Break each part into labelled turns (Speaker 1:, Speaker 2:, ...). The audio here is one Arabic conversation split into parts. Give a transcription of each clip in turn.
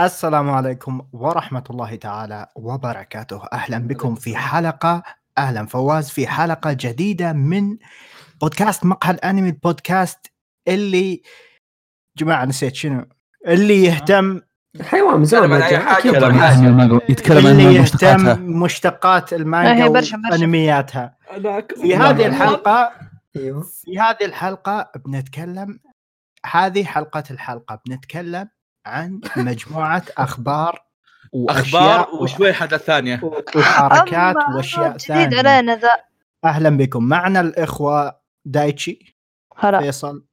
Speaker 1: السلام عليكم ورحمة الله تعالى وبركاته أهلا بكم في حلقة أهلا فواز في حلقة جديدة من بودكاست مقهى الأنمي البودكاست اللي جماعة نسيت شنو اللي
Speaker 2: آه.
Speaker 1: يهتم
Speaker 3: حيوان من زمان
Speaker 4: تكلم عن
Speaker 3: ما
Speaker 4: أي
Speaker 3: جاء
Speaker 4: حاجة
Speaker 3: أكيد
Speaker 4: ولا
Speaker 3: ما-
Speaker 4: حاجة.
Speaker 5: يتكلم عن
Speaker 1: اللي
Speaker 5: مشتقاتها
Speaker 1: يهتم مشتقات
Speaker 2: آه،
Speaker 1: المانجا
Speaker 2: هي برشا- برشا.
Speaker 1: وأنمياتها في
Speaker 3: والله
Speaker 1: هذه
Speaker 3: ما-
Speaker 1: الحلقة
Speaker 3: ايوه
Speaker 1: في هذه الحلقة بنتكلم هذه حلقة الحلقة بنتكلم عن مجموعة أخبار
Speaker 4: اخبار
Speaker 1: وأشياء
Speaker 4: وشوي حدث ثانيه
Speaker 1: وحركات
Speaker 2: أما
Speaker 1: واشياء
Speaker 2: جديد
Speaker 1: ثانيه
Speaker 2: علينا ذا
Speaker 1: اهلا بكم معنا الاخوه دايتشي
Speaker 2: هلا
Speaker 1: فيصل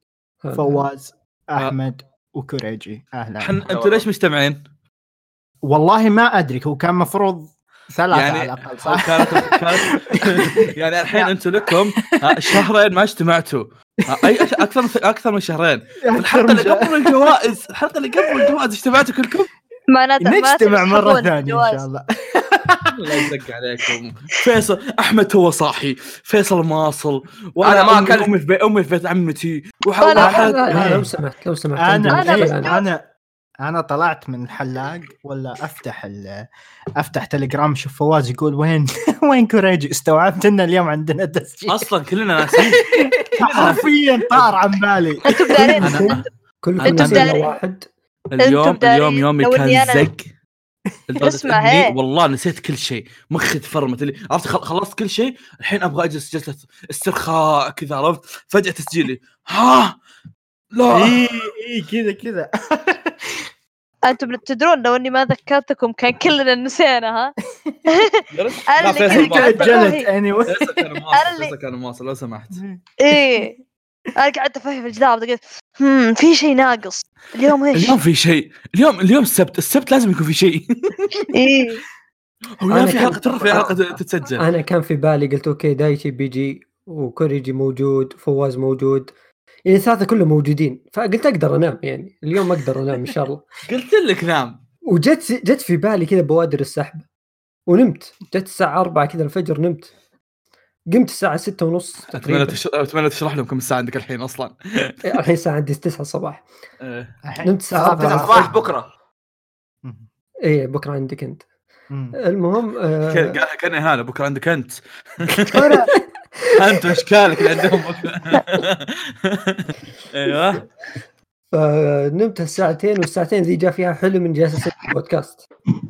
Speaker 1: فواز احمد وكوريجي اهلا
Speaker 4: آه. حن... انتوا ليش مجتمعين؟
Speaker 1: والله ما ادري هو كان مفروض ثلاثه
Speaker 4: يعني-
Speaker 1: على الاقل
Speaker 4: أو
Speaker 1: صح؟
Speaker 4: كانت كانت يعني الحين انتم لكم آه، شهرين ما اجتمعتوا آه، اي اكثر من اكثر من شهرين الحلقه اللي قبل الجوائز الحلقه اللي قبل الجوائز اجتمعتوا كلكم
Speaker 2: معناته معناته
Speaker 1: نجتمع مره
Speaker 2: يسحبون
Speaker 1: ثانيه ان
Speaker 2: الجواز.
Speaker 1: شاء الله
Speaker 4: الله يزق عليكم فيصل احمد هو صاحي فيصل ماصل
Speaker 3: أنا ما
Speaker 4: أمي-
Speaker 3: أكلت.
Speaker 4: امي في بي- امي في بيت عمتي
Speaker 3: لا،
Speaker 4: وحول
Speaker 2: أنا-
Speaker 3: لا،
Speaker 4: حد
Speaker 3: لا، لا،
Speaker 1: إيه.
Speaker 3: لو سمحت لو سمحت
Speaker 1: انا
Speaker 3: عندي مشكلة
Speaker 1: انا انا انا إيه، طلعت من الحلاق ولا افتح ال... افتح تليجرام شوف فواز يقول وين وين كوريجي استوعبت ان اليوم عندنا تسجيل
Speaker 4: اصلا كلنا ناسين
Speaker 1: حرفيا طار عن بالي
Speaker 2: انتم قاعدين
Speaker 3: أنا-
Speaker 2: أنتم-
Speaker 3: كلكم
Speaker 4: أنت
Speaker 3: نسينا
Speaker 2: بداري.
Speaker 3: واحد
Speaker 4: اليوم
Speaker 2: دارين
Speaker 4: اليوم يومي
Speaker 2: لو
Speaker 4: كان
Speaker 2: إني أنا- إيه؟
Speaker 4: زق لدرجة
Speaker 2: اسمع،
Speaker 4: إني
Speaker 2: هي.
Speaker 4: والله نسيت كل شيء مخي تفرمت اللي عرفت خل- خلصت كل شيء الحين ابغى اجلس جلسه استرخاء كذا عرفت فجاه تسجيلي ها لا
Speaker 1: اي اي إيه، كذا كذا
Speaker 2: انتم تدرون لو اني ما ذكرتكم كان كلنا نسينا ها
Speaker 4: لا،
Speaker 2: انا اللي
Speaker 4: فيصل
Speaker 2: كنت
Speaker 4: ما-
Speaker 2: قاعد
Speaker 1: تاجلت
Speaker 2: أفهم.
Speaker 1: اني anyway.
Speaker 2: أنا اللي-
Speaker 4: كان مواصل لو سمحت
Speaker 2: ايه انا قاعد افهم الجدار قلت هم في شيء ناقص اليوم ايش؟
Speaker 4: اليوم في شيء اليوم اليوم السبت السبت لازم يكون في شيء
Speaker 2: ايه
Speaker 4: هو اليوم
Speaker 3: أنا
Speaker 4: في
Speaker 3: كان-
Speaker 4: حلقه ترى في حلقه تتسجل
Speaker 3: انا كان في بالي قلت اوكي دايتي بيجي وكوريجي موجود فواز موجود يعني الثلاثه كلهم موجودين فقلت اقدر انام يعني اليوم اقدر انام ان شاء الله
Speaker 4: قلت لك نعم. نام
Speaker 3: وجت جت في بالي كذا بوادر السحب ونمت جت الساعه 4 كذا الفجر نمت قمت الساعه 6 ونص
Speaker 4: اتمنى
Speaker 3: تقريبا
Speaker 4: تش... اتمنى تشرح لهم كم الساعه عندك الحين اصلا
Speaker 3: إيه، الحين الساعه عندي 9 الصباح
Speaker 4: إيه.
Speaker 3: نمت الساعه 4
Speaker 6: صباح بكره
Speaker 3: اي بكره عندك انت المهم آه،
Speaker 4: كان- قالها كان اهانه بكره عندك انت
Speaker 3: أنا-
Speaker 4: انت اشكالك اللي عندهم ايوه
Speaker 3: فنمت الساعتين والساعتين ذي جاء فيها حلم اني جالس اسوي بودكاست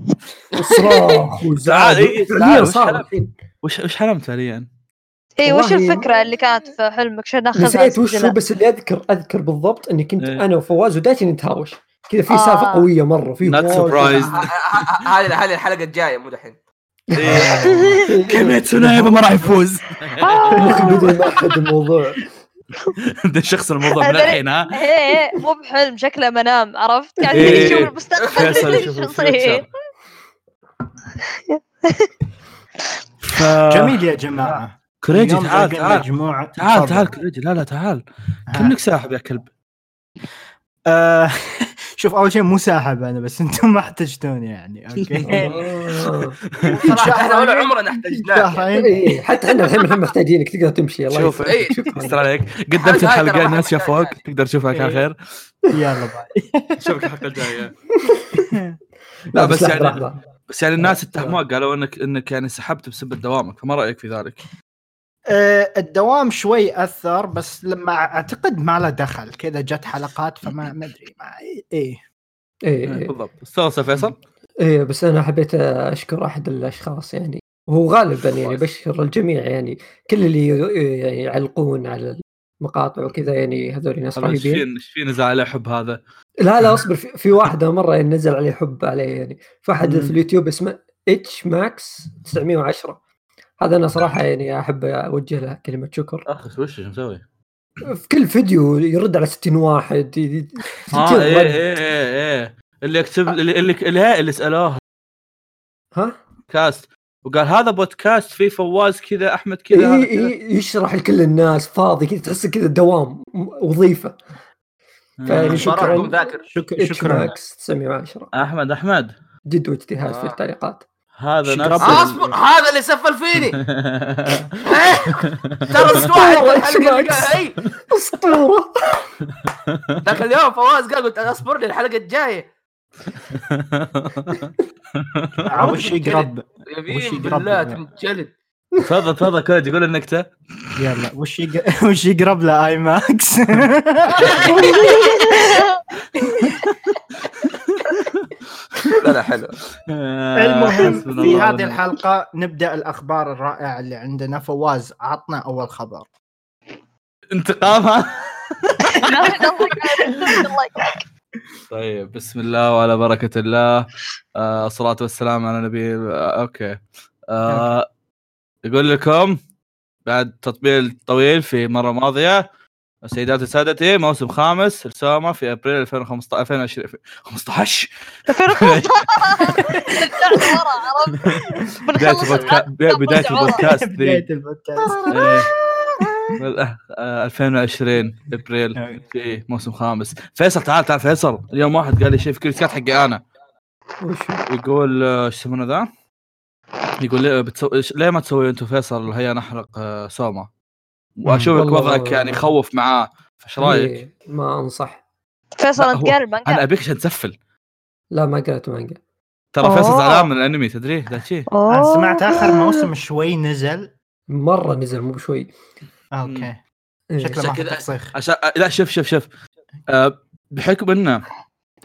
Speaker 3: وصراخ
Speaker 4: تعال،
Speaker 3: وزعل
Speaker 4: إيه، تعال،
Speaker 3: فعلياً
Speaker 4: وش
Speaker 3: صار
Speaker 4: حلم؟
Speaker 3: الحين
Speaker 4: وش وش حلمت فعليا؟
Speaker 2: ايه وش
Speaker 3: والله-
Speaker 2: الفكره اللي كانت في حلمك عشان ناخذها
Speaker 3: نسيت وش هو
Speaker 2: سجلها.
Speaker 3: بس اللي اذكر اذكر بالضبط اني كنت
Speaker 4: إيه.
Speaker 3: انا وفواز ودايتي نتهاوش كذا في
Speaker 2: آه.
Speaker 3: سالفه قويه مره في
Speaker 4: Not surprised.
Speaker 6: هذه هذه الحلقه الجايه مو دحين
Speaker 4: إيه. كيميتسو نايبا ما راح يفوز
Speaker 3: مخي بدل ما احد الموضوع
Speaker 4: ده شخص الموضوع من الحين ها
Speaker 2: ايه إيه، مو بحلم شكله منام عرفت يعني
Speaker 4: إيه.
Speaker 2: يشوف المستقبل إيه.
Speaker 4: فيصل
Speaker 2: ايش
Speaker 4: يشوف الفيوتشر
Speaker 2: يصير
Speaker 4: جميل
Speaker 1: جميل يا جماعه
Speaker 4: كريجي
Speaker 1: اليوم
Speaker 4: تعال
Speaker 1: لقينا
Speaker 4: تعال
Speaker 1: مجموعه
Speaker 4: تعال
Speaker 1: تفضل.
Speaker 4: تعال كريجي لا لا تعال
Speaker 1: ها.
Speaker 4: كم لك ساحب يا كلب
Speaker 1: آه، شوف اول شيء مو ساحب انا بس انتم ما احتجتوني يعني اوكي
Speaker 3: آه.
Speaker 6: صراحه احنا ولا عمرنا احتجناك
Speaker 1: شهرين
Speaker 3: إيه، حتى احنا الحين الحين محتاجينك تقدر تمشي الله
Speaker 4: شوف.
Speaker 3: يسعدك.
Speaker 6: إيه.
Speaker 4: استر عليك قدمت
Speaker 6: هذا- هذا
Speaker 4: الحلقه
Speaker 6: راح
Speaker 4: الناس
Speaker 6: يحتاج
Speaker 4: شافوك
Speaker 6: يعني.
Speaker 4: تقدر تشوفها كان خير
Speaker 1: يلا باي
Speaker 4: شوفك الحلقه الجايه
Speaker 3: لا بس
Speaker 4: يعني-
Speaker 3: لحظه لحظه
Speaker 4: بس يعني الناس اتهموك قالوا انك انك يعني سحبت بسبب دوامك فما رايك في ذلك؟
Speaker 1: آه، الدوام شوي اثر بس لما اعتقد ما له دخل كذا جت حلقات فما ما ادري ما ايه
Speaker 3: إيه، إيه.
Speaker 4: بالضبط استانس يا فيصل
Speaker 3: ايه بس انا حبيت اشكر احد الاشخاص يعني هو غالبا يعني بشكر الجميع يعني كل اللي ي- يعني يعلقون على المقاطع وكذا يعني هذول ناس
Speaker 4: طبعا ايش
Speaker 3: رهيبين
Speaker 4: فينا ايش فينا زعل الحب هذا؟
Speaker 3: لا لا اصبر في, في واحده مره يعني نزل عليه حب عليه يعني فاحد في اليوتيوب اسمه اتش ماكس 910 هذا انا صراحه يعني احب اوجه له كلمه شكر
Speaker 4: اخ وش ايش مسوي؟
Speaker 3: في كل فيديو يرد على 60 واحد ي- ي-
Speaker 4: اه
Speaker 3: 60
Speaker 4: ايه
Speaker 3: رد.
Speaker 4: ايه ايه ايه اللي يكتب اللي اللي اللي, اللي سالوه
Speaker 3: ها
Speaker 4: بودكاست وقال هذا بودكاست فيه فواز كذا احمد كذا هذا
Speaker 3: إيه
Speaker 4: كذا.
Speaker 3: إيه يشرح لكل الناس فاضي كذا تحس كذا دوام م- وظيفه
Speaker 4: آه.
Speaker 3: فيعني شكرا
Speaker 6: براكم ذاكر
Speaker 1: شكرا
Speaker 3: اتش
Speaker 1: شكرا
Speaker 3: ماكس 910
Speaker 4: احمد احمد
Speaker 3: جد واجتهاد في
Speaker 6: آه.
Speaker 3: التعليقات
Speaker 4: هذا
Speaker 1: شكرا.
Speaker 4: نفس
Speaker 6: آه،
Speaker 4: ال-
Speaker 6: اصبر هذا اللي سفل فيني إيه؟ ترى مش واحد
Speaker 3: والله
Speaker 6: الحلقه
Speaker 3: إيش
Speaker 6: اللي قال- اي
Speaker 3: اسطوره
Speaker 6: ذاك اليوم فواز قال قلت انا اصبر لي الحلقه الجايه
Speaker 1: وش يقرب وش
Speaker 6: يبين
Speaker 1: يقرب بالله؟
Speaker 6: بالله تنجلد
Speaker 4: تفضل تفضل كود يقول النكته
Speaker 1: يلا وش يق- وش يقرب له اي ماكس
Speaker 6: لا لا حلو
Speaker 1: المهم في هذه
Speaker 4: الحلقه
Speaker 1: الحلقه نبدا الاخبار الرائعه اللي عندنا فواز عطنا اول خبر
Speaker 4: انتقامها
Speaker 2: الله يعينك، الله يعينك.
Speaker 4: طيب بسم الله وعلى بركه الله آه، الصلاه والسلام على نبي آه، اوكي آه، يقول لكم بعد تطبيل طويل في مره ماضيه سيداتي سادتي موسم خامس رسامه في ابريل 2015 2020 15
Speaker 2: رجعت ورا عرفت؟
Speaker 4: بدايه
Speaker 2: بنخلص
Speaker 4: البودكاست بدايه
Speaker 2: ورا.
Speaker 4: البودكاست
Speaker 1: بدايه
Speaker 4: 3
Speaker 1: البودكاست
Speaker 4: إيه. بال- آه، 2020 ابريل
Speaker 1: أوكي.
Speaker 4: في موسم خامس فيصل تعال تعال فيصل اليوم واحد قال لي شيء في كريت كات حقي انا
Speaker 3: وش
Speaker 4: يقول آه، ايش يسمونه ذا؟ يقول ليه, بتسو... إيش- ليه ما تسوي انتم فيصل هيا نحرق آه، سوما واشوفك
Speaker 3: والله-
Speaker 4: وضعك يعني يخوف معاه فايش رايك؟
Speaker 3: إيه، ما انصح
Speaker 2: فيصل
Speaker 4: لا،
Speaker 2: انت
Speaker 4: هو-
Speaker 2: قال المانجا
Speaker 4: انا ابيك عشان تسفل
Speaker 3: لا ما قرأت مانجا آه.
Speaker 4: ترى فيصل
Speaker 2: أوه.
Speaker 4: زعلان من الانمي تدري ذا شيء
Speaker 1: أنا سمعت اخر موسم شوي نزل
Speaker 3: مره نزل مو بشوي
Speaker 1: اوكي
Speaker 3: إيه.
Speaker 1: شكله ما
Speaker 4: شكله-
Speaker 1: تصيخ
Speaker 4: عشان آه، لا شوف شوف شوف آه، بحكم انه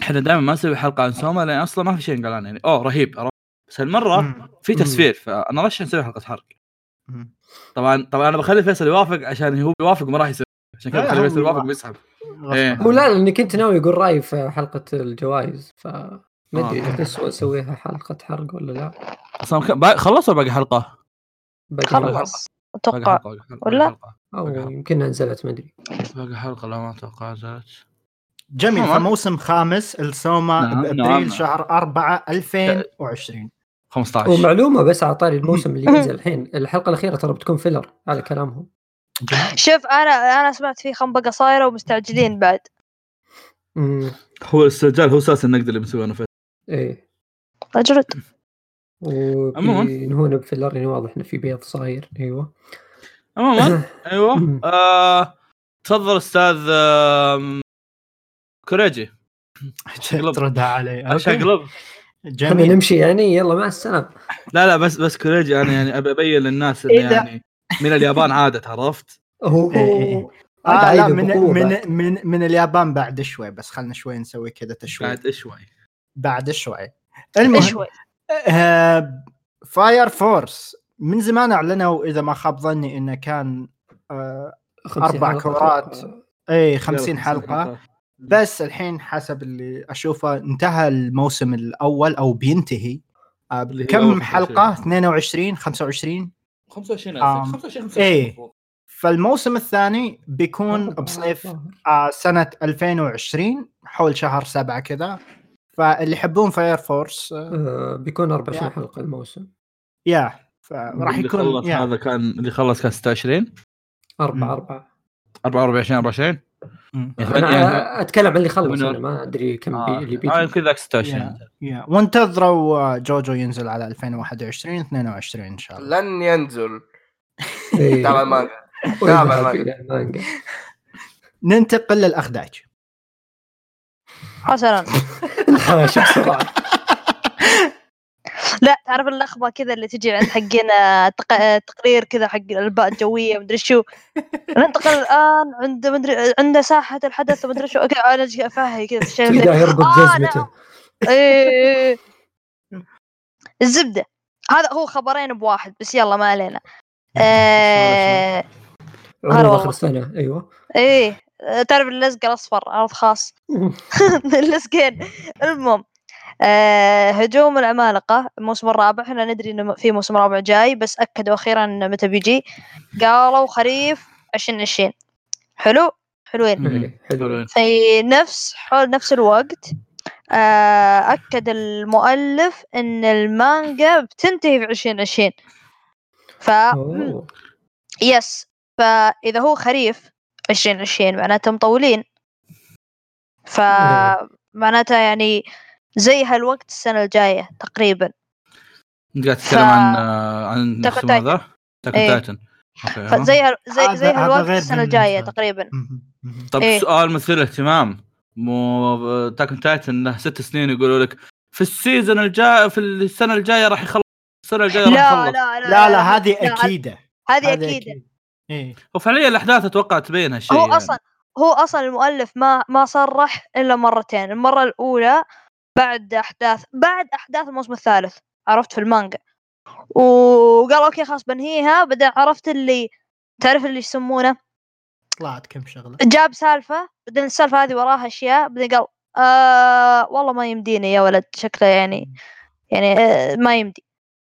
Speaker 4: احنا دائما ما نسوي حلقه عن سوما لان اصلا ما في شيء نقول عنه يعني اوه رهيب عرفت؟ بس هالمره في
Speaker 3: مم.
Speaker 4: تسفير فانا رشح نسوي حلقه حرق طبعا طبعا انا بخلي فيصل يوافق عشان هو بيوافق وما راح يسوي عشان كذا
Speaker 1: لا،
Speaker 4: بخلي
Speaker 1: هو
Speaker 4: فيصل يوافق
Speaker 1: يوافق.
Speaker 4: ويسحب إيه.
Speaker 3: هو لا لاني كنت ناوي اقول رايي في حلقه الجوائز ف ما ادري
Speaker 4: آه.
Speaker 3: اذا نسوي- نسويها حلقه حرق ولا لا
Speaker 4: اصلا كم- با- خلصوا باقي حلقه
Speaker 3: باقي حلقة.
Speaker 2: خلص
Speaker 4: باقي
Speaker 2: اتوقع
Speaker 4: حلقه باقي حلقة،
Speaker 2: ولا؟
Speaker 4: باقي حلقة.
Speaker 3: او يمكن نزلت ما ادري
Speaker 4: باقي حلقه لا ما اتوقع زالت
Speaker 1: جميل
Speaker 4: تمام.
Speaker 1: فموسم خامس السوما
Speaker 4: نعم، نعم.
Speaker 1: بابريل شهر 4 2020
Speaker 4: 15
Speaker 3: ومعلومه بس على طاري الموسم اللي ينزل الحين الحلقه الاخيره ترى بتكون فيلر على كلامهم
Speaker 2: شوف انا انا سمعت في خنبقه صايره ومستعجلين بعد
Speaker 3: امم
Speaker 4: هو السجال هو اساس النقد اللي مسويه انا فيصل
Speaker 3: ايه
Speaker 2: اجرد
Speaker 3: عموما
Speaker 4: عموماً.
Speaker 3: هنا بفيلر يعني واضح انه في بيض صاير ايوه
Speaker 4: عموما ايوه
Speaker 3: مم.
Speaker 4: آه، تفضل استاذ آم، كوريجي شقلب.
Speaker 1: تردها علي أوكي.
Speaker 4: شقلب
Speaker 3: احنا
Speaker 1: جميل
Speaker 3: نمشي يعني يلا مع السلامه
Speaker 4: لا لا بس بس كوريجي انا يعني ابي ابين للناس إنه
Speaker 1: إيه ده؟
Speaker 4: يعني من اليابان عادت عرفت
Speaker 3: اوه
Speaker 1: إيه. آه لا من من من من اليابان بعد شوي بس خلنا شوي نسوي كذا تشويق
Speaker 4: بعد شوي
Speaker 1: بعد شوي المهم
Speaker 2: شوي
Speaker 1: آه فاير فورس من زمان اعلنوا اذا ما خاب ظني انه كان آه أربع كورات. اي 50 حلقه بس الحين حسب اللي اشوفه انتهى الموسم الاول او بينتهي آه
Speaker 4: اللي هي
Speaker 1: كم
Speaker 4: أول
Speaker 1: حلقه 22 25
Speaker 4: 25
Speaker 1: آم،
Speaker 4: 25
Speaker 1: إيه. فالموسم الثاني بيكون بصيف آه، سنة 2020 حول شهر سبعة كذا فاللي يحبون فاير فورس آه،
Speaker 3: آه، بيكون 24
Speaker 1: يا.
Speaker 3: حلقه الموسم
Speaker 1: يا فراح
Speaker 4: اللي
Speaker 1: يكون
Speaker 4: خلص
Speaker 1: يا
Speaker 4: هذا كان اللي خلص كان 26
Speaker 1: مم.
Speaker 3: 4 4
Speaker 4: 44 24
Speaker 1: مم.
Speaker 3: إيه،
Speaker 4: يعني
Speaker 3: انا اتكلم عن اللي خلص
Speaker 4: من-
Speaker 3: انا ما ادري كم بي... اللي
Speaker 4: آه،
Speaker 3: بيجي
Speaker 4: يمكن ذاك 26
Speaker 1: يا- يا وانتظروا آه، جوجو ينزل على 2021 22 ان شاء الله
Speaker 6: لن ينزل
Speaker 3: إيه.
Speaker 6: تابع المانجا تابع
Speaker 3: ويذهب
Speaker 6: المانجا.
Speaker 3: إلى المانجا
Speaker 1: ننتقل للاخداج
Speaker 2: حسنا
Speaker 3: الحاشا بسرعه
Speaker 2: لا تعرف اللخبه كذا اللي تجي عند حقين آه، تق... آه، تقرير كذا حق الباء الجويه مدري شو ننتقل الان عند مدري عند ساحه الحدث ومدري شو أوكي، انا جي- فاهي كذا شيء زي-
Speaker 3: تلقاه يربط
Speaker 2: آه،
Speaker 3: جزمته
Speaker 2: إيه، إيه، إيه. الزبده هذا هو خبرين بواحد بس يلا ما علينا آه،
Speaker 3: عمره
Speaker 2: والله.
Speaker 3: اخر سنه ايوه
Speaker 2: ايه تعرف اللزق الاصفر عرض خاص اللزقين المهم آه هجوم العمالقه الموسم الرابع احنا ندري انه في موسم رابع جاي بس اكدوا اخيرا إنه متى بيجي قالوا خريف 2020 حلو حلوين
Speaker 3: إيه، حلو
Speaker 4: حلوين.
Speaker 2: في نفس حول نفس الوقت آه اكد المؤلف ان المانجا بتنتهي في 2020 ف
Speaker 3: أوه.
Speaker 2: يس فإذا هو خريف 2020 معناته مطولين
Speaker 1: إيه.
Speaker 2: فمعناته يعني زي هالوقت السنة الجاية تقريبا
Speaker 4: قاعد تتكلم
Speaker 2: ف-
Speaker 4: عن آه، عن
Speaker 2: تاكون
Speaker 4: شو اسمه هذا؟ تاكون
Speaker 2: إيه.
Speaker 4: تايتن أوكي، ها.
Speaker 2: فزي هال- زي
Speaker 1: هذا-
Speaker 2: زي
Speaker 1: هذا
Speaker 2: هالوقت
Speaker 1: غير
Speaker 2: السنة الجاية
Speaker 1: بالنسبة.
Speaker 2: تقريبا
Speaker 1: مم. مم.
Speaker 4: طب
Speaker 2: إيه.
Speaker 4: سؤال مثير طيب، للاهتمام مو تاكن تايتن انه ست سنين يقولوا لك في السيزون الجاي في السنه الجايه راح يخلص السنه الجايه راح
Speaker 2: لا
Speaker 4: يخلص
Speaker 2: لا
Speaker 1: لا لا هذه
Speaker 2: آه، لا،
Speaker 1: اكيده
Speaker 2: هذه
Speaker 1: هذه
Speaker 2: اكيد
Speaker 1: إيه.
Speaker 4: وفعليا الاحداث اتوقع تبين هالشيء
Speaker 2: هو
Speaker 4: يعني.
Speaker 2: اصلا هو اصلا المؤلف ما ما صرح الا مرتين المره الاولى بعد احداث بعد احداث الموسم الثالث عرفت في المانجا وقال اوكي خلاص بنهيها بعدين عرفت اللي تعرف اللي يسمونه
Speaker 1: طلعت كم شغله
Speaker 2: جاب سالفه بعدين السالفه هذه وراها اشياء بعدين قال آه والله ما يمديني يا ولد شكله يعني يعني آه ما يمدي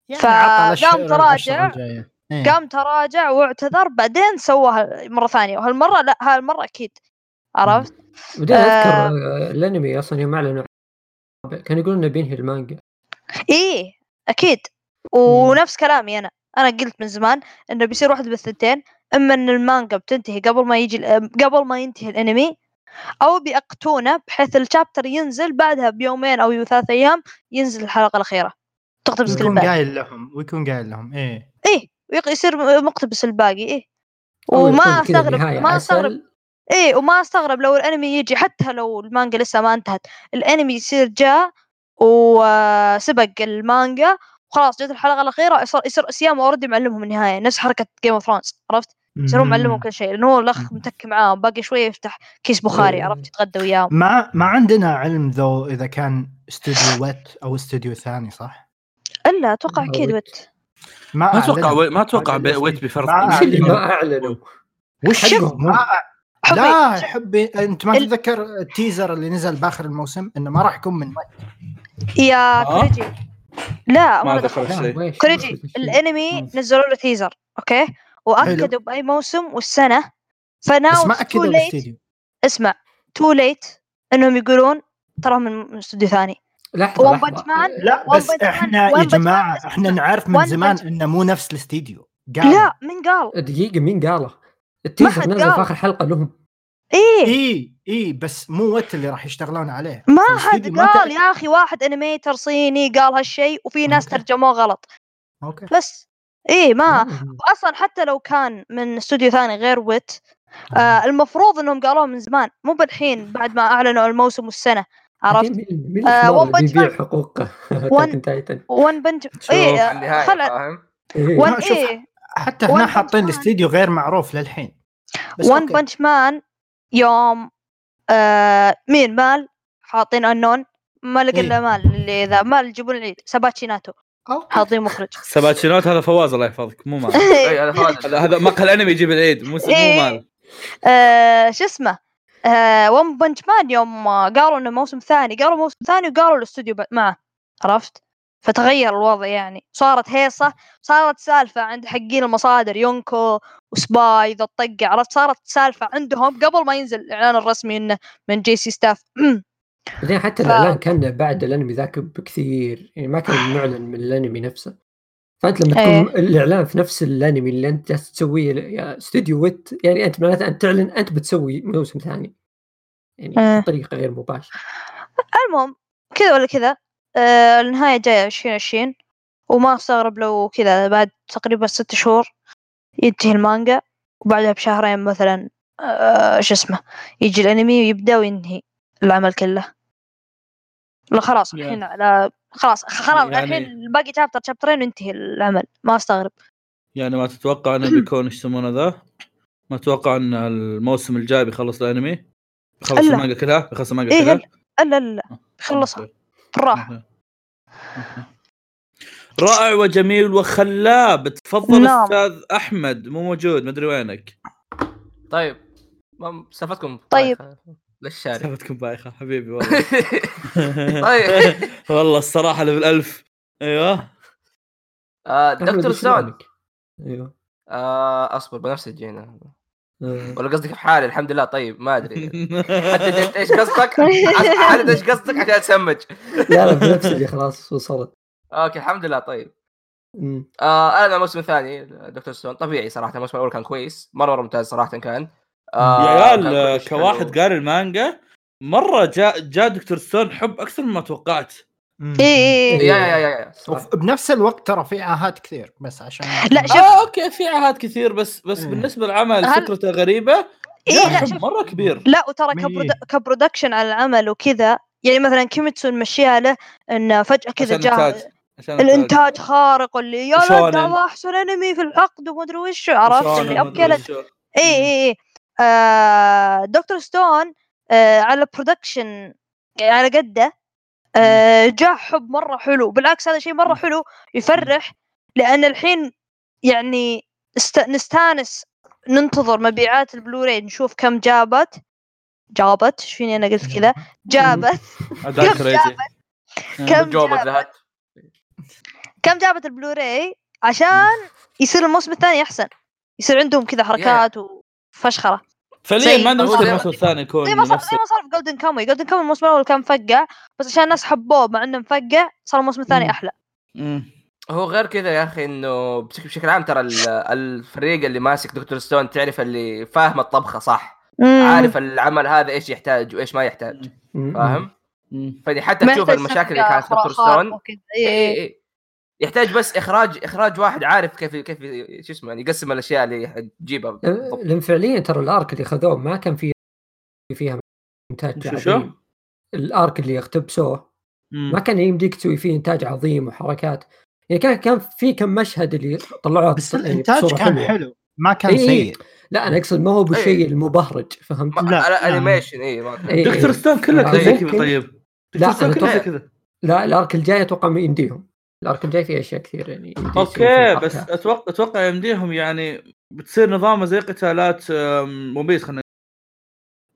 Speaker 1: يعني
Speaker 2: ف-
Speaker 1: عطى للشهر-
Speaker 2: قام تراجع.
Speaker 1: العشرة الجاية. إيه.
Speaker 2: قام تراجع واعتذر بعدين سواها مره ثانيه وهالمره لا هالمره اكيد عرفت
Speaker 3: بعدين اذكر آه، الانمي اصلا يوم اعلنوا عنه، كان يقولون انه بينهي المانجا
Speaker 2: ايه اكيد ونفس كلامي انا انا قلت من زمان انه بيصير واحد بالثنتين اما ان المانجا بتنتهي قبل ما يجي ال- قبل ما ينتهي الانمي او بيقتونه بحيث الشابتر ينزل بعدها بيومين او ثلاث ايام ينزل الحلقه الاخيره تقتبس
Speaker 1: ويكون
Speaker 2: الباقي
Speaker 1: قايل لهم ويكون قايل لهم ايه
Speaker 2: ايه ويق- يصير مقتبس الباقي ايه
Speaker 3: أو
Speaker 2: وما
Speaker 3: يكون كذا
Speaker 2: استغرب
Speaker 3: نهاية
Speaker 2: ما
Speaker 3: عسل.
Speaker 2: استغرب ايه وما استغرب لو الانمي يجي حتى لو المانجا لسه ما انتهت الانمي يصير جاء وسبق المانجا وخلاص جت الحلقه الاخيره يصير يصير سيام اوريدي معلمهم النهايه نفس حركه جيم اوف ثرونز عرفت يصيرون معلمهم كل شيء لانه هو الاخ متك معاهم باقي شويه يفتح كيس بخاري
Speaker 3: إيه.
Speaker 2: عرفت يتغدى وياهم
Speaker 1: ما ما عندنا علم ذو اذا كان استوديو ويت او استوديو ثاني صح؟
Speaker 2: الا اتوقع
Speaker 3: آه،
Speaker 2: اكيد
Speaker 3: ويت.
Speaker 2: وت
Speaker 4: ما اتوقع وي- ما اتوقع
Speaker 1: أعلن.
Speaker 4: بي- ويت بيفرض
Speaker 1: ما
Speaker 3: وش
Speaker 1: أعلن.
Speaker 3: اللي
Speaker 4: آه،
Speaker 3: ما اعلنوا؟
Speaker 1: وش
Speaker 2: شوف،
Speaker 1: حقهم؟ ما
Speaker 2: حبي
Speaker 1: لا حبي انت ما
Speaker 2: ال-
Speaker 1: تتذكر التيزر اللي نزل باخر الموسم انه ما راح يكون من ويت
Speaker 2: يا
Speaker 4: آه؟
Speaker 2: كوريجي لا
Speaker 4: ما
Speaker 2: ولا
Speaker 4: ذكر
Speaker 2: دخل
Speaker 3: لا،
Speaker 4: شيء
Speaker 3: ويش-
Speaker 2: كوريجي
Speaker 3: ويش-
Speaker 2: الانمي
Speaker 4: مم.
Speaker 2: نزلوا له تيزر اوكي واكدوا باي موسم والسنه فناو
Speaker 1: بس ما
Speaker 2: تو
Speaker 1: اكدوا
Speaker 2: ليت
Speaker 1: الاستديو
Speaker 2: اسمع تو ليت انهم يقولون ترى من من استوديو ثاني
Speaker 3: لحظة
Speaker 2: ون
Speaker 3: لحظة.
Speaker 2: بنش مان
Speaker 1: لا
Speaker 2: One
Speaker 1: بس
Speaker 2: Punch Man-
Speaker 1: احنا
Speaker 2: One
Speaker 1: يا
Speaker 2: Punch Man
Speaker 1: جماعه
Speaker 2: بس-
Speaker 1: احنا نعرف
Speaker 2: One
Speaker 1: من
Speaker 2: Punch
Speaker 1: زمان
Speaker 2: Man.
Speaker 1: انه مو نفس الاستديو قالوا.
Speaker 2: لا من قال
Speaker 3: آه، دقيقة مين قاله؟ التيزر
Speaker 2: حد
Speaker 3: نزل
Speaker 2: قال.
Speaker 3: في اخر حلقة لهم
Speaker 1: إيه،
Speaker 2: ايه
Speaker 1: اي اي بس مو ويت اللي راح يشتغلون عليه
Speaker 2: ما حد
Speaker 1: الاستديو ما
Speaker 2: قال
Speaker 1: تأكد.
Speaker 2: يا اخي واحد انيميتر صيني قال هالشيء وفي ناس
Speaker 1: أوكي.
Speaker 2: ترجموه غلط
Speaker 1: اوكي
Speaker 2: بس ايه ما
Speaker 3: آه.
Speaker 2: اصلا حتى لو كان من استوديو ثاني غير ويت آه المفروض انهم قالوه من زمان مو بالحين بعد ما اعلنوا الموسم والسنه عرفت
Speaker 3: مين- مين
Speaker 2: آه،
Speaker 3: الحمار
Speaker 2: One
Speaker 3: اللي
Speaker 2: Punch
Speaker 3: بيبيع حقوق اتاك تايتن؟
Speaker 2: ون بنج
Speaker 4: شوف.
Speaker 2: ايه آه،
Speaker 6: النهايه
Speaker 2: خلع-
Speaker 6: فاهم
Speaker 2: ون
Speaker 3: إيه.
Speaker 1: لا، شوف،
Speaker 2: ايه
Speaker 1: حتى
Speaker 2: One
Speaker 1: هنا
Speaker 2: Punch
Speaker 1: حاطين
Speaker 2: Man.
Speaker 1: الاستديو غير معروف للحين بس
Speaker 2: ون
Speaker 1: أوكي.
Speaker 2: بنش مان يوم آه مين مال حاطين انون ما لقى
Speaker 1: إيه.
Speaker 2: الا مال اللي ذا مال يجيبون العيد سباتشي ناتو
Speaker 1: أوكي.
Speaker 2: حاطين مخرج
Speaker 4: سباتشينوت هذا فواز الله يحفظك مو مال
Speaker 6: اي هذا
Speaker 4: هذا
Speaker 6: فاضي
Speaker 4: هذا مقهى الانمي يجيب العيد مو مو
Speaker 2: إيه.
Speaker 4: مال
Speaker 2: آه شو اسمه آه ون بنش مان يوم آه، قالوا انه موسم ثاني قالوا موسم ثاني وقالوا الاستوديو ب- معه عرفت فتغير الوضع يعني صارت هيصة صارت سالفة عند حقين المصادر يونكو وسباي ذا الطقة عرفت صارت سالفة عندهم قبل ما ينزل الإعلان الرسمي إنه من جي سي ستاف
Speaker 3: بعدين حتى
Speaker 2: ف-
Speaker 3: الاعلان كان بعد الانمي ذاك بكثير يعني ما كان معلن من الانمي نفسه فانت لما تكون الاعلان في نفس الانمي اللي انت جالس تسويه ل- يا استوديو ويت يعني انت معناته انت تعلن انت بتسوي موسم ثاني يعني
Speaker 2: إيه.
Speaker 3: بطريقه غير مباشره
Speaker 2: المهم كذا ولا كذا آه النهاية جاية عشرين عشرين وما استغرب لو كذا بعد تقريبا ست شهور ينتهي المانجا وبعدها بشهرين مثلا آه شو اسمه يجي الانمي ويبدا وينهي العمل كله لا خلاص
Speaker 4: Yeah.
Speaker 2: الحين على خلاص خلاص
Speaker 4: يعني-
Speaker 2: الحين باقي شابتر شابترين وينتهي العمل ما استغرب
Speaker 4: يعني ما تتوقع انه بيكون ايش يسمونه ذا؟ ما تتوقع ان الموسم الجاي بيخلص الانمي؟ بيخلص
Speaker 2: إلا.
Speaker 4: المانجا كلها؟ بيخلص المانجا
Speaker 2: إيه،
Speaker 4: كلها؟
Speaker 2: إلا. الا لا لا خلصها بالراحه
Speaker 4: أوكي. أوكي. رائع وجميل وخلاب تفضل
Speaker 2: نعم.
Speaker 4: استاذ احمد مو موجود مدري وينك
Speaker 6: طيب ما سالفتكم
Speaker 2: طيب.
Speaker 6: بايخة. للشارع
Speaker 4: سالفتكم بايخه حبيبي والله
Speaker 6: طيب
Speaker 4: والله الصراحه ليفل 1000 ايوه
Speaker 6: آه،
Speaker 3: أحمد،
Speaker 6: دكتور
Speaker 3: إيش
Speaker 6: سون
Speaker 3: رأيك؟ ايوه
Speaker 6: آه، اصبر بنفسجي هنا
Speaker 3: آه.
Speaker 6: ولا قصدك في حالي الحمد لله طيب ما ادري حتى جبت ايش قصدك عارف ايش قصدك عشان اسمج
Speaker 3: لا لا بنفسجي خلاص وصلت
Speaker 6: اوكي الحمد لله طيب
Speaker 3: مم.
Speaker 6: آه انا الموسم الثاني دكتور ستون طبيعي صراحه الموسم الاول كان كويس مره مره ممتاز صراحه كان آه،
Speaker 4: يا
Speaker 6: كان
Speaker 4: عيال
Speaker 6: كويس،
Speaker 4: كواحد
Speaker 6: حلو.
Speaker 4: قاري المانجا مره جاء جاء دكتور ستون حب اكثر مما توقعت
Speaker 1: مم.
Speaker 2: إيه، إيه إيه.
Speaker 6: يا يا يا يا صح.
Speaker 1: وف- بنفس الوقت ترى في عاهات كثير بس عشان
Speaker 2: لا شوف
Speaker 4: آه اوكي في عهات كثير بس بس
Speaker 1: إيه.
Speaker 4: بالنسبه للعمل
Speaker 2: هل-
Speaker 4: فكرته غريبه
Speaker 2: إيه لا
Speaker 4: شوف،
Speaker 2: شوف
Speaker 4: مره كبير
Speaker 2: لا وترى
Speaker 1: مية.
Speaker 2: كبرود- كبرودكشن على العمل وكذا يعني مثلا كيميتسو نمشيها له انه فجاه كذا
Speaker 4: عشان
Speaker 2: جاء
Speaker 4: الإنتاج. عشان
Speaker 2: الانتاج خارق اللي يا لا
Speaker 4: وشونن.
Speaker 2: ده احسن انمي في العقد وما ادري وش عرفت
Speaker 4: وشونن
Speaker 2: اللي
Speaker 4: ومدري
Speaker 2: ابكلت
Speaker 4: وشو.
Speaker 2: اي اي اي إيه، آه، دكتور ستون آه، على برودكشن على قده آه، جاء حب مره حلو بالعكس هذا شيء مره
Speaker 4: مم.
Speaker 2: حلو يفرح لان الحين يعني است... نستانس ننتظر مبيعات البلوراي نشوف كم جابت جابت ايش فيني انا قلت كذا جابت
Speaker 4: أداء آه.
Speaker 2: كم
Speaker 4: كريزي.
Speaker 2: كم
Speaker 6: جوبت
Speaker 2: جابت
Speaker 6: لها
Speaker 2: كم جابت البلوراي عشان يصير الموسم الثاني احسن يصير عندهم كذا حركات وفشخره
Speaker 4: فعليا
Speaker 2: زي-
Speaker 4: ما عندهم
Speaker 6: زي-
Speaker 4: مشكله الموسم الثاني يكون
Speaker 2: زي إيه، ما صار
Speaker 4: نفس
Speaker 2: زي ما صار في جولدن كاموي جولدن كاموي الموسم الاول كان مفقع بس عشان الناس حبوه مع انه مفقع صار الموسم الثاني
Speaker 4: مم.
Speaker 2: احلى إيه.
Speaker 4: مم.
Speaker 6: هو غير كذا يا اخي انه بش- بشكل عام ترى ال- الفريق اللي ماسك دكتور ستون تعرف اللي فاهم الطبخه صح عارف العمل هذا ايش يحتاج وايش ما يحتاج فاهم
Speaker 4: مم.
Speaker 6: فدي حتى تشوف المشاكل اللي كانت في إيه، دكتور ستون
Speaker 2: إيه،
Speaker 6: إي إي إي. يحتاج بس اخراج اخراج واحد عارف كيف كيف شو اسمه يعني يقسم الاشياء اللي تجيبها بالضبط.
Speaker 3: لان فعليا ترى الارك اللي خذوه ما كان فيه فيها انتاج
Speaker 4: شو- شو؟
Speaker 3: عظيم الارك اللي اقتبسوه ما كان يمديك تسوي فيه انتاج عظيم وحركات يعني كان كان في كم مشهد اللي طلعوه
Speaker 1: بس
Speaker 3: يعني
Speaker 1: الانتاج
Speaker 3: بصورة
Speaker 1: كان
Speaker 3: حلوة.
Speaker 1: حلو ما كان
Speaker 3: إي إي.
Speaker 1: سيء
Speaker 3: لا انا اقصد ما هو بالشيء
Speaker 6: إيه.
Speaker 3: المبهرج فهمت؟
Speaker 6: ما-
Speaker 1: لا،
Speaker 6: على
Speaker 1: لا.
Speaker 6: انيميشن اي ما كان.
Speaker 3: إي.
Speaker 4: دكتور ستون كله كان زي كذا
Speaker 3: ممكن.
Speaker 4: طيب
Speaker 3: لا،
Speaker 4: دكتور ستون
Speaker 3: أنا
Speaker 4: كله زي
Speaker 6: أتوقع-
Speaker 4: كذا
Speaker 3: لا الارك الجاي اتوقع ما يمديهم الارك الجاي فيه اشياء كثير يعني يمديك تسوي فيها
Speaker 4: اوكي بس
Speaker 3: حركات.
Speaker 4: اتوقع اتوقع يمديهم يعني بتصير نظامه زي قتالات أم، ون بيس خلينا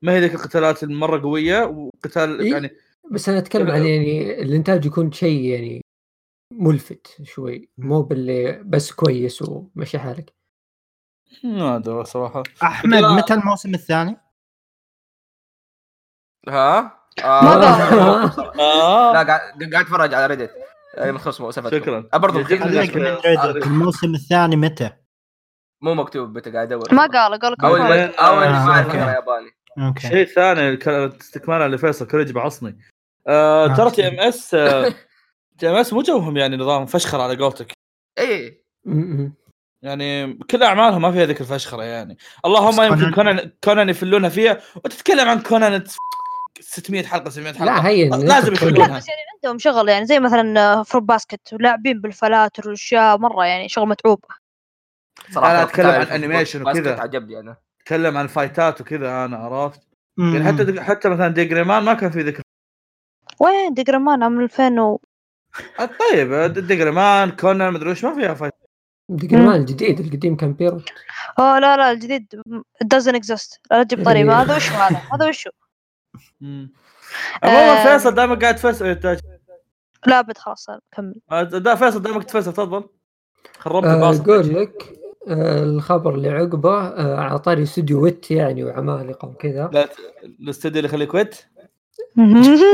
Speaker 4: ما هي ذيك القتالات المره قويه وقتال
Speaker 3: إي.
Speaker 4: يعني
Speaker 3: بس انا اتكلم عن يعني الانتاج يكون شيء يعني ملفت شوي مو باللي بس كويس ومشي حالك
Speaker 4: ما ادري صراحه
Speaker 1: احمد
Speaker 4: لا.
Speaker 1: متى الموسم الثاني؟
Speaker 6: ها؟
Speaker 2: ما
Speaker 6: آه.
Speaker 3: ضر.
Speaker 6: لا
Speaker 4: آه.
Speaker 6: قاعد قاعد اتفرج على ريدت مخصوص أه، مؤسفتكم
Speaker 4: شكراً.
Speaker 6: برضه
Speaker 4: يجيب
Speaker 6: خلينا
Speaker 1: خليك من
Speaker 6: شوي.
Speaker 4: آه،
Speaker 1: ريدت الموسم الثاني متى؟
Speaker 6: مو مكتوب متى قاعد ادور
Speaker 2: ما قال قال
Speaker 6: اول
Speaker 2: لكم
Speaker 4: أول-
Speaker 6: ما اول
Speaker 1: آه،
Speaker 6: ما
Speaker 1: أوكي.
Speaker 6: اقرا ياباني
Speaker 1: اوكي
Speaker 4: شيء ثاني كان استكمالا لفيصل كوريج بعصني آه، ترى تي ام اس تي ام اس مو جوهم يعني نظام فشخر على قولتك
Speaker 6: اي
Speaker 3: م-م.
Speaker 4: يعني كل اعمالهم ما فيها ذيك الفشخره يعني اللهم
Speaker 1: بس
Speaker 4: يمكن
Speaker 1: كونان-
Speaker 4: كونان كونان يفلونها فيها وتتكلم عن كونان 600 حلقه 700 حلقه
Speaker 3: لا هي
Speaker 4: لازم
Speaker 2: لا
Speaker 4: يخلونها
Speaker 2: بس يعني عندهم شغل يعني زي مثلا فروب باسكت ولاعبين بالفلاتر والاشياء مره يعني شغل متعوب
Speaker 6: صراحه
Speaker 4: أنا أتكلم عن
Speaker 6: تعرف
Speaker 4: أنيميشن
Speaker 6: باسكت
Speaker 4: وكذا.
Speaker 6: عجبني انا
Speaker 4: اتكلم عن فايتات وكذا انا عرفت يعني
Speaker 1: مم.
Speaker 4: حتى دق- حتى مثلا ديجريمان ما كان في ذكر
Speaker 2: وين ديجرمان من 2000 و...
Speaker 4: طيب د- ديجريمان كونان مدري وش ما فيها فايت
Speaker 3: دقيقة الجديد القديم كان بيرو
Speaker 2: اه لا لا الجديد doesn't exist لا تجيب طري
Speaker 6: إيه.
Speaker 2: ما هذا وشو هذا هذا وشو
Speaker 4: مم. عموما
Speaker 2: آه.
Speaker 4: فيصل دائما قاعد تفلسف
Speaker 2: لا بد خلاص كمل
Speaker 4: دا آه، فيصل دائما تفلسف تفضل خربت
Speaker 3: آه،
Speaker 4: الباص
Speaker 3: اقول لك آه، الخبر اللي عقبه آه، على طاري استوديو ويت يعني وعمالقه وكذا
Speaker 4: لا ت- الاستوديو اللي يخليك ويت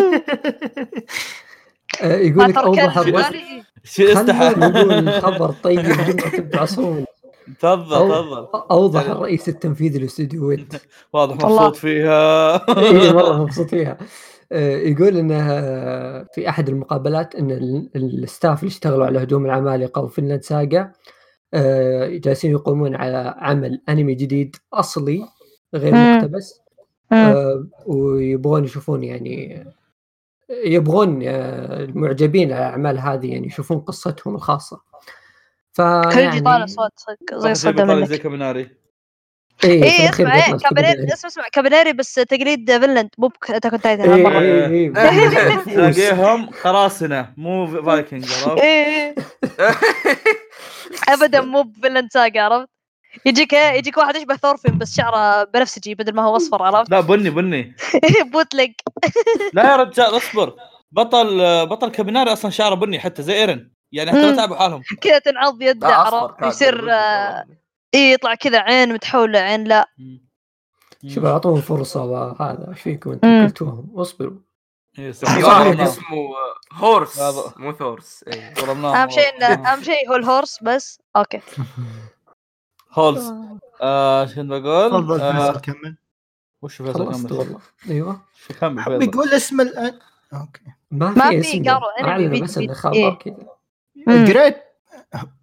Speaker 3: آه، يقول
Speaker 2: ما
Speaker 3: لك
Speaker 2: تركت
Speaker 3: اوضح الرسم
Speaker 2: بالي.
Speaker 4: شي
Speaker 3: خلنا
Speaker 4: استحى
Speaker 3: نقول الخبر طيب عشان ما تبعصون
Speaker 4: تفضل
Speaker 3: أو-
Speaker 4: تفضل
Speaker 3: اوضح الرئيس التنفيذي لاستوديو ويت
Speaker 4: واضح
Speaker 2: والله.
Speaker 4: مبسوط فيها
Speaker 3: إيه، مره مبسوط فيها آه، يقول انه آه، في احد المقابلات ان ال- الستاف اللي اشتغلوا على هجوم العمالقه وفنلاند ساجا آه، جالسين يقومون على عمل انمي جديد اصلي غير
Speaker 2: مم.
Speaker 3: مقتبس آه، ويبغون يشوفون يعني يبغون آه، المعجبين على الاعمال هذه يعني يشوفون قصتهم الخاصه ف يعني
Speaker 6: يعني
Speaker 2: كريجي طالع صوت صك-
Speaker 6: طيب،
Speaker 2: زي صدى منك
Speaker 4: طيب، زي كابيناري
Speaker 3: اي
Speaker 2: اي اسمع إيه، كابانيري اسمع اسمع كابانيري بس تقليد فينلاند مو بتاكون تايتن مره
Speaker 4: إيه.
Speaker 3: اي
Speaker 4: تلاقيهم خراصنه مو فايكنج عرفت؟
Speaker 2: إيه، إيه. ابدا مو بفينلاند ساقا عرفت يجيك إيه، يجيك واحد يشبه ثورفين بس شعره بنفسجي بدل ما هو اصفر عرفت
Speaker 4: لا بني بني
Speaker 2: بوتلق
Speaker 4: لا يا رجال اصبر بطل بطل كابيناري اصلا شعره بني حتى زي ايرن يعني حتى
Speaker 2: مم.
Speaker 4: ما تعبوا حالهم
Speaker 2: كذا تنعض يده
Speaker 6: لا اصفر
Speaker 2: عرفت
Speaker 6: كان.
Speaker 2: يصير آه، إيه، يطلع كذا عين متحوله عين لا
Speaker 3: شوف اعطوهم فرصه وهذا ايش فيكم انتم
Speaker 2: مم.
Speaker 3: قلتوهم اصبروا
Speaker 4: إيه، صح.
Speaker 6: في واحد
Speaker 4: ظلمناهم.
Speaker 6: اسمه هورس
Speaker 4: هذا.
Speaker 6: مو ثورس إيه. إي.
Speaker 4: ظلمناهم
Speaker 2: اهم شيء إنه-
Speaker 4: آه، والله.
Speaker 2: اهم شيء هو الهورس بس اوكي
Speaker 4: هولز آه، شنو بقول؟
Speaker 1: تفضل
Speaker 4: آه،
Speaker 1: فيصل كمل
Speaker 4: وش
Speaker 3: خلصت
Speaker 4: فيصل
Speaker 3: والله ايوه
Speaker 4: كمل كمل
Speaker 1: بيقول اسم آه، الان اوكي
Speaker 3: ما
Speaker 2: ما
Speaker 3: في
Speaker 2: في
Speaker 3: اسم
Speaker 2: قرو، أنا
Speaker 3: اعلن
Speaker 2: بي-
Speaker 3: بس
Speaker 2: بي-
Speaker 3: انه
Speaker 2: إيه.
Speaker 3: خبر كذا
Speaker 2: مم.
Speaker 1: جريت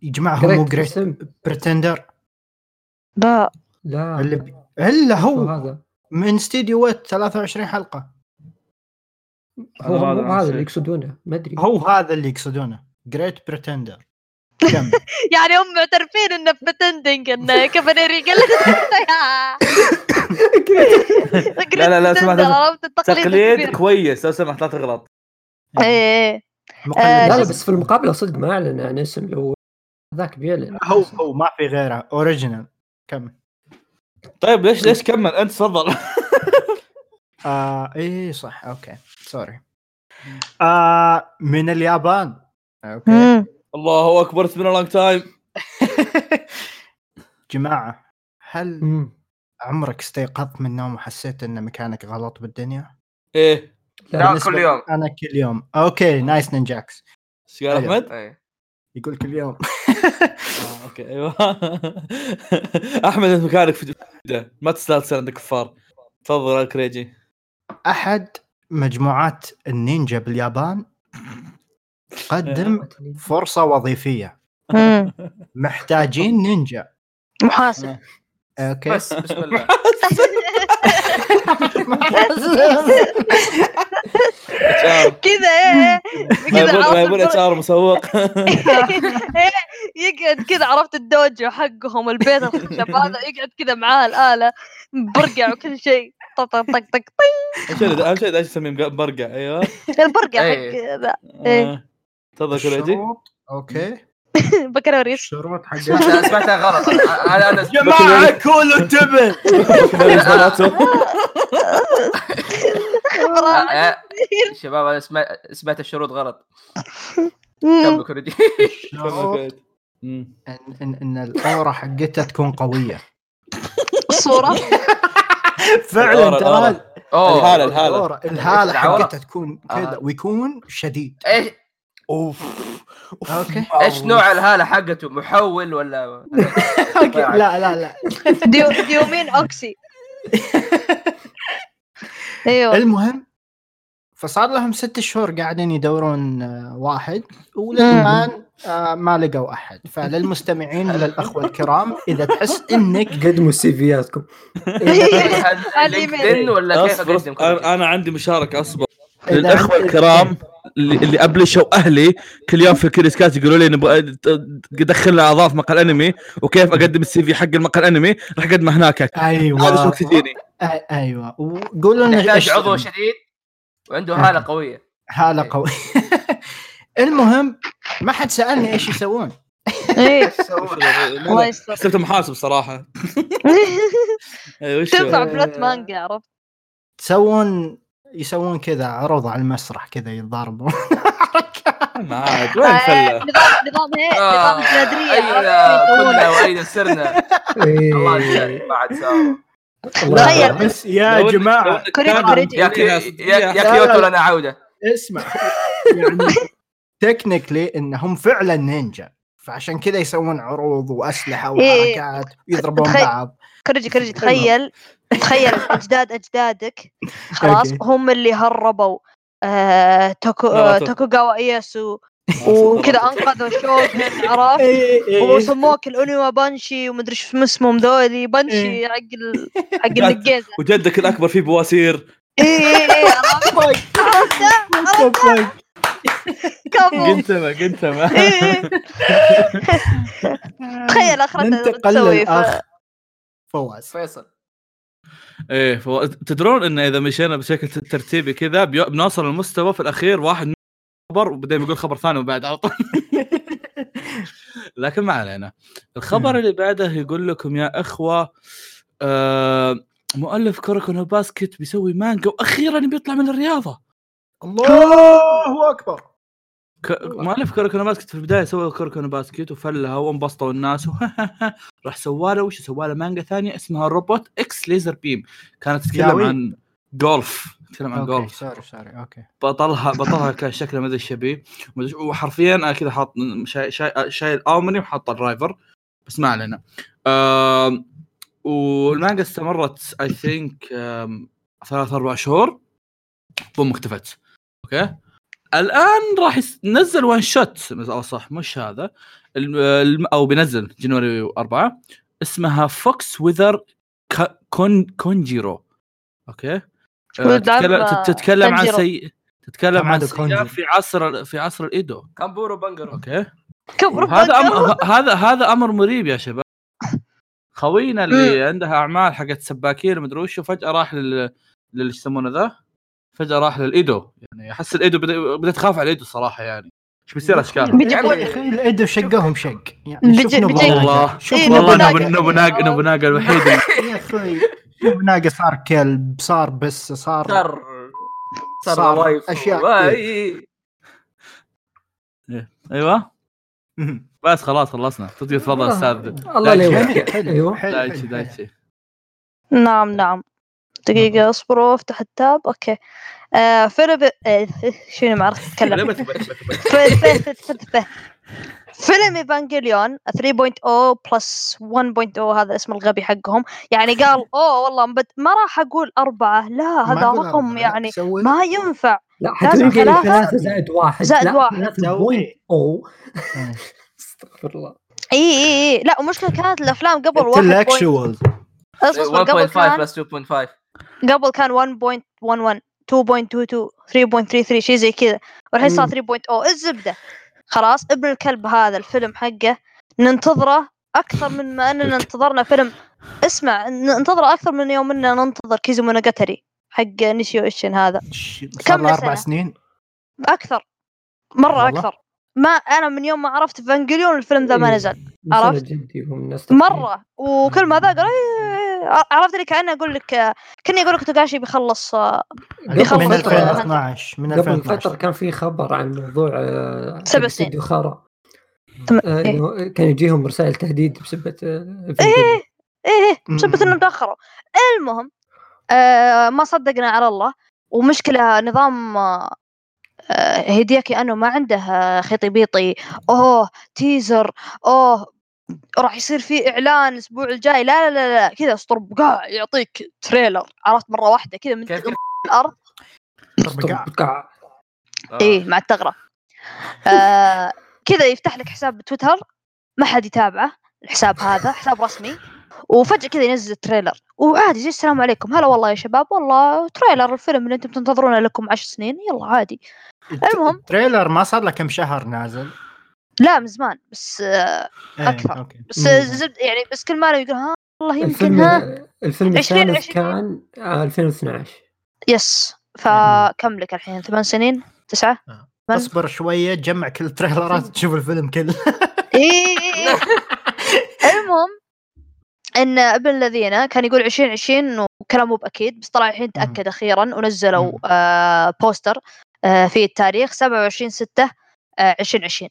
Speaker 1: يا جماعه هو مو
Speaker 3: Great
Speaker 1: جريت
Speaker 3: اسم.
Speaker 1: برتندر
Speaker 2: لا
Speaker 3: لا
Speaker 1: اللي- الا هو
Speaker 3: هذا
Speaker 1: من استديو ويت 23 حلقه
Speaker 3: هو
Speaker 4: هذا
Speaker 3: مو هذا
Speaker 4: نسيت.
Speaker 3: اللي يقصدونه ما ادري
Speaker 1: هو هذا اللي يقصدونه جريت بريتندر
Speaker 2: يعني هم معترفين انه بتندنج انه كفنيري قال
Speaker 4: لا، لا، لا، سمعت- تقليد
Speaker 2: تقليد
Speaker 4: كويس لو سمحت لا تغلط
Speaker 1: يعني
Speaker 4: يعني.
Speaker 2: ايه
Speaker 3: لا
Speaker 2: آه،
Speaker 3: لا بس في المقابله صدق ما اعلن عن اسم لو ذاك بيعلن
Speaker 1: هو هو ما في غيره اوريجينال كم
Speaker 4: طيب ليش ليش كمل انت تفضل
Speaker 1: آه ايه صح اوكي سوري آه من اليابان اوكي
Speaker 2: مم.
Speaker 4: الله اكبر من لونج تايم
Speaker 1: جماعه هل
Speaker 3: مم.
Speaker 1: عمرك استيقظت من النوم وحسيت ان مكانك غلط بالدنيا؟
Speaker 4: ايه
Speaker 6: لا
Speaker 1: بالنسبة
Speaker 6: كل
Speaker 1: لي
Speaker 6: يوم
Speaker 1: انا كل يوم اوكي نايس نينجاكس
Speaker 4: ايش قال
Speaker 1: أيوة.
Speaker 4: احمد؟
Speaker 6: إيه.
Speaker 1: يقول كل يوم
Speaker 4: آه، اوكي ايوه احمد انت مكانك في جده ما تستاهل تصير عندك كفار تفضل يا كريجي
Speaker 1: احد مجموعات النينجا باليابان
Speaker 6: آه.
Speaker 1: قدم فرصه وظيفيه
Speaker 2: مم.
Speaker 1: محتاجين نينجا
Speaker 2: محاسب
Speaker 1: اوكي
Speaker 6: بس بسم الله
Speaker 4: HR.
Speaker 2: كذا ايه
Speaker 4: ما
Speaker 2: كذا
Speaker 4: يقول ما
Speaker 2: عاصم
Speaker 4: يقول اتش ار مسوق
Speaker 2: إيه، يقعد كذا عرفت الدوجو حقهم البيت الخشب هذا يقعد كذا معاه الاله برقع وكل شيء طق طق طق طق طي.
Speaker 4: اهم شيء اهم شيء ايش اسميه مق- برقع ايوه
Speaker 2: البرقع
Speaker 6: إيه.
Speaker 2: حق ذا إيه.
Speaker 4: آه. تفضل كريجي
Speaker 1: الشروط اوكي
Speaker 2: بكره اوريك
Speaker 1: الشروط حق
Speaker 6: أنا سمعتها غلط انا انا
Speaker 4: جماعة كله انتبه
Speaker 2: خبرها.
Speaker 6: آه، آه، شباب انا سمعت سمعت الشروط غلط
Speaker 2: مم.
Speaker 6: كملوا كوريجي
Speaker 1: الشروط ان ان, إن الاورا حقتها تكون قويه
Speaker 2: الصوره
Speaker 1: فعلا ترى
Speaker 6: اوه
Speaker 4: الحالة الحالة
Speaker 1: الأورا- الهاله
Speaker 6: العورة.
Speaker 1: حقتها تكون كذا
Speaker 6: آه.
Speaker 1: ويكون شديد
Speaker 6: ايش
Speaker 1: اوف اوكي
Speaker 6: ايش نوع الهاله حقته محول ولا
Speaker 1: أوكي. لا لا لا
Speaker 2: ديو- ديومين اوكسي ايوه
Speaker 1: المهم فصار لهم ست شهور قاعدين يدورون آه، واحد وللان آه، ما لقوا احد فللمستمعين وللاخوه الكرام اذا تحس انك
Speaker 3: قدموا إيه. السي فياتكم
Speaker 6: لينكدين ولا كيف
Speaker 4: اصبر
Speaker 6: اقدم
Speaker 4: أصبر. انا
Speaker 6: كوريجي؟
Speaker 4: أنا عندي مشاركة اصبر
Speaker 1: إذا
Speaker 4: للاخوه
Speaker 1: أنت-
Speaker 4: الكرام اللي اللي ابلشوا اهلي كل يوم في الكريس كات يقولوا لي نبغى دخلنا اعضاء في مقهى الانمي وكيف اقدم السي في حق المقهى الانمي راح اقدمه هناك هذا شو
Speaker 1: ايوه
Speaker 4: تجيني
Speaker 1: أي- ايوه وقولوا لنا
Speaker 6: يحتاج
Speaker 1: إيش-
Speaker 6: عضو شديد وعنده هاله قويه
Speaker 1: حاله قويه المهم ما حد سالني ايش يسوون
Speaker 2: إيه. الله
Speaker 4: أنا
Speaker 2: يستر
Speaker 4: حسبت محاسب صراحه ايوه وش
Speaker 2: تنفع
Speaker 4: هو؟
Speaker 2: بلوت مانجا عرفت
Speaker 1: تسوون يسوون كذا عرض على المسرح كذا يتضاربوا
Speaker 4: ما عاد وين
Speaker 2: آه،
Speaker 4: فله
Speaker 2: نظام نظام هيك
Speaker 4: آه،
Speaker 2: نظام جادريه
Speaker 4: أيوة،
Speaker 6: اين
Speaker 2: عرفت
Speaker 6: آه، أيوة، كنا
Speaker 2: يسوونه.
Speaker 6: واين سرنا
Speaker 3: إيه.
Speaker 6: الله يجزاك ما عاد سوا
Speaker 3: الله
Speaker 2: تخيل.
Speaker 3: يرحمه.
Speaker 1: بس يا جماعه
Speaker 2: كوريجي- كوريجي.
Speaker 6: يا كي- يا يا كيوتو لنا عوده
Speaker 1: اسمع يعني تكنيكلي انهم فعلا نينجا فعشان كذا يسوون عروض واسلحه
Speaker 2: إيه.
Speaker 1: وحركات يضربون
Speaker 2: تخيل.
Speaker 1: بعض
Speaker 2: كرجي كرجي تخيل تخيل اجداد اجدادك خلاص
Speaker 1: أوكي.
Speaker 2: هم اللي هربوا آه، توكو آه،
Speaker 4: ناروتو.
Speaker 2: توكوغاوا اياسو وكذا انقذوا شوغن عرفت
Speaker 1: أيوة. إيه،
Speaker 2: وسموك الانوا بانشي ومدري شو اسمهم ذولي
Speaker 1: إيه.
Speaker 2: بانشي حق ال... حق النقيزه
Speaker 4: وجدك الاكبر فيه بواسير
Speaker 2: اي اي اي إيه، عرفت؟ عرفت؟ كفو
Speaker 4: قنتمه قنتمه
Speaker 2: إي، إي. تخيل اخرتها
Speaker 1: ننتقل
Speaker 2: تسوي ف-
Speaker 1: للاخ فواز
Speaker 6: فيصل
Speaker 4: ايه فو... تدرون انه اذا مشينا بشكل ترتيبي كذا بيو... بنوصل المستوى في الاخير واحد من- خبر وبعدين يقول خبر ثاني وبعد على طول لكن ما علينا الخبر
Speaker 1: مم.
Speaker 4: اللي بعده يقول لكم يا اخوه آه... مؤلف كوركونو باسكت بيسوي مانجا واخيرا بيطلع من الرياضه
Speaker 1: الله اكبر
Speaker 4: ك... مؤلف كوركونو باسكت في البدايه سوى كوركونو باسكت وفلها وانبسطوا الناس راح سواله وش سواله مانجا ثانيه اسمها روبوت اكس ليزر بيم كانت تتكلم
Speaker 1: ياوي.
Speaker 4: عن جولف تتكلم عن
Speaker 1: اوكي
Speaker 4: جولف
Speaker 1: سوري سوري اوكي
Speaker 4: بطلها بطلها كان شكله ما ادري شبيه ما أدري- وحرفيا انا كذا حاط شاي- شاي- شايل اومني وحاط الدرايفر بس ما علينا آم، والمانجا استمرت اي ثينك ثلاث اربع شهور بوم اختفت اوكي الان راح يس- نزل وان شوت او صح مش هذا الم- الم- او بينزل جنوري أربعة اسمها فوكس وذر ك- كون كونجيرو اوكي آه،
Speaker 2: ولد عم،
Speaker 4: تتكلم
Speaker 2: آه،
Speaker 4: تتكلم عن
Speaker 2: كونجيرو.
Speaker 4: سي تتكلم عن
Speaker 1: كمادو
Speaker 4: سيئة
Speaker 1: كونجيرو.
Speaker 4: في عصر في عصر الايدو
Speaker 6: كامبورو بانجرو
Speaker 4: اوكي
Speaker 2: كبر
Speaker 4: هذا
Speaker 2: بقى.
Speaker 4: امر ه- هذا هذا امر مريب يا شباب خوينا اللي عندها اعمال حقت سباكين مدري وش فجاه راح لل لل- ايش يسمونه ذا فجاه راح للايدو يعني احس الايدو بدا- بدات اخاف على الايدو صراحه يعني ايش بيصير اشكال
Speaker 2: بيجيبون-
Speaker 1: يا اخي الايدو شقهم شق يعني
Speaker 2: بيجي-
Speaker 1: شوف
Speaker 2: بيجي-
Speaker 1: نوبوناغا.
Speaker 4: والله.
Speaker 1: شوف
Speaker 2: إيه،
Speaker 4: والله
Speaker 1: نوبوناغا.
Speaker 2: نوبوناغا.
Speaker 4: نبو- نبوناغا نبوناغا الوحيد اللي-
Speaker 1: يا اخوي نوبوناغا صار كلب صار بس صار
Speaker 6: صار صار
Speaker 1: صار
Speaker 6: وايف
Speaker 1: أشياء
Speaker 6: واي
Speaker 4: ايوه
Speaker 1: مهم.
Speaker 4: بس خلاص خلصنا تطير تفضل
Speaker 3: الله-
Speaker 4: استاذ
Speaker 3: الله لا
Speaker 1: جميل،
Speaker 3: يوفقك
Speaker 1: حلو،
Speaker 3: ايوه
Speaker 1: حلو،
Speaker 4: أيوه. دايتشي
Speaker 1: حلو.
Speaker 4: دايتشي
Speaker 2: نعم نعم دقيقة اصبروا افتح التاب اوكي آه فيلم آه شنو ما عرفت اتكلم
Speaker 6: لما تبي- لما تبي.
Speaker 2: ف- ف- ف- ف- ف- فيلم ايفانجيليون 3.0 بلس 1.0 oh، هذا الاسم الغبي حقهم يعني قال اوه والله مبد... ما راح اقول اربعة لا
Speaker 1: ما
Speaker 2: هذا
Speaker 1: أقول
Speaker 2: رقم
Speaker 1: أربعة،
Speaker 2: يعني
Speaker 1: سوي
Speaker 2: ما ينفع
Speaker 3: لا
Speaker 2: لازم
Speaker 3: حتلقى
Speaker 2: ثلاثة.
Speaker 3: ثلاثة زائد واحد
Speaker 2: زائد
Speaker 3: لا،
Speaker 2: واحد.
Speaker 3: ثلاثة
Speaker 1: سوي.
Speaker 3: بوينت أو
Speaker 1: إيه.
Speaker 3: استغفر الله
Speaker 2: اي اي اي لا ومشكلة كانت الافلام قبل
Speaker 1: Intellectual.
Speaker 2: 1. اصبر قبل
Speaker 6: 1.5
Speaker 2: كان
Speaker 6: بس 2.5
Speaker 2: قبل كان 1.11 2.22 3.33 شيء زي كذا والحين صار 3.0 الزبدة خلاص ابن الكلب هذا الفيلم حقه ننتظره أكثر من ما أننا انتظرنا فيلم اسمع ننتظره أكثر من يوم أننا ننتظر كيزو مونوجاتري حق نيشيو إيشن هذا
Speaker 1: ش- صار
Speaker 2: كم
Speaker 1: له اربع
Speaker 2: سنة؟
Speaker 1: سنين
Speaker 2: أكثر مرة
Speaker 1: والله.
Speaker 2: أكثر ما أنا من يوم ما عرفت فانجليون الفيلم ذا ما
Speaker 3: إيه.
Speaker 2: نزل عرفت؟
Speaker 3: عرفت؟ جدي هم ناس
Speaker 2: مرة وكل ما ذا قال "إيه". عرفت لي كأني أقول لك كأني أقول لك توغاشي بيخلص آه، بيخلص
Speaker 1: من
Speaker 2: فترة.
Speaker 1: 2012 من
Speaker 3: قبل فترة
Speaker 1: 2012
Speaker 3: كان في خبر عن موضوع آه،
Speaker 2: سبع
Speaker 3: حق
Speaker 2: سنين.
Speaker 3: استوديو خارة
Speaker 2: تم-
Speaker 3: آه،
Speaker 2: إيه.
Speaker 3: إنه كان يجيهم رسائل تهديد بسبة آه،
Speaker 2: ايه ايه ايه بسبب
Speaker 1: مم.
Speaker 2: انهم تاخروا المهم آه ما صدقنا على الله ومشكله نظام آه هيدياكي انه ما عنده آه، خيطي بيطي اوه تيزر اوه راح يصير في اعلان الاسبوع الجاي لا لا لا, لا كذا اسطرب قاع يعطيك تريلر عرفت مره واحده كذا من
Speaker 6: كيف كيف؟
Speaker 2: الارض
Speaker 3: أسطر بقع.
Speaker 6: آه.
Speaker 2: ايه مع الثغره آه كذا يفتح لك حساب بتويتر ما حد يتابعه الحساب هذا حساب رسمي وفجاه كذا ينزل تريلر وعادي زي السلام عليكم هلا والله يا شباب والله تريلر الفيلم اللي انتم تنتظرونه لكم عشر سنين يلا عادي المهم.
Speaker 1: التريلر ما صار له كم شهر نازل
Speaker 2: لا من زمان بس آه
Speaker 1: إيه،
Speaker 2: أكثر.
Speaker 1: أوكي.
Speaker 2: بس
Speaker 1: مم.
Speaker 2: زبد يعني بس كل ما يقول ها والله يمكن
Speaker 3: الفيلم
Speaker 2: ها
Speaker 3: الفيلم
Speaker 2: 20
Speaker 3: الثالث
Speaker 2: 20.
Speaker 3: كان آه، 2012
Speaker 2: يس فكم لك الحين ثمان سنين تسعة من؟
Speaker 1: اصبر شويه تجمع كل التريلرات تشوف الفيلم كله
Speaker 2: إيه إيه إيه. المهم ان ابن الذين كان يقول 2020 وكلام مو باكيد بس طلع الحين
Speaker 1: مم.
Speaker 2: تاكد اخيرا ونزلوا
Speaker 1: مم.
Speaker 2: آه بوستر آه في التاريخ 27 6 آه 2020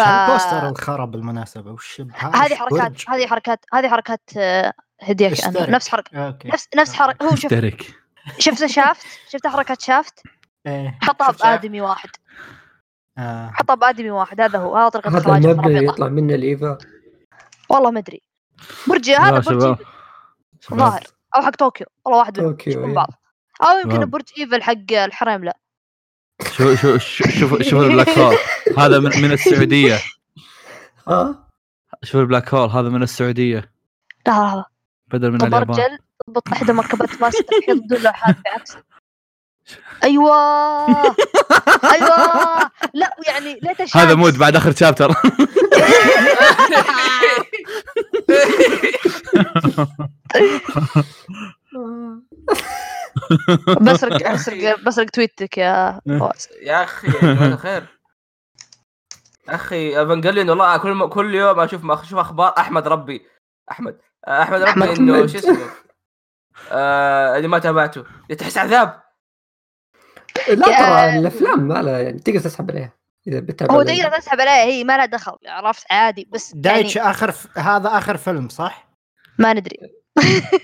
Speaker 1: ف... البوستر الخرب بالمناسبه وش
Speaker 2: هذه حركات هذه حركات هذه حركات آه هديك أنا.
Speaker 1: اشترك.
Speaker 2: نفس حركة
Speaker 1: اوكي
Speaker 2: نفس نفس حركة هو شوف
Speaker 4: تشترك
Speaker 2: شفت شافت شفت حركة شافت
Speaker 1: إيه.
Speaker 2: حطها
Speaker 6: شوف شافت.
Speaker 2: بآدمي واحد
Speaker 1: آه.
Speaker 2: حطها بآدمي واحد هذا هو هذا طريقة
Speaker 3: هذا
Speaker 2: إخراج
Speaker 3: المبنى اللي
Speaker 2: الخرابيطة.
Speaker 3: يطلع منه الإيفا
Speaker 2: والله ما أدري برجي هذا
Speaker 4: يا
Speaker 2: برجي
Speaker 4: شباب
Speaker 2: ظاهر او حق طوكيو والله واحد منهم
Speaker 3: طوكيو،
Speaker 2: مش من
Speaker 3: إيه.
Speaker 2: بعض او يمكن
Speaker 4: نعم.
Speaker 2: برج ايفل حق الحريم لا
Speaker 4: شو شو شو- شوف شوف البلاك هول هذا من من السعوديه
Speaker 3: ها
Speaker 4: شوف البلاك هول هذا من السعوديه
Speaker 2: لا لا لا
Speaker 4: بدل من
Speaker 2: طب
Speaker 4: اليابان
Speaker 2: ارجل ضبط احدى مركبات ماسك تحيط دلوحات بعكس ايوه ايوه لا يعني لا تشاهد
Speaker 4: هذا مود بعد اخر شابتر
Speaker 6: آه.
Speaker 2: بسرق بسرق بسرق تويتك يا
Speaker 4: نعم.
Speaker 2: فواز
Speaker 6: يا اخي يا جماعة الخير يا اخي افنجليون والله كل م... كل يوم اشوف ما اشوف اخبار احمد ربي احمد احمد
Speaker 2: أحمد
Speaker 6: ربي انه
Speaker 3: حمد.
Speaker 6: شو اسمه آه اللي ما تابعته تحس عذاب
Speaker 3: لا
Speaker 2: يا-
Speaker 3: ترى الأفلام ما لها يعني تقدر تسحب عليها إذا بتتابع
Speaker 2: هو
Speaker 3: لها.
Speaker 2: تقدر تسحب عليها هي ما لها دخل عرفت عادي بس
Speaker 1: دايتش
Speaker 2: يعني
Speaker 1: اخر ف... هذا اخر فيلم صح؟
Speaker 2: ما ندري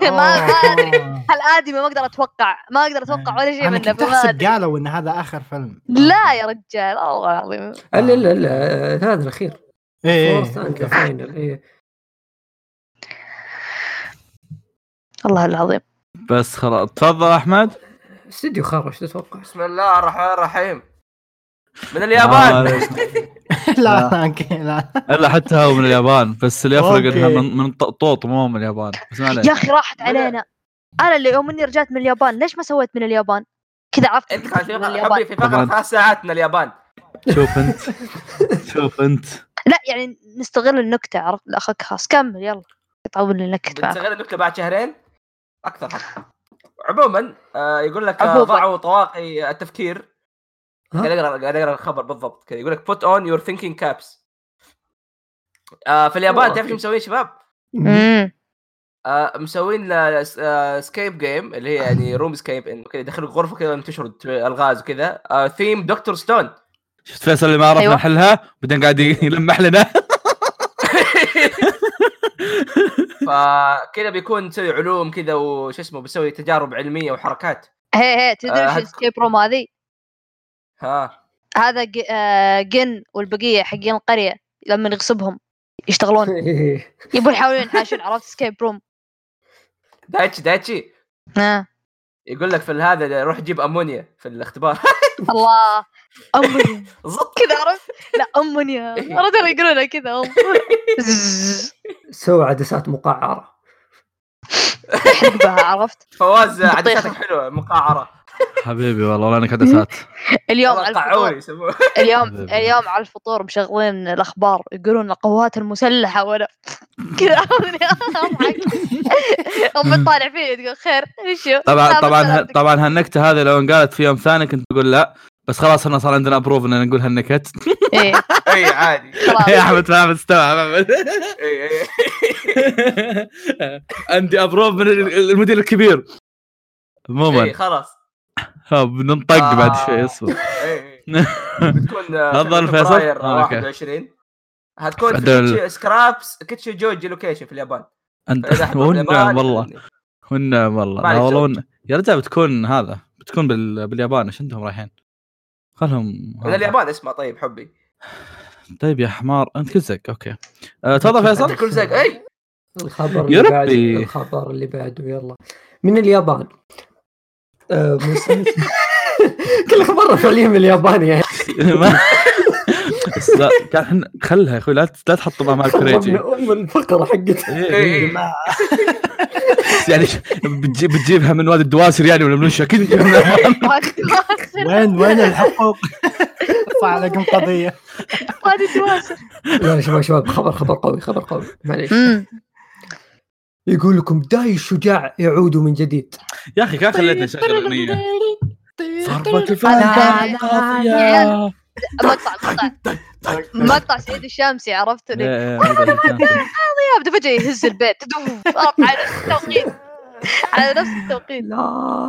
Speaker 2: ما ما ادري هالادمي ما اقدر اتوقع ما اقدر اتوقع
Speaker 4: نعم.
Speaker 2: ولا شيء
Speaker 1: انا
Speaker 2: منه
Speaker 1: كنت
Speaker 2: فما
Speaker 1: احسب
Speaker 2: ادري
Speaker 1: قالوا ان هذا اخر فيلم
Speaker 2: لا يا رجال الله العظيم
Speaker 3: لا لا لا آه، هذا الأخير
Speaker 4: إيه.
Speaker 1: ايه
Speaker 3: فورس أند ذا فاينل إيه
Speaker 2: الله العظيم
Speaker 4: بس خلاص تفضل احمد
Speaker 3: استديو خرج شو تتوقع؟
Speaker 6: بسم الله الرحمن الرحيم من اليابان
Speaker 4: آه،
Speaker 1: لا لا
Speaker 4: الا حتى هو من اليابان بس اللي يفرق
Speaker 1: أوكي.
Speaker 4: انها من, من ط- طوط مو من اليابان بس ما عليك
Speaker 2: يا اخي راحت علينا انا اللي يوم اني رجعت من اليابان ليش ما سويت من اليابان؟ كذا عرفت
Speaker 6: انت كان في
Speaker 2: من
Speaker 6: فقرة- حبي
Speaker 2: اليابان.
Speaker 6: في فقره
Speaker 4: طبعاً.
Speaker 6: ثلاث ساعات من اليابان
Speaker 4: شوف انت شوف انت
Speaker 2: لا يعني نستغل النكته عرفت اخوك خلاص كمل يلا يطول النكت معك.
Speaker 6: بتستغل النكته بعد شهرين اكثر حتى عموما آه يقول لك آه
Speaker 2: عموماً.
Speaker 6: ضعوا طواقي التفكير
Speaker 3: ها؟
Speaker 6: قاعد اقرا قاعد اقرا الخبر بالضبط كذا يقول لك put on your thinking caps آه في اليابان
Speaker 3: أوه،
Speaker 6: تعرف
Speaker 3: أوكي.
Speaker 6: شو مسويين شباب؟
Speaker 2: امم
Speaker 6: آه مسوين آه، س- آه، سكيب جيم اللي هي يعني روم سكيب انه كذا يدخلوا غرفه كذا تشرد الغاز وكذا آه ثيم دكتور ستون
Speaker 4: شفت فيصل اللي ما عرفنا
Speaker 2: أيوة.
Speaker 4: نحلها بعدين قاعد يلمح لنا
Speaker 6: فكذا بيكون تسوي علوم كذا وش اسمه بيسوي تجارب علميه وحركات
Speaker 2: هي هي تدري
Speaker 6: آه،
Speaker 2: ايش
Speaker 6: هك-
Speaker 2: الاسكيب روم هذه؟
Speaker 6: ها
Speaker 2: هذا ج- آه، جن والبقيه حقين القريه لما نغصبهم يشتغلون
Speaker 3: إيه.
Speaker 2: يبون يحاولون ينحاشون عرفت اسكيب روم
Speaker 6: دايتشي دايتشي
Speaker 2: آه.
Speaker 6: يقول لك في هذا روح جيب امونيا في الاختبار
Speaker 2: الله امنيا
Speaker 6: زط
Speaker 2: كذا عرفت؟ لا امنيا انا ترى يقولونها كذا والله زز.
Speaker 3: سوى عدسات مقعره
Speaker 2: حقبها عرفت؟
Speaker 6: فواز
Speaker 2: بطيخة.
Speaker 6: عدساته حلوه مقعره
Speaker 4: حبيبي والله والله انك عدسات
Speaker 2: اليوم على الفطور
Speaker 6: قعوري يسموه
Speaker 2: اليوم
Speaker 4: حبيبي.
Speaker 2: اليوم على الفطور مشغلين الاخبار يقولون القوات المسلحه وانا كذا Oh اضحك امي تطالع فيني تقول خير وشو؟
Speaker 4: طبعا
Speaker 2: لا،
Speaker 4: طبعا
Speaker 2: بس
Speaker 4: ه-
Speaker 2: سلامتك.
Speaker 4: طبعا هالنكته هذه لو انقالت في يوم ثاني كنت بقول لا بس خلاص احنا صار عندنا ابروف اننا نقول هالنكت
Speaker 2: إيه،
Speaker 6: اي عادي
Speaker 4: يا
Speaker 2: خلاص
Speaker 4: احمد فاهم استوعب أحمد.
Speaker 6: اي اي
Speaker 4: عندي ابروف من ال- ال- المدير الكبير
Speaker 6: اي
Speaker 4: عموما
Speaker 6: خلاص
Speaker 4: ها، بننطق بعد
Speaker 6: إيه. آه.
Speaker 4: شوي اصبر
Speaker 6: إي، إي. بتكون آه،
Speaker 4: تفضل
Speaker 6: في
Speaker 4: فيصل.
Speaker 6: فبراير
Speaker 4: نعم. آه، أوكي.
Speaker 6: 21 هتكون
Speaker 4: بعدين-
Speaker 6: في سكرابس كيتشي جوجي لوكيشن في اليابان
Speaker 4: انت
Speaker 6: فإذا حضرت
Speaker 4: والنعم
Speaker 6: اليابان،
Speaker 4: والله والنعم والله
Speaker 6: ما عليك
Speaker 4: لا والله
Speaker 6: زود.
Speaker 4: والنعم. يا رجال بتكون هذا بتكون بال... باليابان ايش عندهم رايحين؟ خلهم
Speaker 6: من اليابان اسمع طيب حبي
Speaker 4: طيب يا حمار انت كل زق اوكي آه، تفضل
Speaker 6: انت
Speaker 4: فيصل
Speaker 6: كل زق اي
Speaker 3: الخبر
Speaker 4: يا
Speaker 3: اللي بعده
Speaker 4: ربي.
Speaker 3: الخبر اللي بعده يلا من اليابان آه، مسلسل- كل خبر فعليا من اليابان يعني
Speaker 4: ما- بس لا، كان احنا خلها يا اخوي لا ت- لا تحطمها مع
Speaker 3: من
Speaker 4: الكريجي
Speaker 3: ام الفقره حقت
Speaker 4: إيه،
Speaker 6: إيه،
Speaker 4: إيه.
Speaker 6: إيه.
Speaker 4: يعني ش- بتجيب بتجيبها من وادي الدواسر يعني ولا من وش اكيد بتجيبها من اليابان.
Speaker 1: وين وين الحقوق؟ ارفع عليكم قضيه
Speaker 3: لا يا شباب شباب خبر خبر قوي خبر قوي معليش يقول لكم داي الشجاع يعود من جديد
Speaker 4: يا اخي كان خليتني اشغل
Speaker 2: طيب،
Speaker 4: اغنيه ضربة
Speaker 2: أنا-
Speaker 4: الفنجان
Speaker 3: آه،
Speaker 4: قاسية.
Speaker 2: مقطع مقطع مقطع سعيد الشامسي عرفت
Speaker 4: إيه،
Speaker 2: اللي
Speaker 4: إيه، مدري كان في-
Speaker 2: يا بده فجاه يهز البيت تدوف على نفس التوقيت على نفس التوقيت
Speaker 3: لا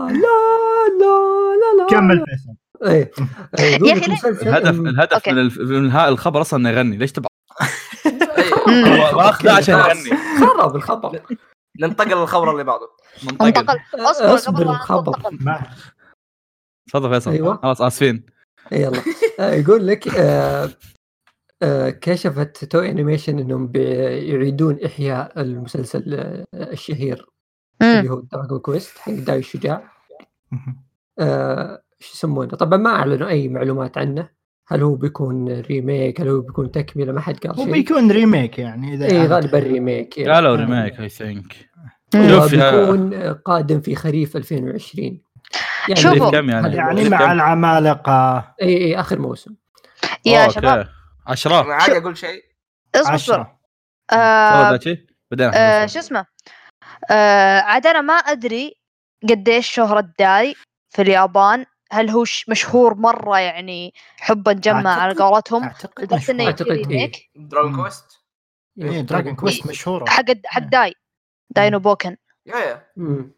Speaker 3: لا لا لا لا
Speaker 1: كمل فيصل
Speaker 3: ايه يقول
Speaker 2: يا أخي
Speaker 3: لكم
Speaker 2: لا.
Speaker 3: مسلسل-
Speaker 4: الهدف
Speaker 3: أم-
Speaker 4: الهدف من الف- من ها- الخبر اصلا انه يغني ليش تبع
Speaker 6: إي.
Speaker 2: أمم.
Speaker 4: واخذه عشان
Speaker 6: خلاص.
Speaker 4: يغني
Speaker 3: خرب الخبر
Speaker 6: ننتقل للخبر اللي بعده
Speaker 4: منطقة
Speaker 2: انتقل اصبر
Speaker 3: أصبر،
Speaker 2: قبل لا
Speaker 3: خبر.
Speaker 2: انتقل
Speaker 1: ما
Speaker 4: تفضل فيصل
Speaker 3: أيوة.
Speaker 4: خلاص اسفين
Speaker 3: يلا آه، يقول لك آه، آه، كشفت تو انيميشن انهم بيعيدون احياء المسلسل آه، الشهير اللي هو دراجون كويست حق داي الشجاع آه، شو يسمونه طبعا ما اعلنوا اي معلومات عنه هل هو بيكون ريميك هل هو بيكون تكمله ما حد قال
Speaker 1: هو
Speaker 3: شيء
Speaker 1: بيكون ريميك يعني اذا
Speaker 3: اي غالبا ريميك يعني.
Speaker 4: قالوا ريميك اي ثينك
Speaker 2: أمم.
Speaker 4: شوف يا-
Speaker 3: بيكون قادم في خريف 2020 يعني إيه،
Speaker 2: شوفوا.
Speaker 3: هذا-
Speaker 4: كم يعني؟
Speaker 1: يعني مع العمالقه
Speaker 3: اي اي اخر موسم
Speaker 2: يا
Speaker 4: أوكي.
Speaker 2: شباب
Speaker 6: انا
Speaker 4: عشرة
Speaker 6: عادي اقول شيء
Speaker 2: اصبر اصبر
Speaker 1: 10
Speaker 2: آه،
Speaker 4: تفضل داتشي بعدين
Speaker 2: آه،
Speaker 4: أحنا
Speaker 2: شو اسمه آه، عاد انا ما ادري قديش شهرة داي في اليابان هل هو ش- مشهور مرة يعني حبا جمع على
Speaker 1: أعتقد- إيه،
Speaker 2: قولتهم
Speaker 1: اعتقد
Speaker 2: لدرجة انه
Speaker 1: مشهور.
Speaker 2: يصير
Speaker 3: أعتقد إيه.
Speaker 2: ريميك
Speaker 6: دراجون
Speaker 1: مم.
Speaker 6: كويست
Speaker 1: اي
Speaker 3: يعني
Speaker 1: دراجون كويست مشهوره
Speaker 2: حق حق داي داينو بوكن
Speaker 6: يا يا
Speaker 3: مم.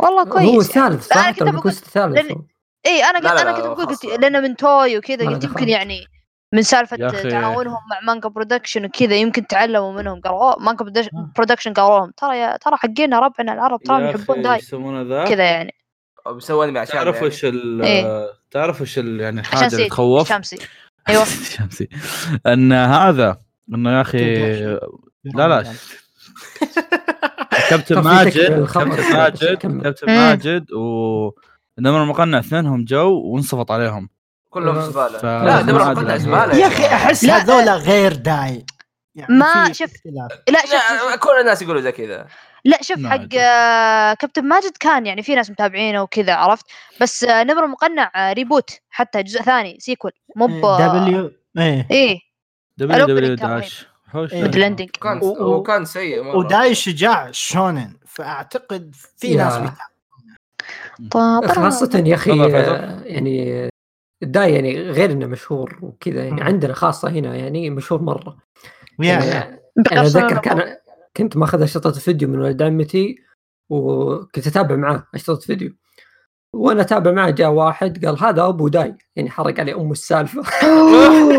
Speaker 2: والله
Speaker 3: هو
Speaker 2: كويس يعني.
Speaker 3: الثالث صح؟
Speaker 2: أنا كنت
Speaker 3: دراجون
Speaker 2: بقول-
Speaker 3: كويست الثالث
Speaker 2: لأن-
Speaker 3: هو.
Speaker 2: اي انا قلت
Speaker 6: لا، لا،
Speaker 2: انا
Speaker 6: لا،
Speaker 2: كنت بقول
Speaker 6: خلاص.
Speaker 2: قلت لانه من توي وكذا
Speaker 3: لا،
Speaker 2: قلت
Speaker 3: لا،
Speaker 2: يمكن
Speaker 3: خلاص.
Speaker 2: يعني من سالفة
Speaker 4: يا أخي.
Speaker 2: تعاونهم مع مانجا برودكشن وكذا يمكن تعلموا منهم قالوا أوه، مانجا برودكش- برودكشن قالوا لهم ترى يا ترى حقنا ربعنا العرب ترى يحبون داي
Speaker 4: يسمونه ذا
Speaker 2: كذا يعني
Speaker 6: بيسوي انمي عشان يعني
Speaker 4: تعرف وش ال
Speaker 2: إيه.
Speaker 4: تعرف وش ال- يعني
Speaker 2: عشان
Speaker 4: الحاجه اللي
Speaker 2: سيد
Speaker 4: تخوف
Speaker 2: شمسي ايوه
Speaker 4: شمسي ان هذا انه يا اخي لا لا كابتن
Speaker 3: طب في تكملة
Speaker 4: ماجد
Speaker 3: للخبر.
Speaker 4: كابتن ماجد
Speaker 3: كمل.
Speaker 4: كابتن
Speaker 2: مم.
Speaker 4: ماجد و نمر المقنع اثنينهم جو وانصفط عليهم
Speaker 6: كلهم
Speaker 3: ف-
Speaker 6: زباله
Speaker 4: ف- يعني.
Speaker 6: لا دبر
Speaker 4: ما
Speaker 6: كلها
Speaker 4: أدري.
Speaker 6: زباله
Speaker 1: يا اخي احس
Speaker 2: لا.
Speaker 1: هذولا غير داعي يعني
Speaker 2: ما
Speaker 1: في
Speaker 2: شوف.
Speaker 1: اختلاف.
Speaker 2: لا شوف شوف-
Speaker 6: لا، كل الناس يقولوا زي كذا
Speaker 2: لا شوف
Speaker 4: ما
Speaker 2: حق
Speaker 4: أدري.
Speaker 2: آه، كابتن ماجد كان يعني في ناس متابعينه وكذا عرفت بس آه، نمر مقنع آه، ريبوت حتى جزء ثاني سيكول مو
Speaker 1: إيه،
Speaker 2: ب
Speaker 1: دبليو ايه
Speaker 2: ايه
Speaker 4: دبليو دبليو
Speaker 2: الأوبننج كان
Speaker 4: داش هوش.
Speaker 1: إيه.
Speaker 2: الأندنج.
Speaker 6: كان
Speaker 1: و- و-
Speaker 6: وكان سيء مرة.
Speaker 1: وداي شجاع شونن فاعتقد في
Speaker 3: يا.
Speaker 1: ناس بتاع
Speaker 2: طبعاً.
Speaker 3: خاصة يا اخي
Speaker 4: تفضل فيصل.
Speaker 3: آه، يعني داي يعني غير انه مشهور وكذا يعني
Speaker 1: مم.
Speaker 3: عندنا خاصة هنا يعني مشهور مرة
Speaker 1: يا-
Speaker 3: يعني
Speaker 1: يا.
Speaker 3: انا
Speaker 2: بقصر
Speaker 3: اتذكر
Speaker 2: الرقم.
Speaker 3: كان كنت ماخذ اشرطه فيديو من ولد عمتي وكنت اتابع معاه اشرطه فيديو وانا اتابع معه جاء واحد قال هذا ابو داي يعني حرق علي ام السالفه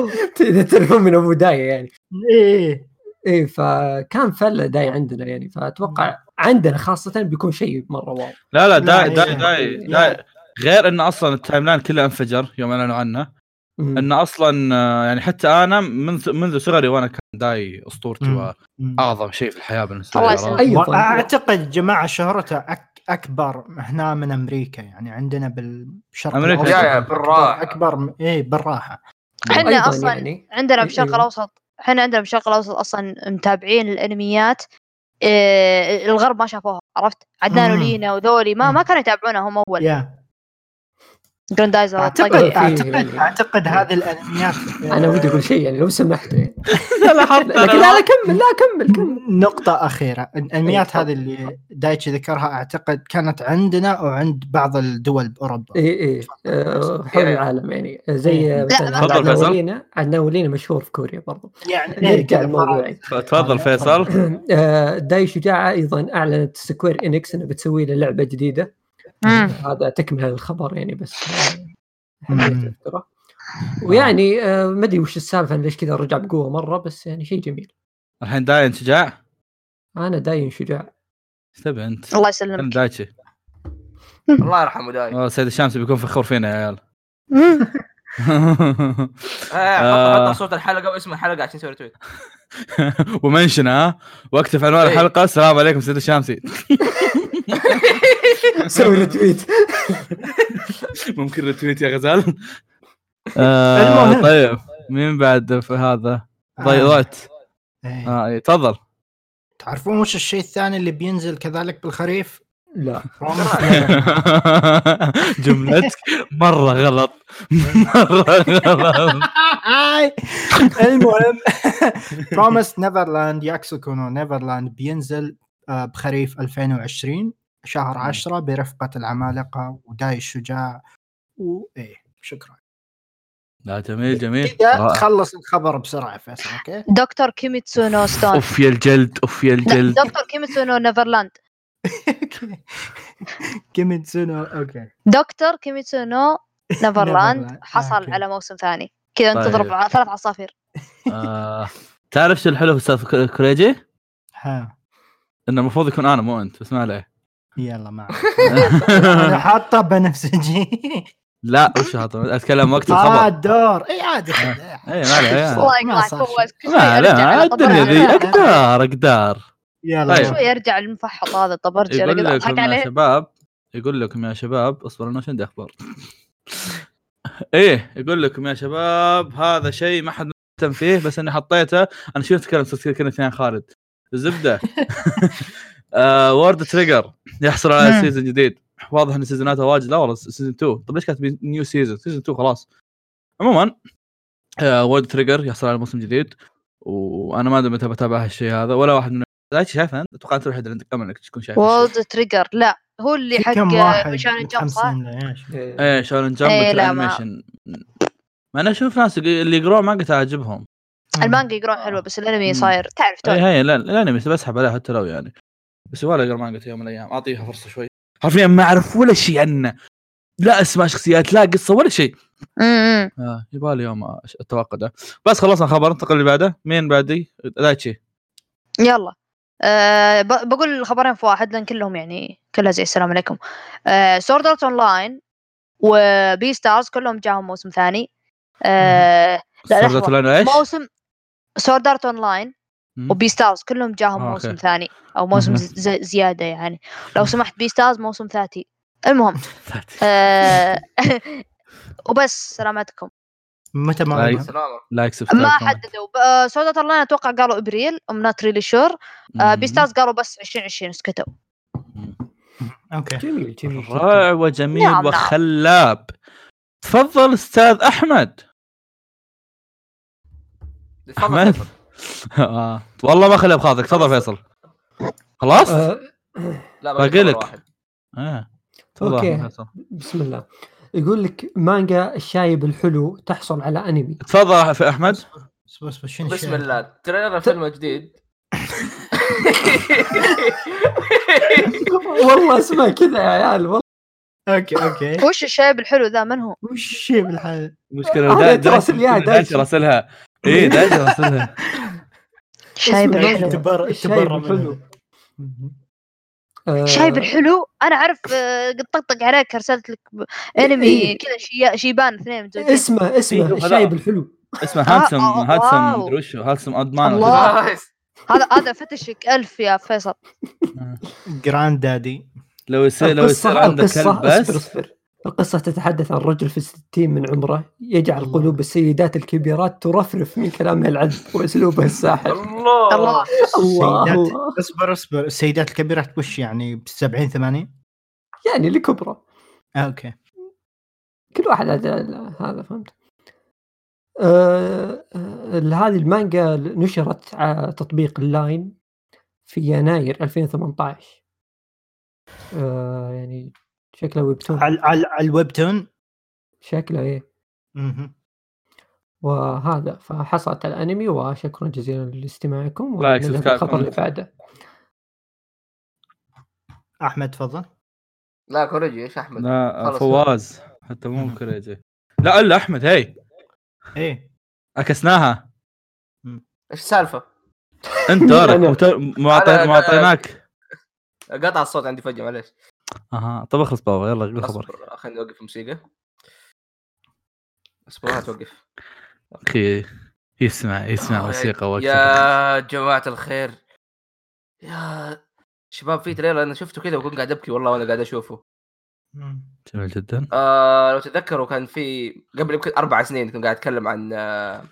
Speaker 3: اذا تعرفون من ابو داي يعني
Speaker 1: ايه
Speaker 3: اي فكان فله داي عندنا يعني فاتوقع عندنا خاصه بيكون شيء مره واو
Speaker 4: لا لا داي
Speaker 1: لا،
Speaker 4: داي
Speaker 1: إيه.
Speaker 4: داي, داي. غير انه اصلا التايم لاين كله انفجر يوم اعلنوا عنه
Speaker 3: مم.
Speaker 4: انه اصلا آه، يعني حتى انا منذ منذ صغري وانا كان داي اسطورتي
Speaker 1: مم. مم.
Speaker 4: واعظم شيء في الحياه بالنسبه لي
Speaker 2: الله
Speaker 4: عرفت؟
Speaker 2: يسلمك.
Speaker 3: أيوة.
Speaker 1: واعتقد جماعه شهرته أك اكبر هنا من امريكا يعني عندنا بالشرق
Speaker 4: أمريكا.
Speaker 1: الأوسط يعني
Speaker 6: يا- يا،
Speaker 1: أكبر-
Speaker 6: بالراحة.
Speaker 1: اكبر م- ايه بالراحه
Speaker 2: احنا
Speaker 3: أيضاً
Speaker 2: اصلا
Speaker 3: يعني
Speaker 2: عندنا
Speaker 3: إيه،
Speaker 2: بالشرق
Speaker 1: أيوه.
Speaker 3: أيوة.
Speaker 2: الاوسط احنا عندنا بالشرق الاوسط اصلا متابعين الانميات إيه الغرب ما شافوها عرفت عدنان
Speaker 1: مم.
Speaker 2: ولينا وذولي ما
Speaker 1: مم.
Speaker 2: ما كانوا يتابعونها هم اول
Speaker 1: يا
Speaker 2: جراندايزر
Speaker 1: اعتقد
Speaker 2: والطاقة.
Speaker 1: اعتقد اعتقد هذه آه، الانميات
Speaker 3: انا ودي اقول شيء يعني لو سمحت يعني.
Speaker 4: لا لا حط
Speaker 3: لكن
Speaker 4: أنا.
Speaker 3: لا لا كمل لا كمل كمل
Speaker 1: نقطة أخيرة، الأنميات
Speaker 3: إيه،
Speaker 1: هذه اللي دايتشي ذكرها أعتقد كانت عندنا وعند بعض الدول بأوروبا.
Speaker 3: اي اي إيه، آه، حول
Speaker 6: إيه.
Speaker 3: العالم يعني آه، زي آه،
Speaker 2: لا،
Speaker 3: مثلا
Speaker 2: تفضل
Speaker 3: عندنا
Speaker 4: فيصل.
Speaker 3: ولينا عندنا ولينا مشهور في كوريا برضو
Speaker 1: يعني إيه
Speaker 3: نرجع
Speaker 1: كذا
Speaker 3: الموضوع
Speaker 1: مرة.
Speaker 3: يعني.
Speaker 4: تفضل فيصل
Speaker 3: آه، داي شجاعه ايضا اعلنت سكوير انكس انها بتسوي له لعبه جديده
Speaker 2: مم.
Speaker 3: هذا تكمله للخبر يعني بس آه،
Speaker 1: مم.
Speaker 3: حبيت أذكره. ويعني آه، ما ادري وش السالفه أنا ليش كذا رجع بقوه مره بس يعني شيء جميل
Speaker 4: الحين داي انت شجاع ايش
Speaker 3: انا داين شجاع
Speaker 4: تبي انت؟
Speaker 2: الله
Speaker 4: خلنا
Speaker 2: يسلمك
Speaker 4: دايتشي
Speaker 6: الله يرحمه داي
Speaker 4: والله سيد الشامسي بيكون فخور فينا يا عيال
Speaker 2: مم.
Speaker 6: آه،
Speaker 4: آه.
Speaker 6: حط حط صوت الحلقه واسم الحلقه عشان نسوي تويت
Speaker 4: ومنشن ها واكتب عنوان
Speaker 6: إيه.
Speaker 4: الحلقه السلام عليكم سيد الشامسي
Speaker 3: سوي ريتويت
Speaker 4: ممكن ريتويت يا غزال
Speaker 1: المهم. آه.
Speaker 4: طيب مين بعد في هذا؟ ضيضات
Speaker 1: إيه.
Speaker 4: اه إيه، تفضل
Speaker 1: تعرفون وش الشيء الثاني اللي بينزل كذلك بالخريف؟
Speaker 3: لا
Speaker 4: جملتك مره غلط مره غلط
Speaker 1: هاي المهم بروميس نيفرلاند ياكسكونو نيفرلاند بينزل آه، بخريف 2020
Speaker 4: Hmm.
Speaker 1: شهر 10 برفقة العمالقة وداي الشجاع وايه شكرا
Speaker 4: لا جميل جميل
Speaker 1: كذا
Speaker 4: رائع.
Speaker 1: تخلص الخبر بسرعة فيصل اوكي
Speaker 2: دكتور كيميتسو نو ستون
Speaker 4: اوف يا الجلد اوف يا
Speaker 2: لا،
Speaker 4: الجلد
Speaker 2: دكتور كيميتسو نو نيفرلاند
Speaker 1: كيميتسونو اوكي
Speaker 2: دكتور كيميتسو نو نيفرلاند
Speaker 1: نيفرلاند.
Speaker 2: حصل
Speaker 1: أوكي.
Speaker 2: على موسم ثاني كذا انت
Speaker 4: آه، طيب.
Speaker 2: تضرب ع- ثلاث عصافير
Speaker 4: آه، تعرف شو الحلو في سالفه كريجي؟
Speaker 1: ها
Speaker 4: انه المفروض يكون انا مو انت بس ما عليه
Speaker 1: يلا معك انا حاطه بنفسجي
Speaker 4: لا وش هذا اتكلم وقت
Speaker 1: اه
Speaker 4: الخبر آه.
Speaker 1: الدور اي عادي خذ.
Speaker 4: اي ما عليه يعني.
Speaker 2: الله
Speaker 1: ما
Speaker 2: يقطعك
Speaker 1: صار
Speaker 2: هو
Speaker 1: شيء.
Speaker 2: كل شوي
Speaker 4: ما
Speaker 2: أرجع
Speaker 4: لا
Speaker 2: على طبعي.
Speaker 4: الدنيا ذي
Speaker 1: على-
Speaker 4: اقدار اقدار
Speaker 1: يلا
Speaker 4: طيب.
Speaker 1: معك.
Speaker 2: شوي يرجع المفحط هذا طب ارجع
Speaker 4: يقول
Speaker 2: كذا
Speaker 4: لكم
Speaker 2: اضحك
Speaker 4: يا
Speaker 2: عليه
Speaker 4: شباب يقول لكم يا شباب اصبروا انا عشان عندي اخبار ايه يقول لكم يا شباب هذا شيء ما حد مهتم فيه بس اني حطيته انا شو اتكلم صرت كذا كنا اثنين خالد الزبده آه وورد تريجر يحصل على
Speaker 2: مم.
Speaker 4: سيزون جديد واضح ان سيزوناته واجد لا والله سيزون 2 طب ليش كاتبين نيو سيزون سيزون 2 خلاص عموما آه وورد تريجر يحصل على موسم جديد وانا ما ادري متى بتابع هالشيء هذا ولا واحد من لا شايفه انت اتوقع انت الوحيد اللي عندك امل انك تكون شايف
Speaker 2: وولد تريجر لا هو اللي
Speaker 1: في
Speaker 2: حق آه،
Speaker 1: كم واحد
Speaker 2: مشان الجمب صح؟
Speaker 1: متحمسين له، إيش؟
Speaker 3: إيه.
Speaker 4: ايه شونن جمب
Speaker 2: إيه، لا، ما-
Speaker 4: الانيميشن ما انا اشوف ناس يق- اللي يقرون مانجا تعجبهم
Speaker 2: المانجا يقرون حلوه بس الانمي
Speaker 4: مم. إيه.
Speaker 2: صاير تعرف
Speaker 4: اي
Speaker 2: تعرف
Speaker 4: هي لا الانمي بسحب عليها حتى لو يعني بس ولا اقرا مانجا في يوم من الايام اعطيها فرصه شوي حرفيا ما اعرف ولا شيء عنه لا اسماء شخصيات لا قصه ولا شيء
Speaker 2: مم، مم.
Speaker 4: آه يبالي يوم أش- اتوقده بس خلصنا خبر انتقل اللي بعده مين بعدي؟ دايتشي
Speaker 2: يلا أه ب- بقول الخبرين في واحد لان كلهم يعني كلها زي السلام عليكم أه سورد ارت اون لاين وبي ستارز كلهم جاهم موسم ثاني أه لا، لحظة.
Speaker 4: سردت لنا ايش؟
Speaker 2: موسم سورد ارت اون لاين
Speaker 4: مم.
Speaker 2: وبي ستارز كلهم جاهم
Speaker 4: آه، أوكي.
Speaker 2: موسم ثاني او موسم
Speaker 4: مهم.
Speaker 2: زي زياده يعني لو سمحت بي ستارز موسم ثلاثي المهم
Speaker 4: ثاتي.
Speaker 2: آه، وبس سلامتكم
Speaker 1: متى ما
Speaker 4: طيب.
Speaker 1: أبغى.
Speaker 6: سلامة
Speaker 4: لايك سبسكرايب
Speaker 2: ما حددوا ب- آه، سعودة اونلاين اتوقع قالوا ابريل ام نوت ريلي شور بي ستارز آه، قالوا بس 2020 سكتوا
Speaker 1: اوكي
Speaker 3: جميل جميل جداً.
Speaker 4: رائع وجميل
Speaker 2: نعم، نعم.
Speaker 4: وخلاب تفضل استاذ احمد
Speaker 6: تفضل، تفضل.
Speaker 4: آه. والله ما خليها بخاطرك تفضل فيصل خلاص؟
Speaker 3: آه،
Speaker 6: لا باقي
Speaker 4: باقي
Speaker 6: خبر
Speaker 4: لك.
Speaker 6: واحد.
Speaker 4: آه. تفضل
Speaker 3: أوكي.
Speaker 4: أحمد فيصل.
Speaker 3: بسم الله يقول لك مانجا الشايب الحلو تحصل على انمي
Speaker 4: تفضل أح- احمد
Speaker 1: اصبر اصبر شنو
Speaker 6: بسم
Speaker 1: الشيء؟
Speaker 6: الله تريلر فيلم جديد
Speaker 3: والله اسمع كذا يا عيال والله
Speaker 1: اوكي اوكي
Speaker 6: إيه؟
Speaker 2: وش الشايب الحلو ذا من هو؟
Speaker 1: وش الشيء بالحال؟
Speaker 4: مشكلة
Speaker 3: آه،
Speaker 4: دا-
Speaker 3: دايتي راسل يا
Speaker 4: دايتي
Speaker 3: دايتي.
Speaker 4: راسلها اي دايتي راسلها
Speaker 2: الشايب
Speaker 3: اسمه
Speaker 2: الحلو
Speaker 3: إيه؟
Speaker 1: تبرع
Speaker 3: الشايب
Speaker 1: تبرع
Speaker 3: الحلو
Speaker 1: منه.
Speaker 3: آه،
Speaker 2: الشايب إيه؟ الحلو انا اعرف آه، قد طقطق عليك ارسلت لك ب- انمي
Speaker 3: إيه.
Speaker 2: كذا شي- شيبان اثنين متزوجين.
Speaker 3: اسمه
Speaker 4: إيه،
Speaker 3: اسمه
Speaker 4: هذا.
Speaker 3: الشايب الحلو
Speaker 4: اسمه
Speaker 2: آه،
Speaker 4: هانسم
Speaker 2: آه،
Speaker 4: هانسم
Speaker 2: واو.
Speaker 4: مدري وشو هانسم ادمان
Speaker 2: الله. هذا هذا فتشك الف يا فيصل
Speaker 1: جراند دادي
Speaker 4: لو يصير لو يصير عندك كلب
Speaker 3: اصبر
Speaker 4: بس
Speaker 3: اصبر القصة تتحدث عن رجل في الستين من عمره يجعل
Speaker 1: الله.
Speaker 3: قلوب السيدات الكبيرات ترفرف من كلامها العذب واسلوبها الساحر
Speaker 6: الله
Speaker 2: الله.
Speaker 3: الله
Speaker 1: السيدات.
Speaker 3: الله
Speaker 1: اصبر اصبر السيدات الكبيرات وش يعني ب 70 80
Speaker 3: يعني الكبرى
Speaker 1: اوكي
Speaker 3: كل واحد هذا هذا فهمت آه، آه، هذه المانجا نشرت على تطبيق اللاين في يناير 2018 آه، يعني شكله ويبتون
Speaker 1: على على على الويب تون
Speaker 3: شكله ايه
Speaker 1: مهم.
Speaker 3: وهذا فحصلت على الانمي وشكرا جزيلا لاستماعكم
Speaker 4: لايك،
Speaker 3: ونذهب
Speaker 4: سبسكرايب،
Speaker 3: للخبر
Speaker 4: كومنت.
Speaker 3: اللي بعده
Speaker 1: احمد تفضل
Speaker 6: لا كوريجي ايش احمد
Speaker 4: لا
Speaker 6: خلاص.
Speaker 4: فواز حتى مو كريجي لا الا احمد هي
Speaker 1: ايه
Speaker 4: عكسناها
Speaker 6: ايش السالفه؟
Speaker 4: انت دورك وت- معطي-
Speaker 6: أنا-
Speaker 4: معطيناك
Speaker 6: قطع الصوت عندي فجاه معليش
Speaker 4: اها طب اخلص بابا يلا قول خبرك
Speaker 6: اصبر خليني اوقف الموسيقى اصبر ما توقف
Speaker 4: اخي يسمع يسمع موسيقى وقت
Speaker 6: آه، يا جماعه الخير يا شباب في تريلر انا شفته كذا وكنت قاعد ابكي والله وانا قاعد اشوفه
Speaker 1: مم.
Speaker 4: جميل جدا
Speaker 6: آه لو تتذكروا كان في قبل يمكن اربع سنين كنت قاعد اتكلم عن آه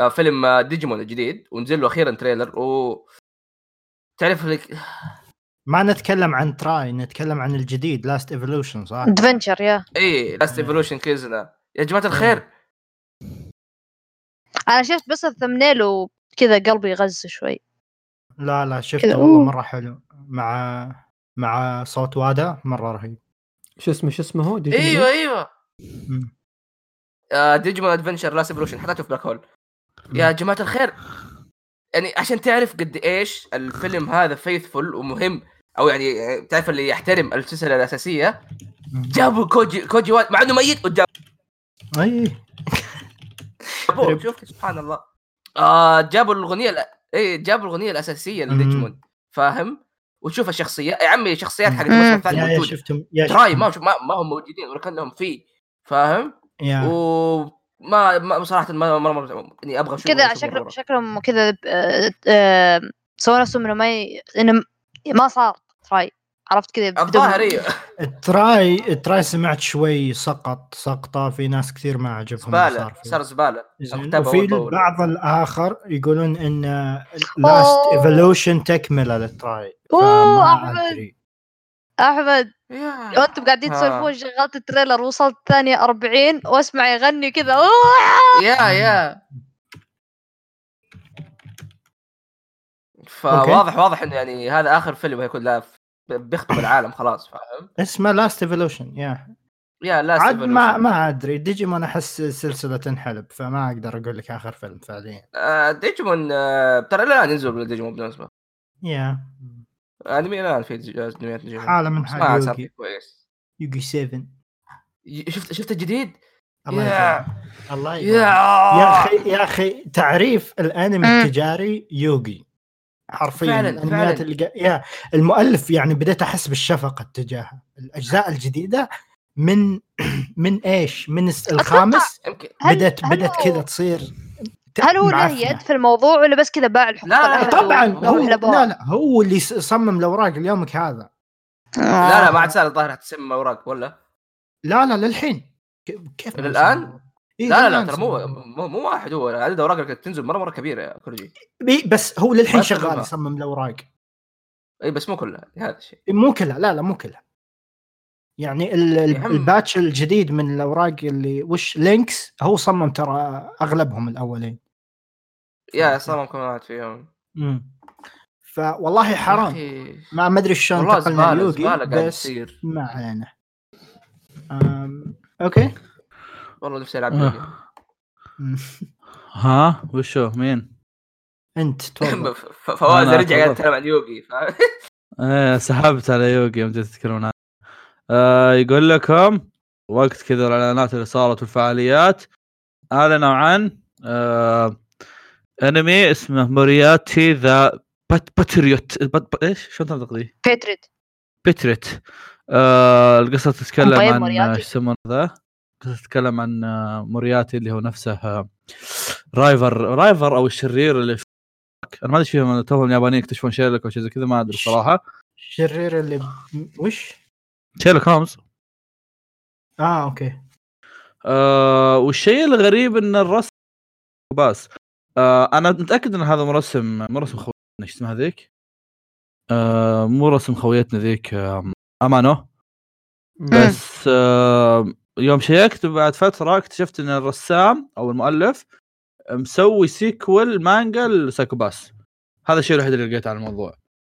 Speaker 6: آه فيلم آه ديجيمون الجديد ونزل له اخيرا تريلر و تعرف لك
Speaker 1: ما نتكلم عن تراي نتكلم عن الجديد لاست ايفولوشن صح؟
Speaker 2: ادفنشر يا
Speaker 6: اي لاست ايفولوشن كيزنا يا جماعه الخير
Speaker 2: انا شفت بس الثمنيل وكذا قلبي يغز شوي
Speaker 1: لا لا شفته
Speaker 2: كذا،
Speaker 1: والله
Speaker 2: أوه.
Speaker 1: مره حلو مع مع صوت وادا مره رهيب
Speaker 3: شو اسمه شو اسمه هو ديجيمون؟
Speaker 6: ايوه ايوه
Speaker 1: مم.
Speaker 6: آه ديجيمون ادفنشر لاست ايفولوشن حطيته في بلاك هول يا جماعه الخير يعني عشان تعرف قد ايش الفيلم هذا فيثفul ومهم او يعني تعرف اللي يحترم السلسله الاساسيه
Speaker 1: مم.
Speaker 6: جابوا كوجي كوجي وات مع انه ميت وجابوه
Speaker 1: اي
Speaker 6: شوف سبحان الله آه جابوا الاغنيه الأ- اي جابوا الاغنيه الاساسيه
Speaker 1: مم.
Speaker 6: لديجمون فاهم وتشوف الشخصيات يا عمي الشخصيات حقت
Speaker 1: مم.
Speaker 6: الموسم
Speaker 1: يا
Speaker 6: الثاني
Speaker 1: يا
Speaker 6: موجوده
Speaker 1: شفتهم يا
Speaker 6: تراي
Speaker 1: شفتهم.
Speaker 6: ما ما ما هم موجودين ولا كانهم فيه فاهم
Speaker 1: يا
Speaker 6: وما ما صراحه ما ما- يعني ما- اني ابغى اشوف
Speaker 2: كذا شكلهم شكلهم كذا آه، آه، سووا نفسهم انه ما ي... انه م- ما صار تراي عرفت كذا بدون-
Speaker 6: الظاهر ايوه
Speaker 1: تراي تراي سمعت شوي سقط سقطه في ناس كثير ما عجبهم اللي
Speaker 6: زباله
Speaker 1: فيه.
Speaker 6: صار زباله
Speaker 1: زين.
Speaker 6: اكتبه
Speaker 1: وفي
Speaker 6: وطوله.
Speaker 1: البعض الاخر يقولون ان لاست
Speaker 2: أوه.
Speaker 1: ايفولوشن تكمله للتراي
Speaker 2: أوه،
Speaker 1: فما
Speaker 2: أحمد.
Speaker 1: ادري
Speaker 2: احمد
Speaker 6: يا.
Speaker 2: لو انتم قاعدين
Speaker 6: آه.
Speaker 2: تسولفون شغلت التريلر وصلت ثانية 40 واسمع يغني كذا أوه!
Speaker 6: يا يا فواضح
Speaker 1: أوكي.
Speaker 6: واضح انه يعني هذا اخر فيلم هيكون لا بيختم العالم خلاص فاهم
Speaker 1: اسمه لاست ايفولوشن يا
Speaker 6: يا لا
Speaker 1: عاد
Speaker 6: سيفولوشن.
Speaker 1: ما ما ادري ديجيمون احس سلسله تنحلب فما اقدر اقول لك اخر فيلم فعليا
Speaker 6: آه، ديجيمون آه، ترى الان ينزل بالديجيمون بالمناسبه
Speaker 1: يا
Speaker 6: انمي الان في ديج- انميات ديجيمون
Speaker 1: حاله من
Speaker 6: بس ما عاد صار
Speaker 1: حال
Speaker 6: فيه كويس
Speaker 1: يوغي 7
Speaker 6: ي- شفت شفت الجديد؟
Speaker 1: الله
Speaker 6: يا.
Speaker 1: يكرمك. الله
Speaker 6: يا
Speaker 1: يكرمك. يا
Speaker 6: آه.
Speaker 1: اخي يا اخي تعريف الانمي
Speaker 2: مم.
Speaker 1: التجاري يوغي حرفيا
Speaker 6: فعلاً،
Speaker 1: الانميات
Speaker 6: فعلاً.
Speaker 1: اللي قا- يا المؤلف يعني بديت احس بالشفقه تجاهه الاجزاء الجديده من من ايش من الس- الخامس
Speaker 6: يمكن
Speaker 2: هل-
Speaker 1: بدت
Speaker 2: هل
Speaker 1: بدت
Speaker 2: هو-
Speaker 1: كذا تصير
Speaker 2: هل هو آه، له
Speaker 1: معفنة.
Speaker 2: يد في الموضوع ولا بس كذا باع الحقوق
Speaker 6: لا، لا،
Speaker 2: الأخذ
Speaker 1: طبعا
Speaker 2: و-
Speaker 1: آه، هو
Speaker 2: وحلبوها؟
Speaker 1: لا لا هو اللي س- صمم الاوراق ليومك هذا
Speaker 6: لا لا ما عاد صار الظاهر تسمى اوراق ولا
Speaker 1: لا لا للحين كيف- كيف
Speaker 6: إلى الآن؟
Speaker 1: موسم؟ إيه،
Speaker 6: لا لا
Speaker 1: إلى
Speaker 6: لا
Speaker 1: الآن
Speaker 6: ترى مو
Speaker 1: صمم.
Speaker 6: مو مو واحد هو عدد اوراق اللي كانت تنزل مره مره كبيره يا كورجي
Speaker 1: إيه، بس هو للحين
Speaker 6: ما
Speaker 1: شغال
Speaker 6: تقريبا.
Speaker 1: يصمم الاوراق
Speaker 6: اي إيه، بس مو كلها هذا الشيء
Speaker 1: مو كلها لا لا مو كلها يعني ال-
Speaker 6: يا
Speaker 1: ال-
Speaker 6: عم.
Speaker 1: الباتش الجديد من الاوراق اللي وش لينكس هو صمم ترى اغلبهم الاولين
Speaker 6: يا صار كم واحد فيهم
Speaker 1: امم فوالله حرام
Speaker 6: أخي.
Speaker 1: ما ما ادري شلون
Speaker 6: والله
Speaker 1: انتقلنا
Speaker 6: زباله
Speaker 1: ليوغي
Speaker 6: زباله قاعد
Speaker 1: بس
Speaker 6: تصير
Speaker 1: ما علينا أم... اوكي
Speaker 6: والله
Speaker 1: آه،
Speaker 6: نفسي العب يوغي
Speaker 1: أمم.
Speaker 4: آه. ها وشو مين؟
Speaker 1: انت تفضل
Speaker 6: ف- ف- فواز
Speaker 4: أنا
Speaker 6: رجع قاعد
Speaker 4: أتفضل.
Speaker 6: يتكلم عن يوغي ف-
Speaker 4: ايه سحبت على يوغي يوم جيت تتكلمون عنه. آه يقول لكم وقت كذا الاعلانات اللي صارت والفعاليات اعلنوا عن آه انمي اسمه مورياتي ذا بات باتريوت بات بات ايش؟ شلون تنطق ذي؟
Speaker 2: بيتريد
Speaker 4: بتريت آه القصة تتكلم
Speaker 2: طيب،
Speaker 4: عن
Speaker 2: مورياتي.
Speaker 4: ايش يسمونه ذا؟ القصة تتكلم عن آه، مورياتي اللي هو نفسه آه، رايفر رايفر او الشرير اللي في انا ما ادري إيش فيهم توهم اليابانيين يكتشفون شيرلوك او شيء زي كذا ما ادري صراحة
Speaker 1: الشرير اللي ب- وش
Speaker 4: شيرلوك هومز
Speaker 1: اه اوكي
Speaker 4: آه والشيء الغريب ان الرسم باس آه انا متاكد ان هذا مرسم مرسم خويتنا ايش اسمها ذيك؟ آه مو رسم خويتنا ذيك آم، امانو بس آه، يوم شيكت بعد فتره اكتشفت ان الرسام او المؤلف مسوي سيكول مانجا لسايكو باس هذا الشيء الوحيد اللي لقيته على الموضوع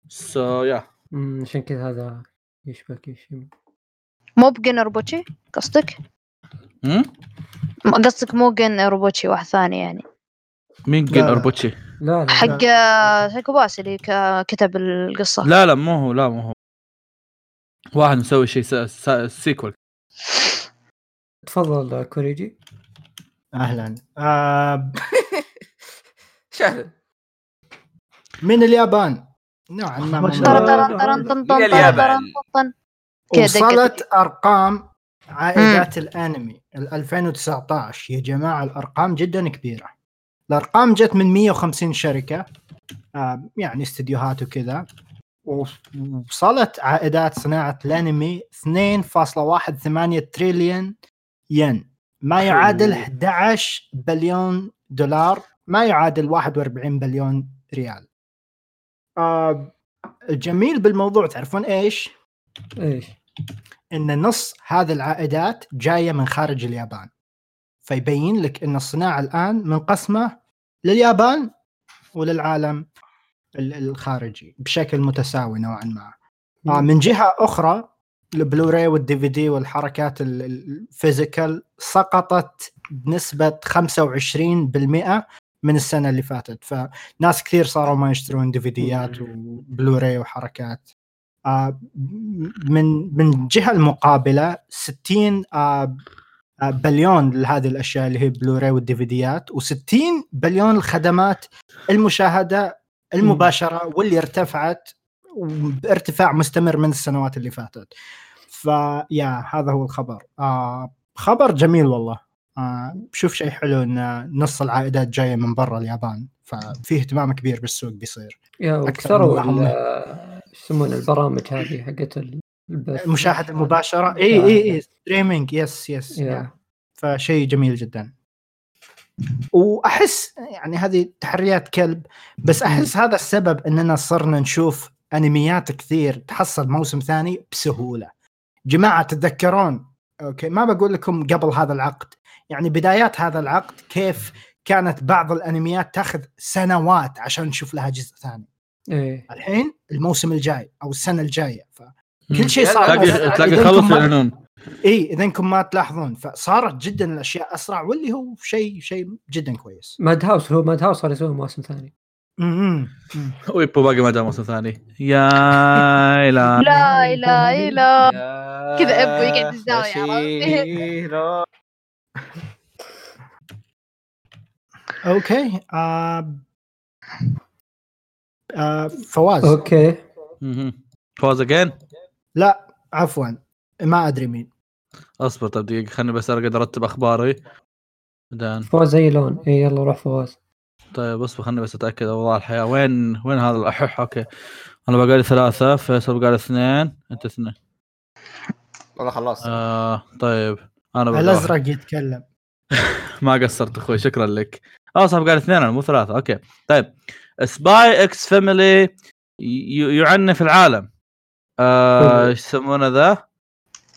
Speaker 4: سو يا
Speaker 3: أمم، عشان كذا هذا يشبه كيشيما
Speaker 2: مو بجن روبوتشي قصدك؟ م- قصدك مو جن روبوتشي واحد ثاني يعني
Speaker 4: مين
Speaker 1: لا،
Speaker 4: جن
Speaker 1: لا.
Speaker 4: اربوتشي
Speaker 3: لا لا
Speaker 2: حق آه، سايكو باس اللي ك- كتب القصة
Speaker 4: لا لا مو هو لا مو هو واحد مسوي شيء س- س- سيكول
Speaker 3: تفضل كوريجي
Speaker 1: اهلا آه
Speaker 6: شاهد
Speaker 1: من اليابان نوعا ما
Speaker 4: ما شاء
Speaker 2: طرن
Speaker 1: من-
Speaker 4: الله.
Speaker 2: طرن طرن طن
Speaker 6: من
Speaker 2: طن طن
Speaker 6: اليابان.
Speaker 2: طرن طن كده-
Speaker 1: وصلت ارقام عائدات الانمي ال 2019 يا جماعه الارقام جدا كبيره الارقام جت من 150 شركه آه، يعني استديوهات وكذا وصلت عائدات صناعه الانمي 2.18 تريليون ين ما يعادل 11 بليون دولار ما يعادل 41 بليون ريال آه، الجميل بالموضوع تعرفون ايش؟
Speaker 3: ايش
Speaker 1: ان نص هذه العائدات جايه من خارج اليابان فيبين لك ان الصناعه الان منقسمه لليابان وللعالم ال- الخارجي بشكل متساوي نوعا ما آه، من جهه اخرى البلوراي والدي في دي والحركات ال- ال- الفيزيكال سقطت بنسبه 25% من السنه اللي فاتت فناس كثير صاروا ما يشترون ديفيديات وبلوراي وحركات آه، من من الجهه المقابله 60 آه، آه، بليون لهذه الاشياء اللي هي بلوراي والديفيديات و60 بليون الخدمات المشاهده المباشره واللي ارتفعت بارتفاع مستمر من السنوات اللي فاتت فيا هذا هو الخبر آه، خبر جميل والله آه، شوف شيء حلو ان نص العائدات جايه من برا اليابان ففي اهتمام كبير بالسوق بيصير
Speaker 3: يا
Speaker 1: أكثر من
Speaker 3: وكسروا
Speaker 1: واحد.
Speaker 3: ال- ايش يسمون البرامج هذه حقت ال- البث
Speaker 1: المشاهده المباشره اي اي اي ستريمينج يس يس
Speaker 3: يا.
Speaker 1: فشيء جميل جدا واحس يعني هذه تحريات كلب بس احس هذا السبب اننا صرنا نشوف انميات كثير تحصل موسم ثاني بسهوله جماعه تتذكرون اوكي ما بقول لكم قبل هذا العقد يعني بدايات هذا العقد كيف كانت بعض الانميات تاخذ سنوات عشان نشوف لها جزء ثاني
Speaker 3: ايه
Speaker 1: الحين الموسم الجاي او السنه الجايه
Speaker 4: مم.
Speaker 1: فكل شيء صار
Speaker 4: تلاقي تلاقي
Speaker 1: آه، إذا
Speaker 4: خلص يعني
Speaker 1: أنتم ما-
Speaker 4: يعلنون
Speaker 1: اي اذا انكم ما تلاحظون فصارت جدا الاشياء اسرع واللي هو شيء شيء جدا كويس
Speaker 3: ماد هاوس هو ماد هاوس صار يسوي موسم ثاني
Speaker 1: امم
Speaker 4: ويبو باقي ما جاء موسم ثاني يا لا
Speaker 2: لا لا لا كذا أبو يقعد إيه، في الزاوية،
Speaker 6: عرفت؟
Speaker 1: اوكي آه آه فواز
Speaker 3: اوكي
Speaker 4: فوز اجين
Speaker 1: عفوا ما ادري مين
Speaker 4: اصبر طب دقيقه خليني طيب بس اقدر ارتب اخباري دان
Speaker 3: فواز اي لون اي يلا روح فواز
Speaker 4: طيب اصبر خليني بس اتاكد اوضاع الحياه وين وين هذا الاحح اوكي انا بقى لي ثلاثه فيصل بقى لي اثنين انت اثنين
Speaker 6: آه، والله خلاص
Speaker 4: آه طيب انا بعد واحد.
Speaker 1: الازرق يتكلم
Speaker 4: ما قصرت اخوي شكرا لك اه صح قال اثنين انا مو ثلاثه اوكي طيب سباي اكس فاميلي يعنف العالم آه، ايش يسمونه ذا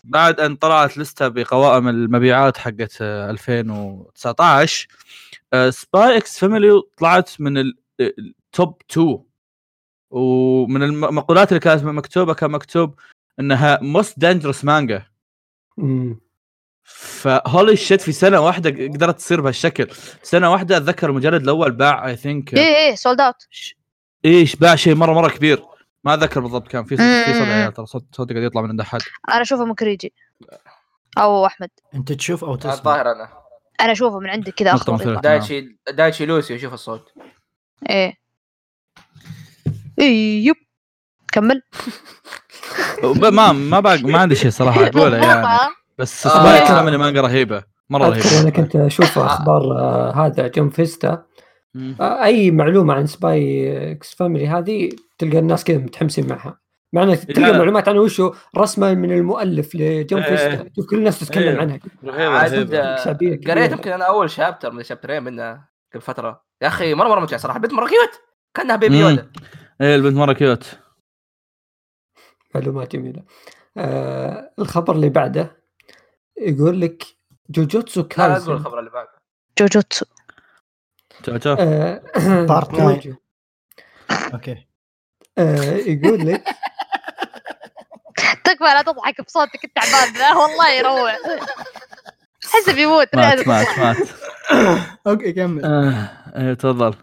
Speaker 4: بعد ان طلعت لسته بقوائم المبيعات حقت آه، 2019 سباي اكس فاميلي طلعت من ال- التوب 2 ومن الم- المقولات اللي كانت مكتوبه كان مكتوب انها موست دانجرس مانجا
Speaker 3: مم.
Speaker 4: فهولي شيت في سنه واحده قدرت تصير بهالشكل سنه واحده اتذكر المجلد الاول باع اي ثينك
Speaker 2: اي اي سولد اوت
Speaker 4: ايش باع شيء مره مره كبير ما اتذكر بالضبط كان في صوت في صوت
Speaker 2: مم.
Speaker 4: عيال ترى صوت صوتي قاعد يطلع من عند احد
Speaker 2: انا اشوفه من كريجي او احمد
Speaker 1: انت تشوف او تسمع
Speaker 6: الظاهر انا
Speaker 2: انا اشوفه من عندي كذا
Speaker 4: نقطة
Speaker 1: آه،
Speaker 2: اخضر
Speaker 4: مثيرة.
Speaker 1: نعم.
Speaker 6: دايتشي دايتشي لوسي وشوف الصوت
Speaker 2: ايه إيه، يب كمل
Speaker 4: وب- ما ما باق ما عندي شيء صراحه اقوله يعني
Speaker 2: بالضبط.
Speaker 4: بس
Speaker 6: آه.
Speaker 4: سبايك عملي مانجا رهيبه مره
Speaker 3: اذكر انا
Speaker 4: رهيبه
Speaker 3: كنت اشوف اخبار آه، هذا جم فيستا
Speaker 4: مم.
Speaker 3: آه، اي معلومه عن سباي اكس فاميلي هذه تلقى الناس كذا متحمسين معها معنا تلقى
Speaker 4: لا.
Speaker 3: معلومات عن وشو رسما من المؤلف لجون
Speaker 4: إيه.
Speaker 3: فيستا شوف كل الناس تتكلم
Speaker 4: إيه.
Speaker 3: عنها
Speaker 6: عاد آه،
Speaker 3: شعبيه كبيرة.
Speaker 6: قريت يمكن انا اول شابتر من شابترين منه قبل فتره يا اخي مره مره ممتع صراحه البنت مره كيوت كانها بيبي
Speaker 4: مم.
Speaker 6: يودا
Speaker 4: ايه البنت مره كيوت
Speaker 3: معلومات جميله آه الخبر اللي بعده يقول لك جوجوتسو
Speaker 6: لا اقول
Speaker 3: كايسن
Speaker 6: الخبر اللي بعده
Speaker 2: جوجوتسو
Speaker 4: تعال تعال.
Speaker 3: آه
Speaker 1: Part nine.
Speaker 3: جوجو.
Speaker 1: اوكي
Speaker 3: آه يقول لك
Speaker 2: تكفى لا تضحك بصوتك التعبان ذا والله يروع حسب يموت لا،
Speaker 4: مات مات مات
Speaker 1: اوكي كمل
Speaker 4: آه، ايه تفضل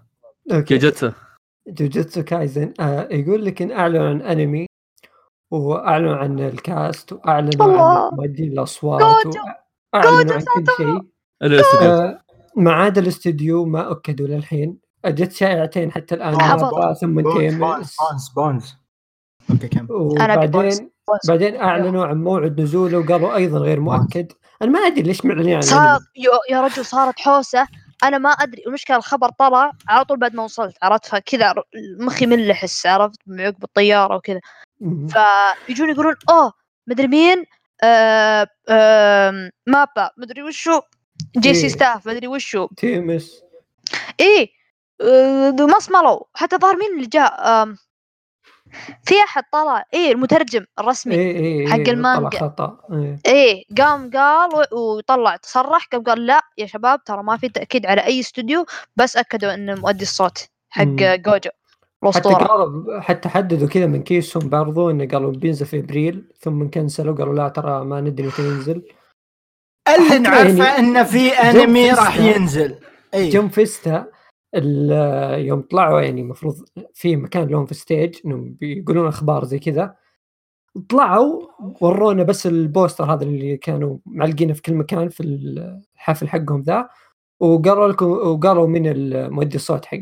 Speaker 3: أوكي.
Speaker 4: كيجتسو
Speaker 3: جوجوتسو كايزن آه يقول لك ان اعلنوا عن انمي واعلنوا عن الكاست واعلنوا
Speaker 2: الله.
Speaker 3: عن مؤدين الاصوات
Speaker 2: جوجو.
Speaker 3: واعلنوا
Speaker 2: جوجو
Speaker 3: عن كل شيء
Speaker 4: الاستديو
Speaker 3: آه ما عدا الاستوديو ما اكدوا للحين جت شائعتين حتى الان
Speaker 2: أنا
Speaker 3: مربع ثم تيمس
Speaker 1: بونز بونز اوكي كمل
Speaker 2: بونز.
Speaker 3: وبعدين بعدين اعلنوا عن موعد نزوله وقالوا ايضا غير مؤكد انا ما ادري ليش يعني معلنين عن
Speaker 2: صار
Speaker 3: الأنمي.
Speaker 2: يا- يا رجل صارت حوسه انا ما ادري المشكله الخبر طلع على طول بعد ما وصلت عرفت فكذا ر- مخي مل احس عرفت بعقب الطياره وكذا
Speaker 3: مم.
Speaker 2: فيجون يقولون اوه مدري مين آه آه مابا مدري وشو جي
Speaker 3: إيه.
Speaker 2: سي ستاف مدري وشو
Speaker 3: تيمس
Speaker 2: ايه آه، مصملو حتى ظهر مين اللي جاء آم، في احد طلع ايه المترجم الرسمي
Speaker 3: إيه إيه
Speaker 2: حق
Speaker 3: إيه، طلع
Speaker 2: المانجا.
Speaker 3: خطا إيه.
Speaker 2: ايه قام قال و- وطلع تصرح قام قال لا يا شباب ترى ما في تاكيد على اي استوديو بس اكدوا انه مؤدي الصوت حق
Speaker 3: مم.
Speaker 2: جوجو
Speaker 3: حتى
Speaker 2: الاسطوره
Speaker 3: قالوا حتى حددوا كذا من كيسهم برضو انه قالوا بينزل في ابريل ثم كنسلوا قالوا لا ترى ما ندري متى ينزل
Speaker 1: اللي
Speaker 3: حتى
Speaker 1: نعرفه
Speaker 3: يعني
Speaker 1: انه في انمي راح ينزل اي
Speaker 3: جم فيستا ال- يوم طلعوا يعني المفروض في مكان لهم في ستيج انهم بيقولون اخبار زي كذا طلعوا ورونا بس البوستر هذا اللي كانوا معلقينه في كل مكان في الحفل حقهم ذا وقالوا لكم وقالوا من مؤدي الصوت حق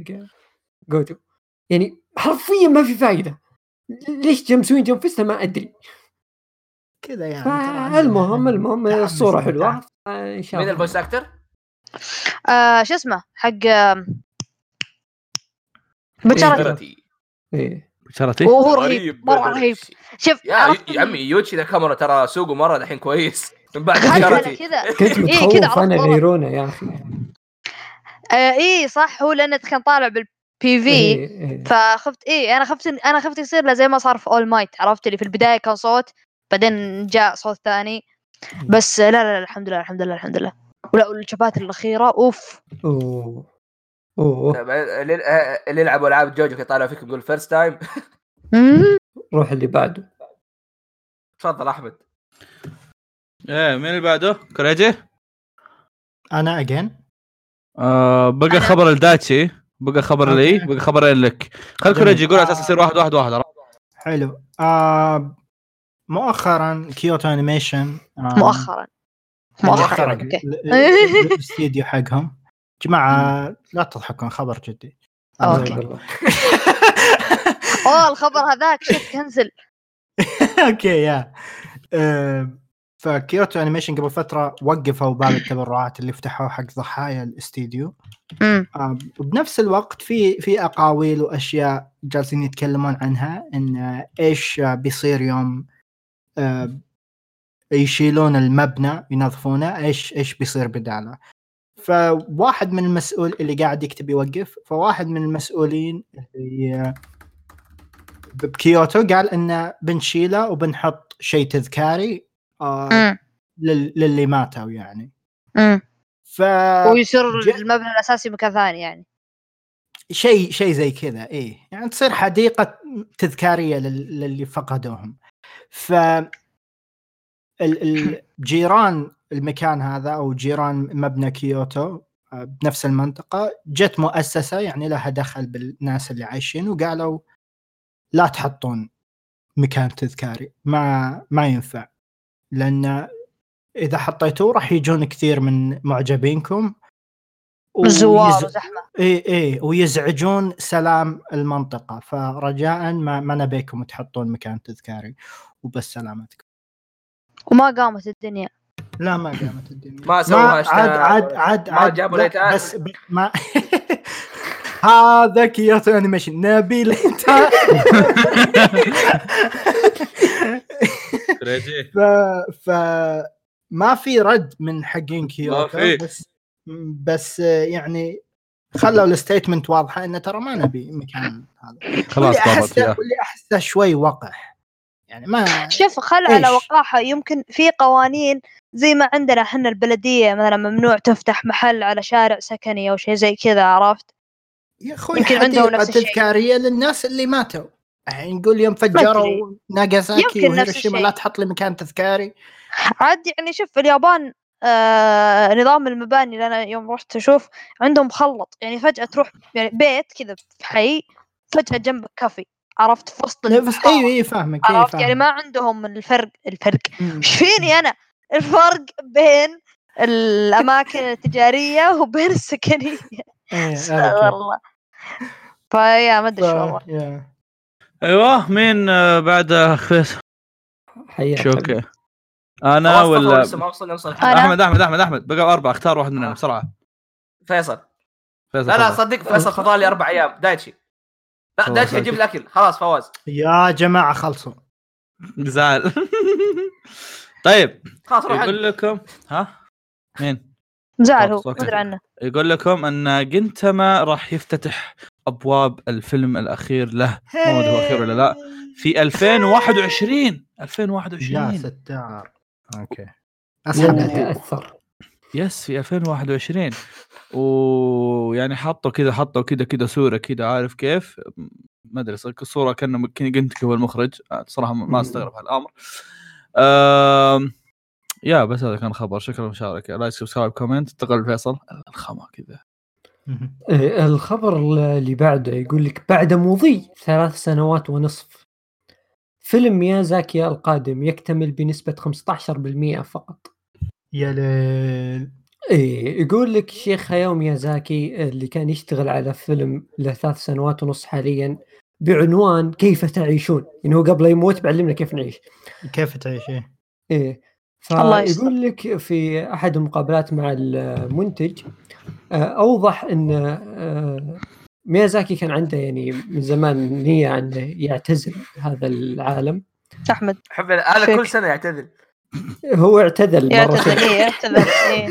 Speaker 3: جوجو يعني حرفيا ما في فائده ليش جم مسوين جم فيستا ما ادري
Speaker 1: كذا يعني ترى
Speaker 3: فالمهم
Speaker 1: عندنا-
Speaker 3: المهم
Speaker 1: تحمس
Speaker 3: الصوره
Speaker 1: إنك
Speaker 3: حلوه
Speaker 1: تعرف.
Speaker 3: ان شاء
Speaker 6: مين
Speaker 3: الله
Speaker 6: الفويس اكتر؟
Speaker 2: آه شو اسمه حق آم، بشرتي
Speaker 3: إيه.
Speaker 4: شرتي
Speaker 2: وهو رهيب مره رهيب شوف
Speaker 6: يا
Speaker 2: عرفت
Speaker 6: يا عمي يوتشي ذا كاميرا ترى سوقه مره الحين كويس من بعد
Speaker 2: خجلة
Speaker 6: شرتي
Speaker 2: كذا
Speaker 3: كنت
Speaker 2: كذا
Speaker 3: متخوف
Speaker 2: عرفت
Speaker 3: انا
Speaker 2: غلط.
Speaker 3: يغيرونه يا اخي
Speaker 2: آه ايه صح هو لانه كان طالع بالبي في
Speaker 3: إيه، إيه.
Speaker 2: فخفت ايه انا خفت إن- انا خفت يصير له زي ما صار في اول مايت عرفت اللي في البدايه كان صوت بعدين جاء صوت ثاني بس لا لا, لا الحمد لله الحمد لله الحمد لله ولا الشبات الاخيره اوف
Speaker 3: اوه اوه
Speaker 6: بعدين طيب، آه، اللي يلعبوا العاب جوجو يطالعوا فيك يقول فيرست تايم
Speaker 2: مم.
Speaker 3: روح اللي بعده
Speaker 6: تفضل احمد
Speaker 4: ايه مين اللي بعده؟ كوريجي؟
Speaker 1: انا اجين
Speaker 4: آه بقى
Speaker 2: أنا-
Speaker 4: خبر لدايتشي بقى خبر لي
Speaker 1: أوكي.
Speaker 4: بقى خبرين لك خل
Speaker 1: جميل.
Speaker 4: كوريجي يقول على اساس يصير واحد واحد واحد عرفت؟
Speaker 1: حلو آه مؤخرا كيوتو آه، انيميشن
Speaker 2: مؤخرا
Speaker 1: يعني
Speaker 2: مؤخرا
Speaker 1: مؤخرا
Speaker 2: اوكي
Speaker 1: ال- ال- الاستديو حقهم جماعه لا تضحكون خبر جدي آه.
Speaker 2: أوكي. اوه الخبر هذاك شفت كنسل
Speaker 1: اوكي يا آه، فكيوتو انيميشن قبل فتره وقفوا باب التبرعات اللي فتحوه حق ضحايا الاستديو
Speaker 2: مم.
Speaker 1: آه، وبنفس الوقت في في اقاويل واشياء جالسين يتكلمون عنها ان آه، ايش آه، بيصير يوم آه، يشيلون المبنى ينظفونه ايش ايش بيصير بداله فواحد من المسؤول اللي قاعد يكتب يوقف فواحد من المسؤولين اللي آه، بكيوتو قال انه بنشيله وبنحط شيء تذكاري آه
Speaker 2: مم.
Speaker 1: لل- للي ماتوا يعني
Speaker 2: مم.
Speaker 1: فشيء
Speaker 2: ويصير
Speaker 1: جاء-
Speaker 2: المبنى الاساسي مكان ثاني يعني
Speaker 1: شيء زي كذا ايه يعني تصير حديقه تذكاريه لل- للي فقدوهم ف ال- الجيران المكان هذا او جيران مبنى كيوتو آه، بنفس المنطقه جت مؤسسه يعني لها دخل بالناس اللي عايشين وقالوا لا تحطون مكان تذكاري ما ما ينفع لان اذا حطيتوه راح يجون كثير من معجبينكم
Speaker 2: الزوار
Speaker 1: ويز-
Speaker 2: وزحمه
Speaker 1: اي اي ويزعجون سلام المنطقه فرجاء ما ما نبيكم تحطون مكان تذكاري وبس سلامتكم
Speaker 2: وما قامت الدنيا
Speaker 1: لا ما قامت الدنيا
Speaker 6: ما سووها
Speaker 1: عاد عاد عاد
Speaker 6: اشتغل ما
Speaker 1: عاد
Speaker 6: جابوا
Speaker 1: لا،
Speaker 6: ليت آخر.
Speaker 1: بس ب- ما هذا كيوتو انيميشن نبيل انت
Speaker 4: كريجي
Speaker 1: ف... ف ما في رد من حقين
Speaker 4: في.
Speaker 1: كيوتو بس بس يعني خلوا الستيتمنت واضحه انه ترى ما نبي مكان هذا
Speaker 4: خلاص
Speaker 1: واللي
Speaker 4: طابت
Speaker 1: احسه
Speaker 4: يا
Speaker 1: واللي احسه شوي وقح يعني ما
Speaker 2: شوف خل على
Speaker 1: إيش؟
Speaker 2: وقاحه يمكن في قوانين زي ما عندنا احنا البلديه مثلا ممنوع تفتح محل على شارع سكني او شيء زي كذا عرفت
Speaker 1: يا اخوي
Speaker 2: يمكن عندهم
Speaker 1: حديقه
Speaker 2: نفس الشيء.
Speaker 1: تذكاريه للناس اللي ماتوا الحين نقول يوم فجروا ناجازاكي
Speaker 2: يمكن نفس
Speaker 1: وهيروشيما
Speaker 2: الشيء.
Speaker 1: لا تحط لي مكان تذكاري
Speaker 2: عاد يعني شوف في اليابان آه نظام المباني اللي انا يوم رحت اشوف عندهم مخلط يعني فجاه تروح يعني بيت كذا في حي فجاه جنبك كافي عرفت في وسط
Speaker 1: لا، بس
Speaker 2: الحارة،
Speaker 1: ايوه اي فاهمك اي
Speaker 2: عرفت
Speaker 1: فاهمك
Speaker 2: يعني ما عندهم الفرق الفرق
Speaker 1: مم.
Speaker 2: ايش فيني انا الفرق بين الاماكن التجاريه وبين السكنيه
Speaker 1: إيه،
Speaker 2: استغفر
Speaker 1: أوكي.
Speaker 2: الله فيا طيب، ما
Speaker 1: ف-
Speaker 2: ادري شو والله
Speaker 1: يا.
Speaker 4: ايوه مين آه، بعد آه، فيصل
Speaker 3: حياك
Speaker 4: شو اوكي انا ولا
Speaker 6: لسه ما وصلنا نوصل
Speaker 2: أنا.
Speaker 4: احمد احمد احمد احمد بقوا اربعه اختار واحد منهم بسرعه
Speaker 6: فيصل
Speaker 4: فيصل
Speaker 6: لا لا
Speaker 4: تفضل.
Speaker 6: صدق فيصل فضل لي اربع ايام دايتشي لا
Speaker 4: خلاص،
Speaker 6: دايتشي
Speaker 4: دايتشي.
Speaker 6: يجيب الاكل خلاص فواز
Speaker 1: يا جماعه خلصوا
Speaker 4: زعل طيب
Speaker 6: خلاص روح
Speaker 4: يقول
Speaker 6: عندك.
Speaker 4: لكم ها مين
Speaker 2: زعل هو
Speaker 4: خلاص،
Speaker 2: ما
Speaker 4: أوكي.
Speaker 2: ادري عنه
Speaker 4: يقول لكم ان جنتما راح يفتتح ابواب الفيلم الاخير له ما أدري هو أخير ولا لا. في 2021
Speaker 1: يا
Speaker 4: 2021
Speaker 1: ستار اوكي
Speaker 3: لن
Speaker 1: اسحب
Speaker 3: اتاثر
Speaker 4: يس في 2021 ويعني حطوا كذا حطوا كذا كذا صوره كذا عارف كيف ما ادري صك- الصوره كانه كنت هو المخرج صراحه ما استغرب هالامر أم... يا بس هذا كان خبر شكرا للمشاركه لايك سبسكرايب كومنت انتقل فيصل الخامه كذا
Speaker 3: آه، الخبر اللي بعده يقول لك بعد مضي ثلاث سنوات ونصف فيلم ميازاكي القادم يكتمل بنسبة 15% فقط
Speaker 1: يا ليل
Speaker 3: إيه يقول لك شيخ هايو ميازاكي اللي كان يشتغل على فيلم له ثلاث سنوات ونص حاليا بعنوان كيف تعيشون يعني هو قبل يموت بعلمنا كيف نعيش
Speaker 1: كيف تعيش إيه؟
Speaker 3: إيه
Speaker 2: الله يستر.
Speaker 3: فيقول لك في أحد المقابلات مع المنتج آه، أوضح أن آه، ميازاكي كان عنده يعني من زمان نية أنه يعتزل هذا العالم
Speaker 2: احمد
Speaker 6: حب هذا
Speaker 2: فيك.
Speaker 6: كل سنه يعتذر
Speaker 3: هو اعتزل
Speaker 2: يا
Speaker 3: مرتين
Speaker 2: تذلي يا إيه. تذلي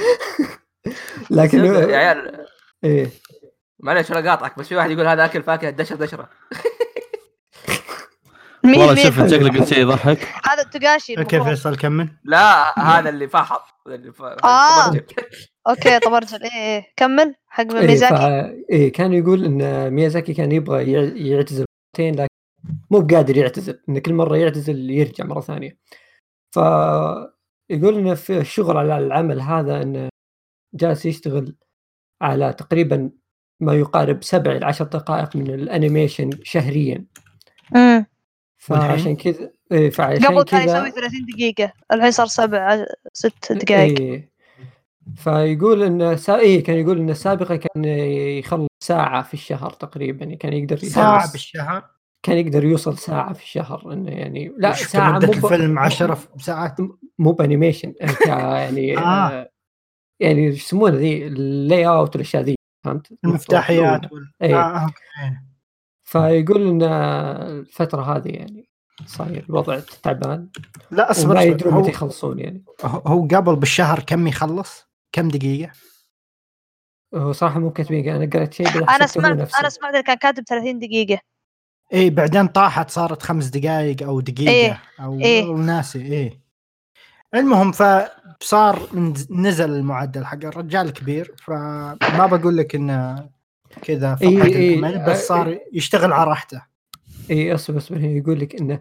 Speaker 3: لكن
Speaker 6: يا
Speaker 3: هو-
Speaker 6: عيال
Speaker 3: إيه
Speaker 6: معليش انا قاطعك بس في واحد يقول هذا اكل فاكهه دشر دشره
Speaker 2: مين
Speaker 4: والله
Speaker 2: مين
Speaker 4: شوف شكلك قلت شيء يضحك
Speaker 2: هذا التقاشي
Speaker 1: اوكي
Speaker 2: المفروض.
Speaker 1: فيصل كمل
Speaker 6: لا هذا اللي فاحط اللي ف...
Speaker 2: آه. اوكي طب ارجع إيه، ايه كمل حق
Speaker 3: إيه
Speaker 2: ميزاكي
Speaker 3: فا- إيه كان يقول ان ميازاكي كان يبغى يع- يعتزل مرتين لكن مو بقادر يعتزل انه كل مره يعتزل يرجع مره ثانيه ف يقول انه في الشغل على العمل هذا انه جالس يشتغل على تقريبا ما يقارب سبع الى عشر دقائق من الانيميشن شهريا
Speaker 2: مم.
Speaker 3: فعشان كذا إيه فعشان
Speaker 2: قبل
Speaker 3: كذا
Speaker 2: كان يسوي 30 دقيقة الحين صار سبع ست دقائق
Speaker 3: إيه. فيقول انه سا... إيه كان يقول انه سابقا كان يخلص ساعة في الشهر تقريبا كان يقدر
Speaker 1: ساعه
Speaker 3: يخلص-
Speaker 1: بالشهر
Speaker 3: كان يقدر يوصل ساعة في الشهر انه يعني لا
Speaker 1: وش
Speaker 3: ساعة
Speaker 1: مده
Speaker 3: مو ب-
Speaker 1: الفيلم 10 ساعات
Speaker 3: مو بانيميشن آه، ك- يعني
Speaker 1: آه.
Speaker 3: آه. يعني ايش يسمونها ذي اللاي اوت والاشياء ذي فهمت؟
Speaker 1: آه. المفتاحيات وال...
Speaker 3: إيه.
Speaker 1: آه.
Speaker 3: فيقول ان الفترة هذه يعني صاير الوضع تعبان
Speaker 1: لا اصبر
Speaker 3: وما
Speaker 1: أصبر.
Speaker 3: يدرون متى
Speaker 1: هو,
Speaker 3: يخلصون يعني
Speaker 1: هو قبل بالشهر كم يخلص؟ كم دقيقة؟
Speaker 3: هو صراحه مو كاتبين انا قريت شيء بالعكس
Speaker 2: انا
Speaker 3: حسبته هو
Speaker 2: سمعت
Speaker 3: نفسه.
Speaker 2: انا سمعت اللي كان كاتب 30 دقيقه
Speaker 1: ايه بعدين طاحت صارت خمس دقائق او دقيقة
Speaker 2: إيه،
Speaker 1: او
Speaker 2: إيه.
Speaker 1: أو ناسي ايه المهم فصار من- نزل المعدل حق الرجال كبير فما بقول لك انه كذا فقد
Speaker 3: إيه، إيه.
Speaker 1: الامل بس صار يشتغل على راحته
Speaker 3: اي اصبر اصبر إيه، هنا يقول لك انه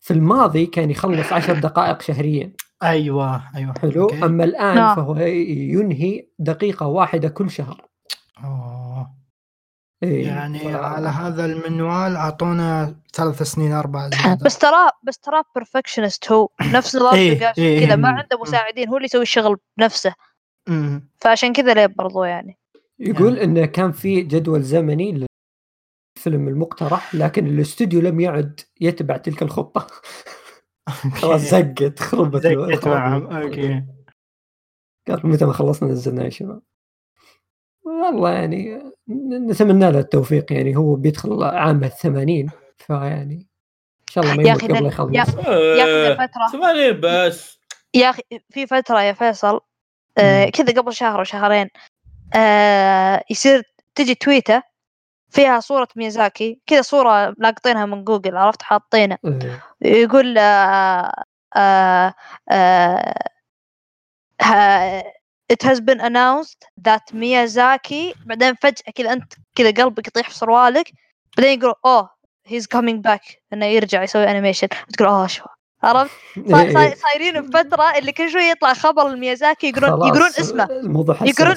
Speaker 3: في الماضي كان يخلص عشر دقائق شهريا
Speaker 1: ايوه ايوه
Speaker 3: حلو
Speaker 1: أوكي.
Speaker 3: اما الان
Speaker 2: نعم.
Speaker 3: فهو ينهي دقيقه واحده كل شهر
Speaker 1: أوه.
Speaker 3: إيه، ف-
Speaker 1: يعني على هذا المنوال اعطونا ثلاث سنين اربع زيادة
Speaker 2: بس تراه بس تراه بيرفكشنست هو نفس نظام
Speaker 1: إيه،
Speaker 2: إيه
Speaker 1: إيه،
Speaker 2: كذا ما
Speaker 1: إيه.
Speaker 2: عنده مساعدين هو اللي يسوي الشغل بنفسه
Speaker 1: أمم.
Speaker 2: فعشان كذا ليه برضو يعني
Speaker 3: يقول انه كان في جدول زمني للفيلم المقترح لكن الاستوديو لم يعد يتبع تلك الخطه خلاص زقت خربت
Speaker 1: زقت معهم اوكي
Speaker 3: قالت متى ما خلصنا نزلنا يا شباب والله يعني ن- نتمنى له التوفيق يعني هو بيدخل عام الثمانين فيعني ان شاء الله ما
Speaker 2: يا
Speaker 3: يموت
Speaker 2: أخي
Speaker 3: قبل
Speaker 2: ن-
Speaker 3: يخلص
Speaker 2: يا-
Speaker 6: آه.
Speaker 2: يا أخي ذا فترة
Speaker 5: ثمانين بس
Speaker 2: يا أخي في فترة يا فيصل آه
Speaker 1: مم.
Speaker 2: كذا قبل شهر أو شهرين آه يصير تجي تويتة فيها صورة ميازاكي كذا صورة لاقطينها من جوجل عرفت حاطينها
Speaker 3: إيه.
Speaker 2: يقول آه آه آه آه، It has been announced that Miyazaki بعدين فجأة كذا أنت كذا قلبك يطيح في سروالك بعدين يقول أوه he's coming back إنه يرجع يسوي أنيميشن تقول أوه شو عرفت صا-
Speaker 3: إيه،
Speaker 2: صا-
Speaker 3: إيه.
Speaker 2: صايرين بفترة اللي كل شوي يطلع خبر لميازاكي يقولون يقولون
Speaker 3: خلاص،
Speaker 2: اسمه
Speaker 3: الموضوع حساس.
Speaker 2: يقولون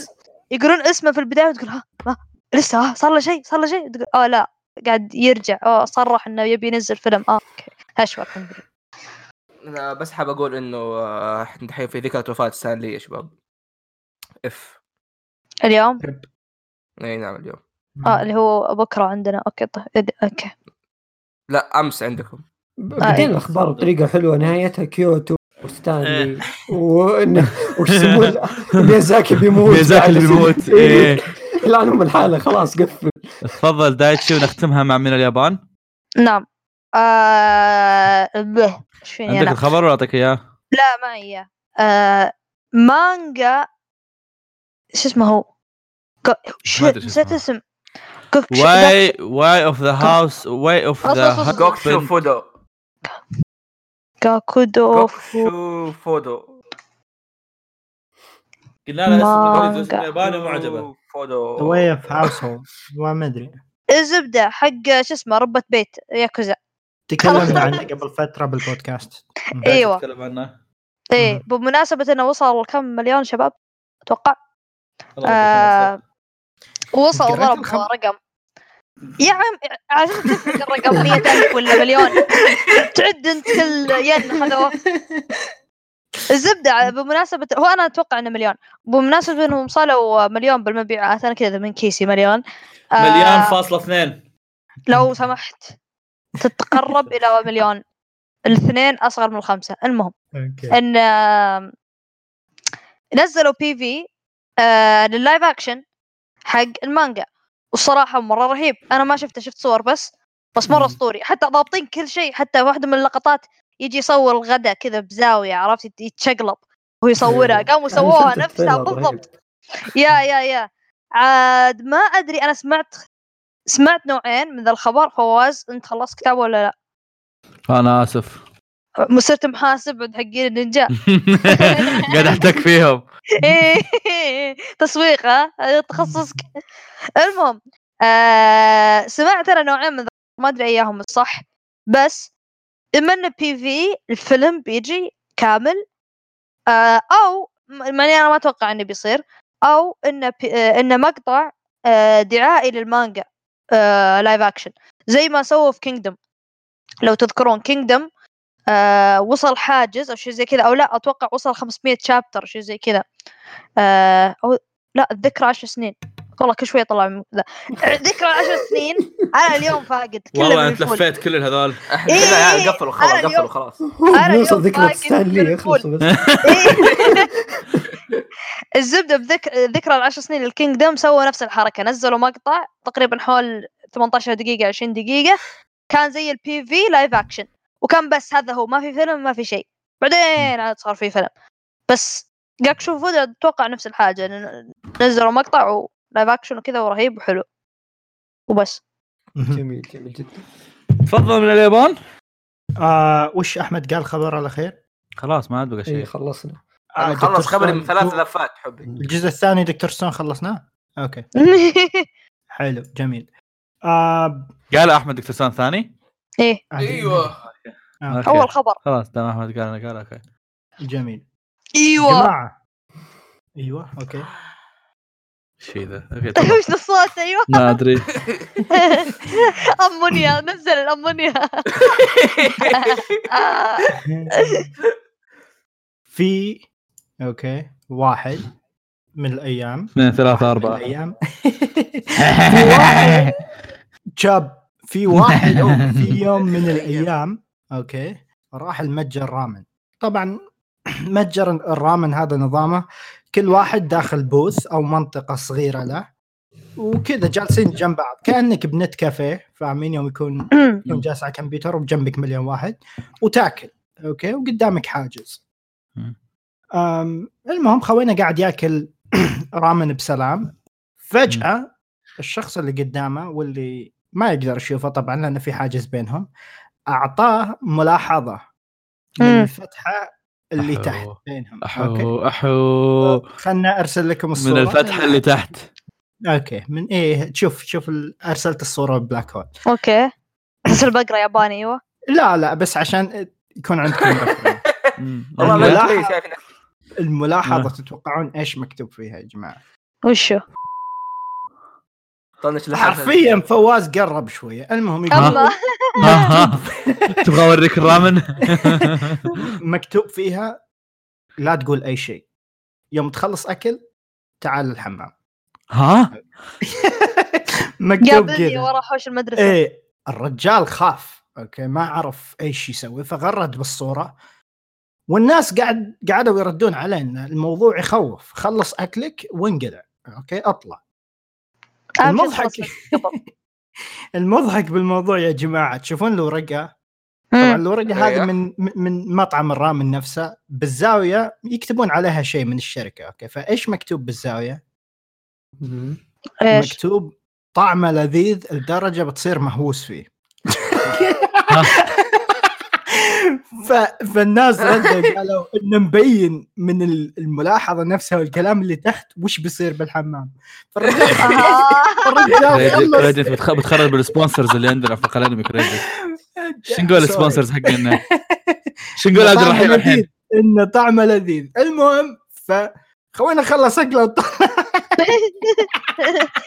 Speaker 2: يقولون اسمه في البداية وتقول ها ما لسه ها صار له شيء صار له شيء تقول اه لا قاعد يرجع اه صرح انه يبي ينزل فيلم اه اوكي هشوى الحمد لله
Speaker 6: انا بس حاب اقول انه آه، إحنا دحين في ذكرى وفاه ستانلي يا شباب اف
Speaker 2: اليوم
Speaker 6: اي نعم اليوم
Speaker 2: اه اللي هو بكره عندنا اوكي طيب اوكي
Speaker 6: لا امس عندكم
Speaker 3: بدينا
Speaker 2: إيه.
Speaker 3: الاخبار بطريقه حلوه نهايتها كيوتو
Speaker 4: إيه.
Speaker 3: وستانلي وإنه- وش يسمون له؟ ميازاكي بيموت
Speaker 4: ميازاكي اللي بيموت
Speaker 3: إيه.
Speaker 4: ايه
Speaker 3: الان هم الحاله خلاص قفل
Speaker 4: تفضل دايتشي ونختمها مع من اليابان
Speaker 2: نعم آه... به. ايش فيني
Speaker 4: عندك
Speaker 2: انا
Speaker 4: الخبر ولا اعطيك اياه؟
Speaker 2: لا ما هي آه... مانجا شو اسمه هو ك- شو
Speaker 4: ما أدري شو
Speaker 2: نسيت
Speaker 4: اسمها.
Speaker 2: اسم كوك- شو-
Speaker 4: واي واي اوف ذا هاوس واي اوف
Speaker 2: أصل-
Speaker 4: ذا
Speaker 2: أصل-
Speaker 6: جوك شو فودو
Speaker 2: كاكودو
Speaker 6: جوك
Speaker 2: فو-
Speaker 6: شو فودو
Speaker 5: قلنا له اسم
Speaker 2: مانجا.
Speaker 5: انجليزي واسم ياباني وما عجبه
Speaker 6: شو فودو
Speaker 1: واي اوف هاوس هولد ما ادري
Speaker 2: الزبده حق شو اسمه ربة بيت ياكوزا
Speaker 1: تكلمنا عنه قبل فتره بالبودكاست مم.
Speaker 2: ايوه
Speaker 5: تتكلم عنه
Speaker 2: ايه
Speaker 6: إيه.
Speaker 1: مم.
Speaker 2: بمناسبه انه وصل كم مليون شباب اتوقع
Speaker 5: خلاص،
Speaker 2: آه، وصل
Speaker 1: قريت
Speaker 2: ضرب
Speaker 1: الخبر؟
Speaker 2: رقم يا عم عشان تفرق الرقم 100000 ولا مليون تعد انت كل ين هذا الزبده على- بمناسبه هو انا اتوقع انه مليون بمناسبه انهم وصلوا مليون بالمبيعات انا كذا من كيسي مليون آه،
Speaker 5: مليان فاصلة اثنين
Speaker 2: لو سمحت تتقرب الى مليون الاثنين اصغر من الخمسه المهم
Speaker 3: إيه.
Speaker 1: اوكي
Speaker 2: ان آم، نزلوا بي في لللايف اكشن حق المانجا والصراحه مره رهيب انا ما شفته شفت صور بس بس مره
Speaker 1: مم.
Speaker 2: اسطوري حتى ضابطين كل شيء حتى واحده من اللقطات يجي يصور الغداء كذا بزاويه عرفت يت- يتشقلب وهو يصورها
Speaker 3: إيه.
Speaker 2: قاموا
Speaker 3: أنا شفت
Speaker 2: سووها نفسها
Speaker 3: التريلر رهيب.
Speaker 2: بالضبط يا يا يا عاد ما ادري انا سمعت سمعت نوعين من ذا الخبر فواز انت خلصت كتابه ولا لا؟
Speaker 4: انا اسف
Speaker 2: صرت محاسب عند حقين النينجا
Speaker 4: قاعد احتك فيهم
Speaker 2: إيه، تسويق ها هذا تخصصك المهم آه سمعت انا نوعين من ذا- ما ادري اياهم الصح بس اما انه بي في الفيلم بيجي كامل آه او م- ماني انا ما اتوقع انه بيصير او انه بي آه انه مقطع آه دعائي للمانجا آه لايف اكشن زي ما سووا في كينجدم لو تذكرون كينجدم آه وصل حاجز او شيء زي كذا او لا اتوقع وصل 500 شابتر شيء زي كذا آه أو لا الذكرى 10 سنين والله كل شوي طلع من ذا ذكرى 10 سنين انا اليوم فاقد كله
Speaker 5: والله
Speaker 2: من
Speaker 5: انت
Speaker 2: الفول.
Speaker 5: لفيت كل هذول
Speaker 6: احنا
Speaker 2: إيه،
Speaker 6: كنا
Speaker 2: إيه،
Speaker 6: عيال يعني قفلوا
Speaker 2: أنا
Speaker 6: خلاص
Speaker 2: اليوم-
Speaker 6: قفلوا خلاص
Speaker 3: آه،
Speaker 2: أنا
Speaker 3: نوصل
Speaker 2: اليوم
Speaker 3: ذكرى
Speaker 2: باكل
Speaker 3: ستانلي يخلص بس
Speaker 2: الزبده إيه. بذك... ذكرى العشر سنين الكينجدم سووا نفس الحركه نزلوا مقطع تقريبا حول 18 دقيقه 20 دقيقه كان زي البي في لايف اكشن وكان بس هذا هو ما في فيلم ما في شيء بعدين عاد صار في فيلم بس جاكشو فود اتوقع نفس الحاجه إنه نزلوا مقطع ولايف اكشن وكذا ورهيب وحلو وبس
Speaker 3: جميل جميل جدا
Speaker 4: تفضل من اليابان
Speaker 1: آه وش احمد قال خبر على خير؟
Speaker 4: خلاص ما عاد بقى
Speaker 3: اي
Speaker 2: أيوة.
Speaker 4: شيء
Speaker 3: خلصنا
Speaker 1: آه
Speaker 6: أنا
Speaker 1: دكتور
Speaker 6: خلص خبري من
Speaker 1: ستون.
Speaker 6: ثلاث لفات حبي
Speaker 1: الجزء الثاني دكتور ستون خلصناه؟ اوكي حلو جميل آه
Speaker 4: قال احمد دكتور سان ثاني
Speaker 2: ايه
Speaker 6: أيوة.
Speaker 1: آه
Speaker 4: أوكي.
Speaker 2: اول خبر
Speaker 4: خلاص تمام احمد قال انا قال اوكي
Speaker 1: جميل
Speaker 6: أيوة.
Speaker 2: ايوه
Speaker 1: جماعه ايوه اوكي
Speaker 4: شي ذا اوكي تفضل.
Speaker 2: وش الصوت ايوه
Speaker 4: ما ادري
Speaker 2: امونيا نزل الامونيا آه.
Speaker 1: في اوكي واحد من الايام
Speaker 4: اثنين ثلاثة
Speaker 1: من
Speaker 4: أربعة
Speaker 1: الايام في واحد شاب في واحد في يوم من الايام اوكي راح المتجر رامن طبعا متجر الرامن هذا نظامه كل واحد داخل بوث او منطقه صغيره له وكذا جالسين جنب بعض كانك بنت كافيه فاهمين يوم يكون يكون جالس على الكمبيوتر وبجنبك مليون واحد وتاكل اوكي وقدامك حاجز
Speaker 4: مم.
Speaker 1: أم المهم خوينا قاعد ياكل رامن بسلام فجاه الشخص اللي قدامه واللي ما يقدر يشوفه طبعا لانه في حاجز بينهم اعطاه ملاحظه من
Speaker 2: مم.
Speaker 1: الفتحه اللي
Speaker 4: أحو.
Speaker 1: تحت بينهم اوكي
Speaker 4: أحو أحو
Speaker 1: خلنا ارسل لكم الصوره
Speaker 4: من الفتحة اللي تحت
Speaker 1: اوكي من ايه شوف شوف ال- ارسلت الصوره بلاك هول
Speaker 2: اوكي بس البقره ياباني ايوه
Speaker 1: لا لا بس عشان يكون عندكم رفرة.
Speaker 4: مم.
Speaker 6: والله
Speaker 1: لا.
Speaker 6: ما أدري، شايف نفسي.
Speaker 1: الملاحظه تتوقعون ايش مكتوب فيها يا جماعه
Speaker 2: وشو
Speaker 6: طنش لحالك.
Speaker 1: حرفيا فواز قرب شويه المهم يقول
Speaker 2: اما
Speaker 4: ها، ها. تبغى أوريك الرامن
Speaker 1: مكتوب فيها لا تقول اي شيء يوم تخلص اكل تعال الحمام
Speaker 4: ها
Speaker 1: مكتوب
Speaker 2: قابلني
Speaker 1: كذا
Speaker 2: ورا حوش
Speaker 4: إيه،
Speaker 2: المدرسه
Speaker 1: ايه الرجال خاف اوكي ما عرف ايش يسوي فغرد بالصوره والناس قاعد قعدوا يردون عليه ان الموضوع يخوف خلص اكلك وانقلع اوكي اطلع
Speaker 2: أهم شي
Speaker 1: المضحك
Speaker 2: خلصت قبل.
Speaker 1: المضحك بالموضوع يا جماعه تشوفون الورقه طبعا
Speaker 2: مم.
Speaker 1: الورقه هذه
Speaker 4: إيه.
Speaker 6: أيوه.
Speaker 1: من من- من مطعم الرامن نفسه بالزاويه يكتبون عليها شيء من الشركه اوكي فايش مكتوب بالزاويه؟
Speaker 2: ايش
Speaker 1: مكتوب طعمه لذيذ لدرجه بتصير مهووس فيه ف... فالناس ردوا قالوا انه مبين من ال- الملاحظه نفسها والكلام اللي تحت وش بيصير بالحمام فالرجال الرجال
Speaker 2: آه.
Speaker 4: كريدت
Speaker 1: خلص
Speaker 4: كريدت بتخ- بتخرب بالسبونسرز اللي عندنا في القلم كريدت شو نقول
Speaker 1: Sorry.
Speaker 4: السبونسرز حقنا شو نقول عبد الرحيم
Speaker 1: طعمه
Speaker 4: الحين
Speaker 1: لذيذ، انه طعمه لذيذ المهم فخوينا خلص اكله وط-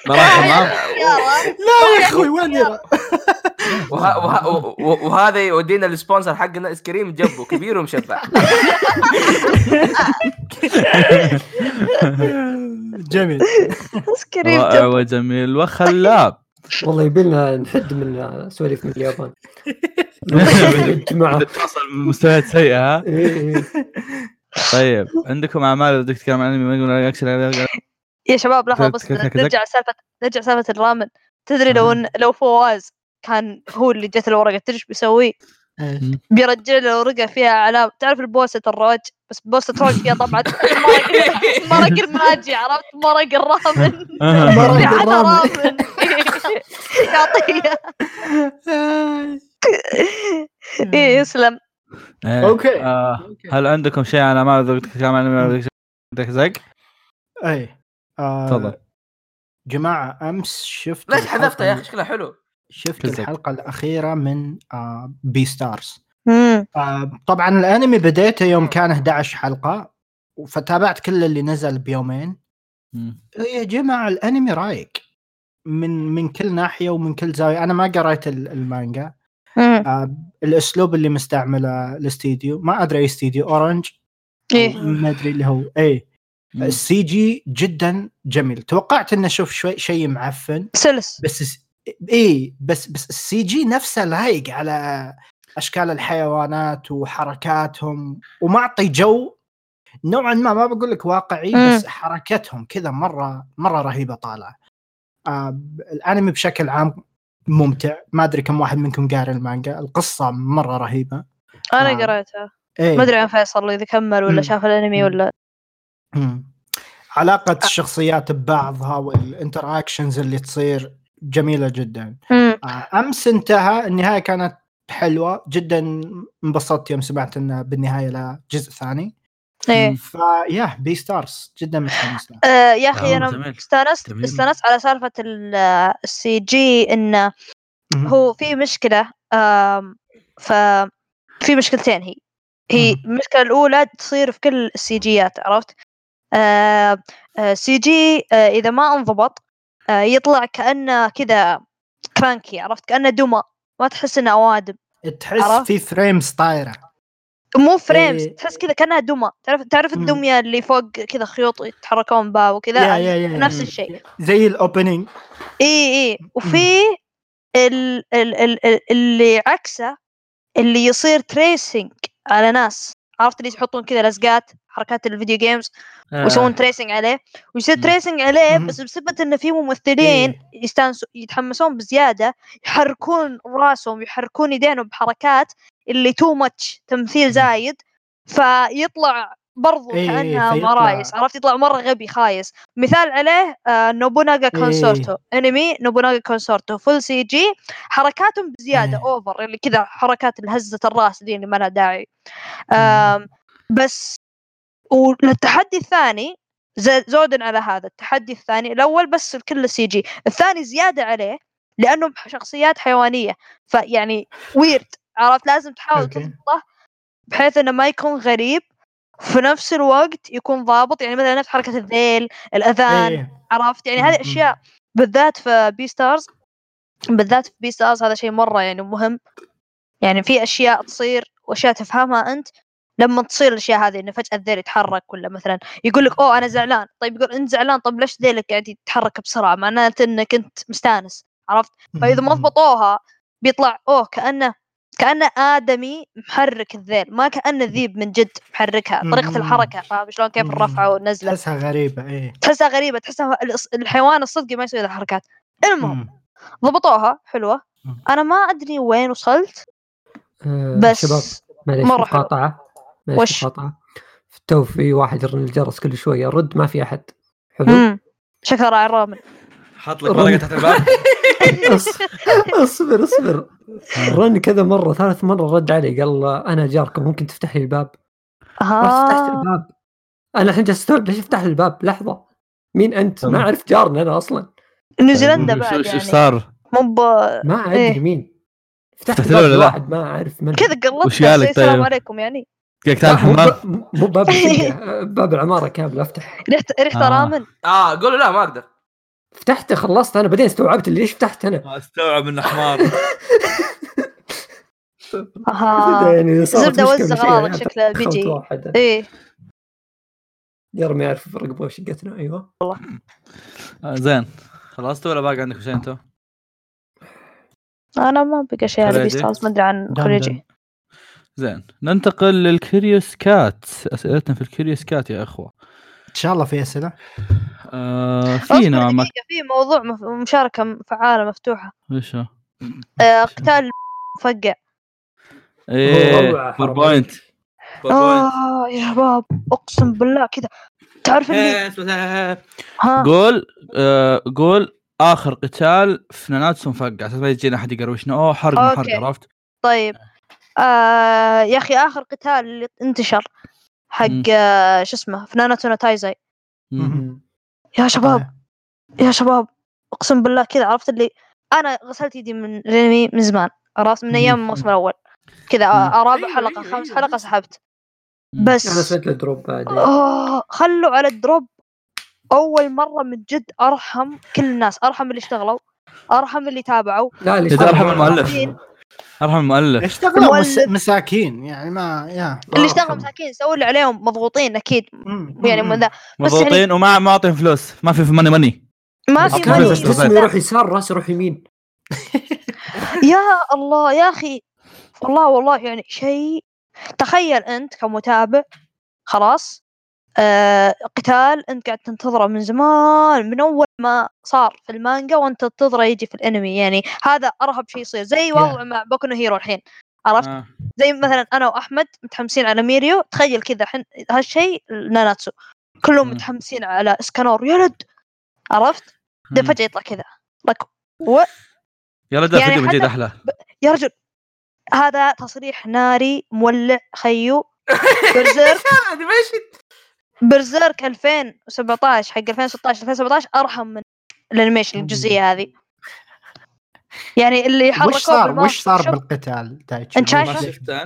Speaker 4: ما راح تمام
Speaker 2: آه، يا
Speaker 1: لا يا
Speaker 6: طيب،
Speaker 1: اخوي وين يرى؟
Speaker 6: وه... وه... وه... وهذا يودينا السبونسر حقنا ايس كريم جبه كبير ومشبع
Speaker 1: جميل
Speaker 2: ايس كريم
Speaker 4: رائع
Speaker 2: جب.
Speaker 4: وجميل وخلاب
Speaker 3: والله يبيلنا نحد من سواليف من اليابان جماعه
Speaker 4: توصل مستويات سيئه ها
Speaker 3: إيه، إيه.
Speaker 4: طيب عندكم اعمال بدك تتكلم عن انمي مانجا اكشن
Speaker 2: يا شباب لحظه
Speaker 4: كذا-
Speaker 2: بس
Speaker 4: كذا- كذا.
Speaker 2: نرجع سالفه نرجع سالفه الرامن تدري لو إن- لو فواز كان هو اللي جت الورقه تدري ايش بيسوي؟ بيرجع له ورقه فيها اعلام تعرف البوسه الروج بس بوسه روج فيها طبعا مرق- مرق المناجي عرفت مرق الرامن
Speaker 1: مرق
Speaker 2: يعني
Speaker 1: الرامن.
Speaker 2: رامن. يعطيه
Speaker 1: آه،
Speaker 2: ايه يسلم
Speaker 1: أوكي.
Speaker 4: آه، هل عندكم شيء عن اعمال بدك تتكلم عن انمي بدك زق
Speaker 1: اي آه،
Speaker 4: تفضل.
Speaker 1: جماعه امس شفت
Speaker 6: ليش حذفته يا اخي
Speaker 1: الحلقة-
Speaker 6: شكلها حلو
Speaker 1: شفت
Speaker 4: كزك.
Speaker 1: الحلقه الاخيره من آه، بي ستارز آه، طبعا الانمي بديته يوم كان 11 حلقه فتابعت كل اللي نزل بيومين إيه، يا جماعه الانمي رايق من من كل ناحيه ومن كل زاويه انا ما قريت ال- المانجا آه، الاسلوب اللي مستعمله الاستديو ما ادري اي استديو اورنج
Speaker 2: ايه
Speaker 1: ما ادري اللي هو إيه. اي السي جي جدا جميل توقعت اني اشوف شوي شيء معفن
Speaker 2: سلس
Speaker 1: بس الس- اي بس بس السي جي نفسه لايق على اشكال الحيوانات وحركاتهم ومعطي جو نوعا ما ما بقول لك واقعي
Speaker 2: مم.
Speaker 1: بس حركتهم كذا مره مره رهيبه طالعه آه ب- الانمي بشكل عام ممتع ما ادري كم واحد منكم قارئ المانجا القصه مره رهيبه آه.
Speaker 2: انا قريتها
Speaker 1: ايه
Speaker 2: ما ادري عن فيصل اذا كمل
Speaker 1: مم.
Speaker 2: ولا شاف الانمي
Speaker 1: مم.
Speaker 2: ولا
Speaker 1: مم. علاقه الشخصيات ببعضها والانتراكشنز اللي تصير جميله جدا
Speaker 2: مم.
Speaker 1: امس انتهى النهايه كانت حلوه جدا انبسطت يوم سمعت انه بالنهايه لا جزء ثاني
Speaker 2: ايه
Speaker 1: فيا بي ستارز جدا متحمس له.
Speaker 2: آه، يا اخي
Speaker 4: آه،
Speaker 2: انا
Speaker 4: جميل.
Speaker 2: استانست
Speaker 4: جميل.
Speaker 2: استانست على سالفه ال- السي جي انه
Speaker 1: مم.
Speaker 2: هو في مشكله آم، ف في مشكلتين هي هي المشكله الاولى تصير في كل السي جيات عرفت آه، آه، سي جي آه، اذا ما انضبط آه، يطلع كانه كذا كرانكي عرفت كانه دمى ما تحس انه اوادم
Speaker 1: تحس
Speaker 2: عرفت؟
Speaker 1: في فريمز طايره
Speaker 2: مو فريمز
Speaker 1: إيه.
Speaker 2: تحس كذا كانها دمى تعرف تعرف
Speaker 1: مم.
Speaker 2: الدميه اللي فوق كذا خيوط يتحركون بها
Speaker 1: يا-
Speaker 2: وكذا يعني
Speaker 1: يا- يا- يا.
Speaker 2: نفس الشيء
Speaker 1: زي الاوبننج
Speaker 2: اي اي إيه، وفي
Speaker 1: إمم.
Speaker 2: ال ال ال ال- اللي عكسه اللي يصير تريسنج على ناس عرفت اللي يحطون كذا لزقات حركات الفيديو جيمز ويسوون
Speaker 1: آه.
Speaker 2: تريسنج عليه ويصير
Speaker 1: إمم.
Speaker 4: مم.
Speaker 2: تريسنج عليه
Speaker 1: مم.
Speaker 2: بس بسبب انه في ممثلين
Speaker 1: إيه.
Speaker 2: يستانسوا يتحمسون بزياده يحركون راسهم يحركون يدينهم بحركات اللي تو ماتش تمثيل زايد فيطلع برضو
Speaker 1: إمم. إيه، إيه،
Speaker 2: كانها
Speaker 1: فيطلع-
Speaker 2: مرايس عرفت يطلع مره غبي خايس مثال عليه آه نوبوناغا
Speaker 1: إيه.
Speaker 2: كونسورتو انمي نوبوناغا كونسورتو فول سي جي حركاتهم بزياده
Speaker 1: إيه.
Speaker 2: اوفر اللي كذا حركات الهزه الراس دي اللي ما لها داعي
Speaker 1: مم.
Speaker 2: آم، بس والتحدي الثاني ز- زودا على هذا التحدي الثاني الاول بس الكل سي جي الثاني زياده عليه لانهم شخصيات حيوانيه فيعني ويرد عرفت لازم تحاول
Speaker 1: أوكي.
Speaker 2: تضبطه بحيث انه ما يكون غريب في نفس الوقت يكون ضابط يعني مثلا نفس حركه الذيل الاذان
Speaker 1: إيه.
Speaker 2: عرفت يعني
Speaker 1: مم،
Speaker 2: هذه
Speaker 1: مم.
Speaker 2: اشياء بالذات في بي ستارز بالذات في بي ستارز هذا شيء مره يعني مهم يعني في اشياء تصير واشياء تفهمها انت لما تصير الاشياء هذه انه فجاه الذيل يتحرك ولا مثلا يقول لك اوه انا زعلان طيب يقول انت زعلان طيب ليش ذيلك قاعد يتحرك بسرعه معناته انك انت مستانس عرفت فاذا ما ضبطوها بيطلع اوه كانه كانه ادمي محرك الذيل ما كانه ذيب من جد محركها
Speaker 1: مم.
Speaker 2: طريقه الحركه فاهم شلون كيف
Speaker 1: مم.
Speaker 2: الرفعه والنزله
Speaker 1: تحسها غريبه ايه
Speaker 2: تحسها غريبه تحسها الص- الحيوان الصدقي ما يسوي ذا الحركات المهم
Speaker 1: مم.
Speaker 2: ضبطوها حلوه
Speaker 1: مم.
Speaker 2: انا ما ادري وين وصلت
Speaker 3: آه،
Speaker 2: بس
Speaker 3: شباب معليش
Speaker 2: مرة حلو.
Speaker 3: مقاطعة معليش
Speaker 2: وش؟
Speaker 3: مقاطعة تو في واحد يرن الجرس كل شوية رد ما في أحد حلو
Speaker 2: مم. شكرا راعي الرامن
Speaker 4: حط لك ورقه تحت الباب
Speaker 3: أص- اصبر اصبر رن كذا مرة ثالث مرة رد علي قال أنا جاركم ممكن تفتح لي الباب رحت فتحت
Speaker 2: آه.
Speaker 3: الباب أنا الحين جالس أستوعب ليش أفتح الباب لحظة مين أنت ما أعرف جارنا أنا أصلا
Speaker 2: نيوزيلندا
Speaker 4: شو-
Speaker 2: بعد
Speaker 4: شو
Speaker 2: يعني
Speaker 4: صار؟
Speaker 2: مو ب
Speaker 3: ما أدري
Speaker 2: إيه.
Speaker 3: مين فتحت
Speaker 4: فتحت له
Speaker 3: الباب
Speaker 4: ولا لا؟
Speaker 3: واحد ما أعرف من
Speaker 2: كذا قلت
Speaker 4: وش يالك
Speaker 2: زي السلام
Speaker 4: طيب؟
Speaker 2: عليكم يعني
Speaker 4: قلت تعال
Speaker 3: لا، مو
Speaker 4: الحمام
Speaker 3: ب- مو باب الشقة، باب العمارة كاملة أفتح
Speaker 2: ريحت ريحت
Speaker 4: آه.
Speaker 2: رامن
Speaker 6: اه قولوا لا ما اقدر
Speaker 3: فتحته خلصت انا بعدين استوعبت اللي ليش فتحت انا
Speaker 4: ما استوعب انه حمار
Speaker 2: اها
Speaker 3: يعني
Speaker 2: آه. زبدة
Speaker 3: مشكلة
Speaker 2: وزة
Speaker 3: بشيء،
Speaker 2: غراضك
Speaker 3: يعني
Speaker 2: شكلها
Speaker 3: دخلت
Speaker 2: بيجي.
Speaker 3: واحد
Speaker 2: ايه
Speaker 3: يا رب ما يعرف يفرق بين شقتنا ايوه
Speaker 4: آه، زين خلصتوا ولا باقي عندكم شيء انتم؟
Speaker 2: انا ما بقى شيء على
Speaker 4: خريجي؟
Speaker 2: بيستارز ما ادري عن
Speaker 1: دندن.
Speaker 2: خريجي
Speaker 4: زين ننتقل للكيريوس كات اسئلتنا في الكيريوس كات يا اخوه
Speaker 1: ان شاء الله في اسئله
Speaker 4: آه في
Speaker 2: اصبر
Speaker 4: نوع ما
Speaker 2: دقيقة، في موضوع مف- مشاركة م- فعالة مفتوحة
Speaker 4: ايش هو؟
Speaker 2: آه، قتال مفقع
Speaker 4: ايه بوربوينت
Speaker 2: اه يا شباب اقسم بالله كذا تعرف اللي ها
Speaker 4: إيه. قول آه قول اخر قتال في ناناتسو مفقع عشان ما يجينا احد يقروشنا اوه حرق مو حرق
Speaker 2: أوكي.
Speaker 4: عرفت؟
Speaker 2: طيب آه يا اخي اخر قتال اللي انتشر
Speaker 4: مم.
Speaker 2: حق آه شو اسمه فنانة تايزاي
Speaker 4: مم.
Speaker 2: يا
Speaker 1: آه.
Speaker 2: شباب
Speaker 4: آه.
Speaker 2: يا شباب اقسم بالله كذا عرفت اللي انا غسلت يدي من الانمي من زمان عرفت من ايام الموسم الاول كذا
Speaker 4: مم.
Speaker 2: آه، رابع
Speaker 6: أيوة،
Speaker 2: حلقه
Speaker 6: أيوة،
Speaker 2: خامس
Speaker 6: أيوة،
Speaker 2: حلقه
Speaker 6: نفس-
Speaker 2: سحبت
Speaker 4: مم.
Speaker 3: انا
Speaker 2: بس
Speaker 3: سويت يعني له دروب بعد
Speaker 2: آه خلوا على الدروب اول مره من جد ارحم كل الناس ارحم اللي اشتغلوا ارحم اللي تابعوا
Speaker 3: لا اللي
Speaker 4: إذا
Speaker 3: اشتغل-
Speaker 4: أرحم المؤلف. ارحم المؤلف
Speaker 1: اشتغلوا مس...
Speaker 2: مولد.
Speaker 1: مساكين يعني ما يا
Speaker 2: اللي
Speaker 3: آه، أرحم.
Speaker 2: اشتغلوا مساكين سووا اللي عليهم مضغوطين اكيد
Speaker 1: مم.
Speaker 2: يعني
Speaker 1: مم.
Speaker 2: من ذا بس يعني-
Speaker 4: مضغوطين وما ما اعطيهم فلوس ما في في ماني ماني
Speaker 2: ما
Speaker 4: أوكي.
Speaker 2: في
Speaker 3: كان
Speaker 2: ماني
Speaker 4: بس- بس-
Speaker 3: جسمي يروح يسار راسي يروح يمين
Speaker 2: يا الله يا اخي والله والله يعني شيء تخيل انت كمتابع خلاص آه، قتال انت قاعد تنتظره من زمان من اول ما صار في المانجا وانت تنتظره يجي في الانمي يعني هذا ارهب شيء يصير زي وضع مع بوكو نو هيرو الحين عرفت
Speaker 4: آه.
Speaker 2: زي مثلا انا واحمد متحمسين على ميريو تخيل كذا الحين هالشيء ناناتسو كلهم
Speaker 4: مم.
Speaker 2: متحمسين على اسكانور يا ولد عرفت ده فجاه يطلع كذا لك و...
Speaker 4: يا رجال
Speaker 2: يعني
Speaker 4: فيديو
Speaker 2: حتى-
Speaker 4: جديد احلى
Speaker 2: يا رجل هذا تصريح ناري مولع خيو برزيرك
Speaker 6: انيميشن
Speaker 2: برزيرك 2017 حق 2016 2017 ارحم من الانيميشن الجزئيه هذه يعني اللي حركوه
Speaker 1: وش صار
Speaker 2: بالماضي
Speaker 1: وش صار
Speaker 2: شوف-
Speaker 1: بالقتال تايتشي وش-
Speaker 2: أنت شايفه؟
Speaker 5: ما شفته انت؟
Speaker 1: لا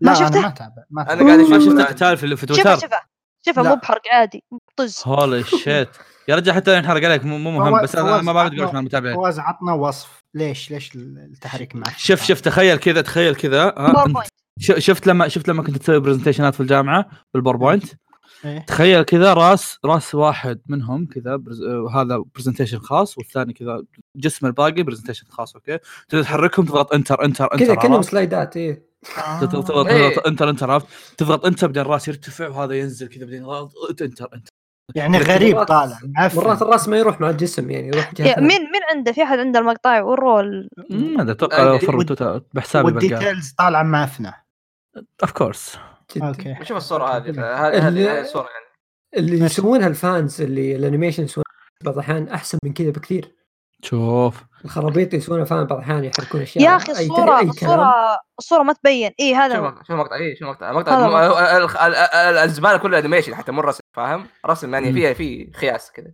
Speaker 2: ما
Speaker 1: انا
Speaker 2: شفته؟
Speaker 1: ما تابع ما
Speaker 6: أنا
Speaker 1: تابع.
Speaker 6: قاعد
Speaker 4: ما
Speaker 6: أشوف
Speaker 4: شفت
Speaker 6: الآن.
Speaker 4: القتال في في
Speaker 2: شوفه
Speaker 4: تويتر
Speaker 2: شوفه شوفه
Speaker 1: لا.
Speaker 2: مو بحرق عادي طز
Speaker 4: هولي شيت يا رجال حتى لو ينحرق عليك مو مو مهم
Speaker 1: فواز-
Speaker 4: بس انا
Speaker 1: فواز
Speaker 4: ما بعرف
Speaker 1: عطنا-
Speaker 4: اقول المتابعين
Speaker 1: فواز عطنا وصف ليش ليش التحريك معك
Speaker 4: شوف شوف تخيل كذا تخيل كذا ها أنت
Speaker 2: باوربوينت
Speaker 4: ش- شفت لما شفت لما كنت تسوي برزنتيشنات في الجامعه بالباوربوينت
Speaker 1: إيه.
Speaker 4: تخيل كذا راس راس واحد منهم كذا برز... آه، هذا برزنتيشن خاص والثاني كذا جسم الباقي برزنتيشن خاص اوكي تقدر تحركهم تضغط انتر انتر انتر
Speaker 3: كذا كانهم
Speaker 4: عرفت؟
Speaker 3: سلايدات ايه
Speaker 1: آه.
Speaker 4: تضغط تضغط
Speaker 6: إيه.
Speaker 4: تضغط انتر انتر عرفت تضغط انتر بعدين الراس يرتفع وهذا ينزل كذا بعدين ضغط انتر انتر
Speaker 1: يعني غريب
Speaker 3: مرات-
Speaker 1: طالع معفن.
Speaker 3: مرات الراس ما يروح مع الجسم يعني يروح جهه
Speaker 2: يا-
Speaker 3: ثانية.
Speaker 2: مين مين عنده في احد عنده المقطع والرول
Speaker 4: ما ادري اتوقع لو
Speaker 6: ودي-
Speaker 4: فرمت تويتر بحسابي بلقاه
Speaker 1: والديتيلز طالعه معفنه
Speaker 4: اوف كورس
Speaker 3: جدا.
Speaker 1: اوكي
Speaker 6: شوف الصوره هذه
Speaker 3: ال-
Speaker 6: هذه هذه الصوره يعني
Speaker 3: اللي يسوونها الفانز اللي الانيميشن يسوونها بعض الاحيان احسن من كذا بكثير
Speaker 4: شوف
Speaker 3: الخرابيط اللي يسوونها فان بعض الاحيان يحركون اشياء
Speaker 2: يا اخي
Speaker 3: أي- أي
Speaker 2: الصوره
Speaker 3: كلام.
Speaker 2: الصوره الصوره ما تبين اي هذا
Speaker 6: شوف
Speaker 2: هو
Speaker 6: مقطع- شوف مقطع اي شوف مقطع مقطع
Speaker 2: هذا
Speaker 6: مو- ال- ال- ال- الزباله كلها انيميشن حتى مو رسم فاهم رسم يعني
Speaker 4: مم.
Speaker 6: فيها في خياس كذا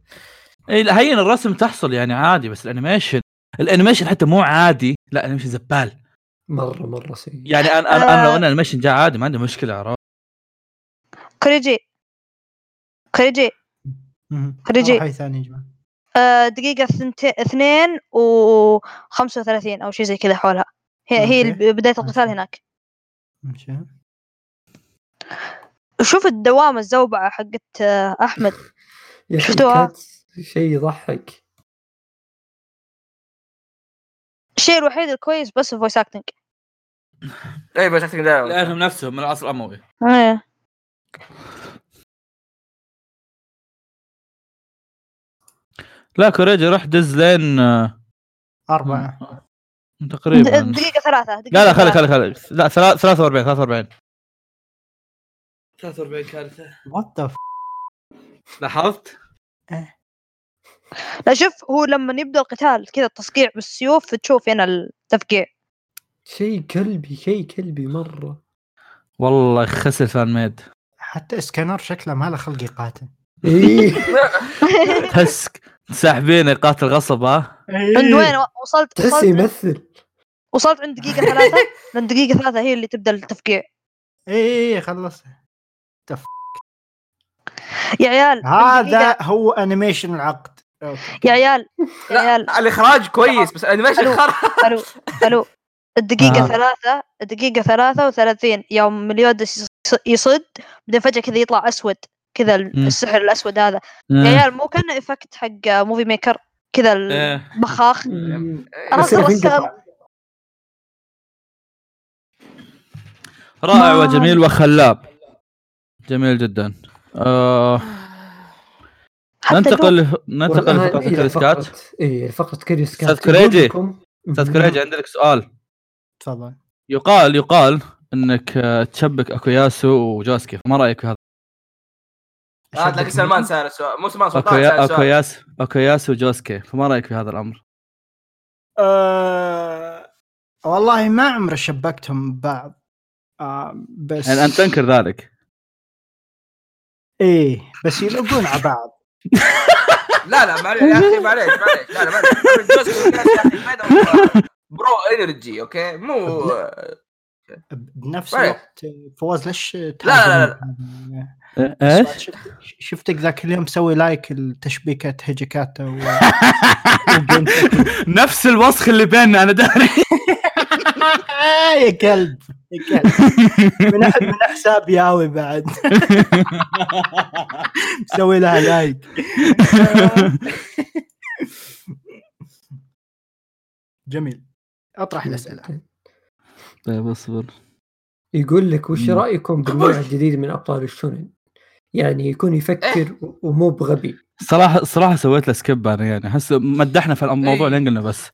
Speaker 4: إيه، لا، هين الرسم تحصل يعني عادي بس الانيميشن الانيميشن حتى مو عادي لا الانيميشن زبال
Speaker 3: مره مره سيء
Speaker 4: يعني انا انا, أنا لو
Speaker 2: آه.
Speaker 4: انا الانيميشن جاء عادي ما عندي مشكله عرفت
Speaker 2: كوريجي كوريجي
Speaker 1: مهم.
Speaker 2: رجي.
Speaker 1: حي ثاني يا جماعه
Speaker 2: آه، دقيقة ثنتين اثنين وخمسة وثلاثين أو شيء زي كذا حولها هي هي
Speaker 1: أوكي.
Speaker 2: الب- بداية القتال
Speaker 1: أوكي.
Speaker 2: هناك
Speaker 1: مشي.
Speaker 2: شوف الدوامة الزوبعة حقت آه، أحمد
Speaker 3: يا أخي
Speaker 2: شفتوها؟
Speaker 3: كاتس شيء يضحك
Speaker 2: الشيء الوحيد الكويس بس الفويس أكتنج
Speaker 6: اي إيه، بس أعتقد لا-
Speaker 4: لانهم نفسهم من العصر الاموي
Speaker 2: إيه.
Speaker 4: لا كوريجي روح دز لين آه،
Speaker 1: اربعه
Speaker 4: تقريبا
Speaker 2: د- دقيقة ثلاثة دقيقة
Speaker 4: لا لا خلي
Speaker 2: ثلاثة.
Speaker 4: خلي خلي لا ثلا- 43 43 43 كارثه
Speaker 1: وات ذا
Speaker 4: لاحظت؟
Speaker 2: لا شوف هو لما يبدأ القتال كذا التصقيع بالسيوف تشوف هنا التفقيع
Speaker 3: شيء كلبي شيء كلبي مره
Speaker 4: والله خسر فان ميد
Speaker 1: حتى اسكانر شكله ما له خلق يقاتل
Speaker 3: إيه.
Speaker 4: تحس ساحبين قاتل غصب ها
Speaker 2: عند وين وصلت
Speaker 3: تحسه
Speaker 2: وصلت,
Speaker 3: يمثل
Speaker 2: وصلت عند دقيقة ثلاثة لأن دقيقة ثلاثة هي اللي تبدأ التفقيع
Speaker 1: اي إيه، خلص
Speaker 2: يا عيال الدقيقة-
Speaker 1: هذا هو انيميشن العقد أوكي.
Speaker 2: يا عيال يا
Speaker 6: لا،
Speaker 2: عيال
Speaker 6: الاخراج كويس بس الانيميشن
Speaker 2: ألو.
Speaker 6: خرا
Speaker 2: الو الو الدقيقة
Speaker 4: آه.
Speaker 2: ثلاثة الدقيقة ثلاثة وثلاثين يوم مليودس يص- يصد بعدين فجأة كذا يطلع أسود كذا ال-
Speaker 4: مم.
Speaker 2: السحر الأسود هذا يا عيال مو كان إفكت حق موفي ميكر كذا
Speaker 4: إيه.
Speaker 2: البخاخ
Speaker 3: بس
Speaker 2: خلاص
Speaker 3: إنه
Speaker 2: خلاص
Speaker 3: بينقطع.
Speaker 4: رائع
Speaker 2: ما-
Speaker 4: وجميل وخلاب جميل جدا آه
Speaker 2: حتى
Speaker 4: ننتقل
Speaker 2: اللون.
Speaker 4: له- ننتقل
Speaker 3: والآن
Speaker 4: لفقره
Speaker 3: إلى
Speaker 4: كريس كات
Speaker 3: فقرة- إيه فقرة كريس
Speaker 4: أستاذ
Speaker 3: كات
Speaker 4: كريجي.
Speaker 3: كلكم-
Speaker 4: استاذ كريجي عندك سؤال
Speaker 1: تفضل
Speaker 4: يقال يقال انك آه، تشبك اكوياسو وجوسكي فما رايك في هذا؟
Speaker 6: آه، تلاقي سلمان سال السؤال مو سلمان سلطان
Speaker 4: أكويا
Speaker 6: سال السؤال
Speaker 4: اكوياس اكوياس وجوسكي فما رايك في هذا الامر؟
Speaker 1: آه... والله ما عمري شبكتهم ببعض آه بس
Speaker 4: يعني انت تنكر ذلك
Speaker 1: ايه بس يلعبون على بعض
Speaker 6: لا لا معليش يا اخي معليش معليش لا لا معليش جوز كريس يا أخي، ما يدور. برو انرجي اوكي مو
Speaker 1: بنفس
Speaker 6: طيب.
Speaker 1: الوقت فواز ليش
Speaker 6: لا، لا،
Speaker 1: لا
Speaker 4: إيه، ايش؟
Speaker 1: شفتك ذاك اليوم مسوي لايك لتشبيكه هيجيكاتا و...
Speaker 4: نفس الوسخ اللي بيننا انا داري
Speaker 1: آه، يا كلب يا كلب من من حساب ياوي بعد مسوي لها لايك جميل اطرح الاسئله
Speaker 4: طيب اصبر
Speaker 3: يقول لك وش
Speaker 4: مم.
Speaker 3: رايكم بالنوع الجديد من ابطال الشونن يعني يكون
Speaker 2: إيه.
Speaker 3: يفكر و- ومو بغبي
Speaker 4: صراحه صراحه سويت له سكيب انا يعني احس مدحنا في الموضوع
Speaker 6: إيه.
Speaker 4: اللي قلنا بس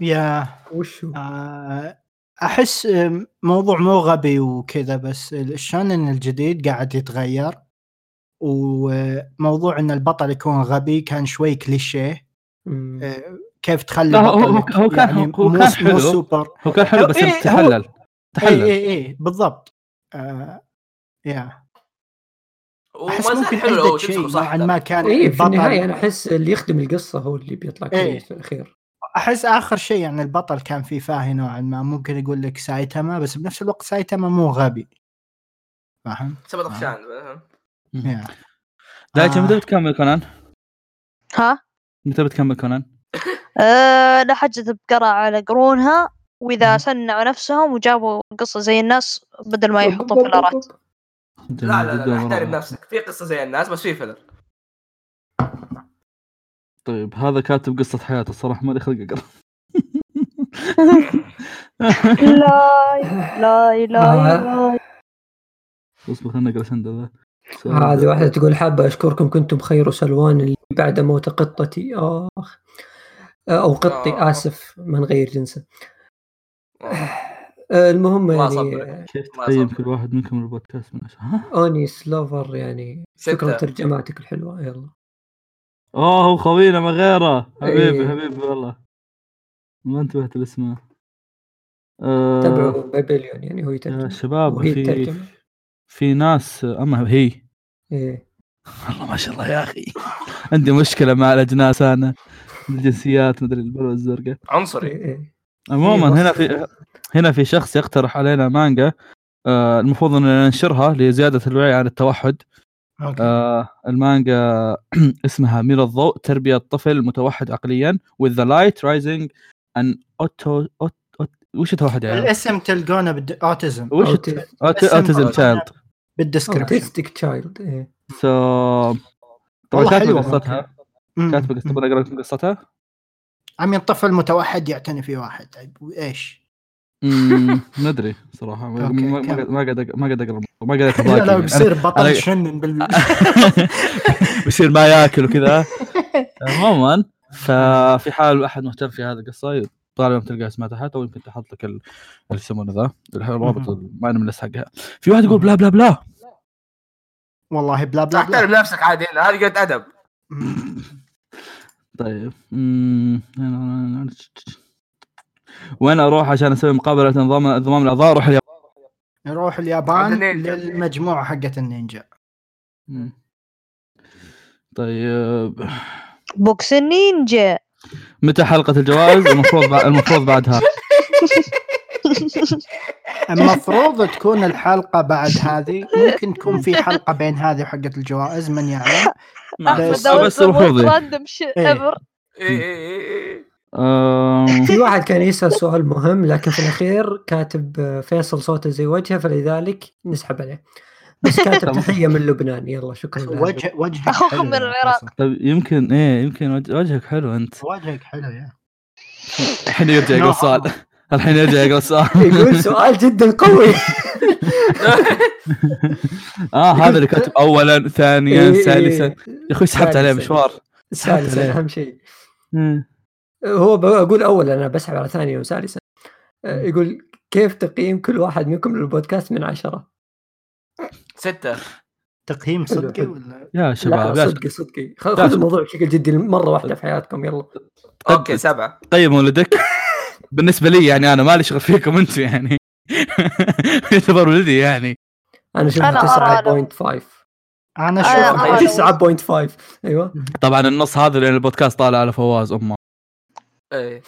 Speaker 1: يا
Speaker 3: وش هو؟
Speaker 1: آه، احس آم، موضوع مو غبي وكذا بس الشونن الجديد قاعد يتغير وموضوع ان البطل يكون غبي كان شوي كليشيه
Speaker 6: إيه،
Speaker 3: مم.
Speaker 1: آه، كيف تخلي
Speaker 4: لا، هو- هو-
Speaker 1: بطلك يعني
Speaker 4: هو كان- هو
Speaker 1: مو-
Speaker 4: كان
Speaker 1: مو
Speaker 4: حلو.
Speaker 1: سوبر
Speaker 4: هو كان حلو بس
Speaker 1: إيه، هو-
Speaker 4: تحلل
Speaker 1: اي
Speaker 4: تحلل
Speaker 1: اي اي بالضبط آه، يا احس
Speaker 6: وما زال
Speaker 1: ممكن
Speaker 6: حلو لو
Speaker 1: عدة
Speaker 6: تمسكه
Speaker 1: شيء
Speaker 6: صح
Speaker 1: نوعا ما
Speaker 6: يعني
Speaker 1: كان
Speaker 4: إيه،
Speaker 3: اي في النهايه انا
Speaker 1: البطل
Speaker 3: احس اللي يخدم القصه هو اللي بيطلع
Speaker 1: إيه.
Speaker 3: كويس في الاخير
Speaker 1: احس اخر شيء يعني البطل كان فيه فاهي نوعا ما ممكن يقول لك سايتاما بس بنفس الوقت سايتاما مو غبي فاهم؟
Speaker 6: سبب طفشان
Speaker 4: إيه.
Speaker 1: يا.
Speaker 4: دايتشي
Speaker 1: آه.
Speaker 4: متى بتكمل كونان؟
Speaker 2: ها
Speaker 4: متى بتكمل كونان؟
Speaker 2: أه لا حاجة تبقرة على قرونها
Speaker 4: مم.
Speaker 2: وإذا صنعوا نفسهم وجابوا قصة زي الناس بدل ما يحطون فيلرات
Speaker 6: لا لا لا احترم نفسك في قصه زي الناس بس في فيلر
Speaker 4: طيب هذا كاتب قصه حياته الصراحه ما لي خلق اقرا
Speaker 2: لا لا لا
Speaker 4: آه.
Speaker 2: لا
Speaker 4: اصبر خلنا اقرا سند ذا
Speaker 3: هذه واحده تقول حابه اشكركم كنتم خير سلوان اللي بعد موت قطتي اخ او قطي
Speaker 6: آه.
Speaker 3: اسف ما نغير جنسه آه، المهم
Speaker 6: الله
Speaker 3: يعني
Speaker 6: يصبرك.
Speaker 4: كيف
Speaker 6: ما
Speaker 4: تقيم
Speaker 6: أصبر.
Speaker 4: كل واحد منكم البودكاست من عشرة؟ ها؟
Speaker 3: اوني سلوفر يعني شكرا
Speaker 6: ستة.
Speaker 3: ترجماتك الحلوه يلا
Speaker 4: اوه هو خوينا ما غيره حبيبي
Speaker 3: إيه.
Speaker 4: حبيبي والله ما انتبهت لاسمه آه،
Speaker 3: تابعوا بابليون يعني هو
Speaker 4: يا
Speaker 6: آه،
Speaker 3: يترجم
Speaker 4: شباب
Speaker 3: وهي
Speaker 4: في
Speaker 3: تترجم
Speaker 4: في ناس اما هي
Speaker 3: ايه
Speaker 4: والله ما شاء الله يا اخي عندي مشكله مع الاجناس انا الجنسيات مدري البلوه الزرقاء
Speaker 6: عنصري
Speaker 3: إيه، إيه.
Speaker 4: عموما
Speaker 3: إيه،
Speaker 4: هنا
Speaker 3: بس-
Speaker 4: في هنا في شخص يقترح علينا مانجا آه المفروض ان ننشرها لزياده الوعي عن التوحد
Speaker 1: أوكي.
Speaker 4: آه المانجا اسمها من الضوء تربيه طفل متوحد عقليا with the light rising an auto, auto, وش التوحد يعني؟
Speaker 1: الاسم تلقونه بد... اوتيزم
Speaker 4: وش
Speaker 3: أوتي-
Speaker 4: اوتيزم تشايلد
Speaker 1: بالدسكربشن
Speaker 3: اوتستيك تشايلد ايه
Speaker 4: سو طبعا
Speaker 1: والله
Speaker 4: كاتبه
Speaker 1: حلوة.
Speaker 4: قصتها
Speaker 1: مم.
Speaker 4: كاتبه قصتها تبغى اقرا لكم قصتها؟
Speaker 1: عم طفل متوحد يعتني في واحد طيب وايش؟
Speaker 4: مم، ما ادري صراحه ما
Speaker 1: أوكي،
Speaker 4: ما-
Speaker 1: كمل.
Speaker 4: ما قد ما قد اقرا ما قد
Speaker 1: لا لا
Speaker 4: اتفاجئ
Speaker 1: بيصير
Speaker 4: أنا-
Speaker 1: بطل يشنن بال
Speaker 4: بيصير ما ياكل وكذا عموما ففي حال احد مهتم في هذه القصه طالما تلقى اسمها تحت او يمكن تحط لك ال- اللي يسمونه ذا الرابط ما انا من حقها في واحد يقول بلا بلا بلا
Speaker 1: والله بلا بلا بلا
Speaker 6: احترم نفسك عادي هنا هذه قد ادب
Speaker 1: مم.
Speaker 4: طيب مم. وين اروح عشان اسوي مقابله انضمام انضمام الاعضاء اروح اليابان
Speaker 1: نروح اليابان
Speaker 6: عند النينجا.
Speaker 1: للمجموعه حقت النينجا
Speaker 4: مم. طيب
Speaker 2: بوكس النينجا
Speaker 4: متى حلقه الجوائز المفروض بع- المفروض بعدها
Speaker 1: المفروض تكون الحلقه بعد هذه ممكن تكون في حلقه بين هذه وحقت الجوائز من يعلم بس-
Speaker 4: نعم. بس المفروض إيه.
Speaker 2: راندوم شيء
Speaker 1: إيه.
Speaker 2: ايفر
Speaker 6: إيه، إيه، إيه، إيه.
Speaker 4: آم،
Speaker 3: في واحد كان يسال سؤال مهم لكن في الاخير كاتب آه، فيصل صوته زي وجهه فلذلك نسحب عليه بس كاتب تحيه من لبنان يلا شكرا لهذا.
Speaker 1: وجه وجهك
Speaker 2: أخوكم
Speaker 1: حلو
Speaker 2: من
Speaker 1: يا
Speaker 2: العراق.
Speaker 1: فيصل.
Speaker 4: طيب يمكن ايه يمكن وج- وجهك حلو انت
Speaker 1: وجهك حلو يا
Speaker 4: الحين يرجع يقرا السؤال الحين يرجع يقرا السؤال
Speaker 3: يقول سؤال جدا قوي
Speaker 4: اه هذا اللي كاتب اولا
Speaker 3: إيه،
Speaker 4: ثانيا ثالثا يا اخوي سحبت
Speaker 3: ثالثا.
Speaker 4: عليه مشوار سحبت
Speaker 3: ثالثا
Speaker 4: عليه
Speaker 3: اهم شيء
Speaker 4: مم.
Speaker 3: هو بقول اول انا بسحب على ثانيه وثالثه آه، يقول كيف تقييم كل واحد منكم للبودكاست من عشره؟
Speaker 6: ستة
Speaker 1: تقييم
Speaker 3: حلو،
Speaker 1: صدقي
Speaker 3: حلو.
Speaker 1: ولا
Speaker 4: يا شباب
Speaker 3: لا
Speaker 4: يا
Speaker 3: صدقي صدقي خ-
Speaker 4: لا،
Speaker 3: خذ الموضوع بشكل جدي مره واحده في حياتكم يلا
Speaker 6: اوكي سبعة
Speaker 4: قيم طيب، ولدك بالنسبه لي يعني انا مالي شغل فيكم انتم يعني يعتبر ولدي يعني
Speaker 3: انا
Speaker 2: أنا أرى
Speaker 3: شفت 9.5
Speaker 1: انا
Speaker 2: أنا
Speaker 1: اشوف
Speaker 2: أرى.
Speaker 3: 9.5 ايوه
Speaker 4: طبعا النص هذا لان البودكاست طالع على فواز امه
Speaker 6: ايه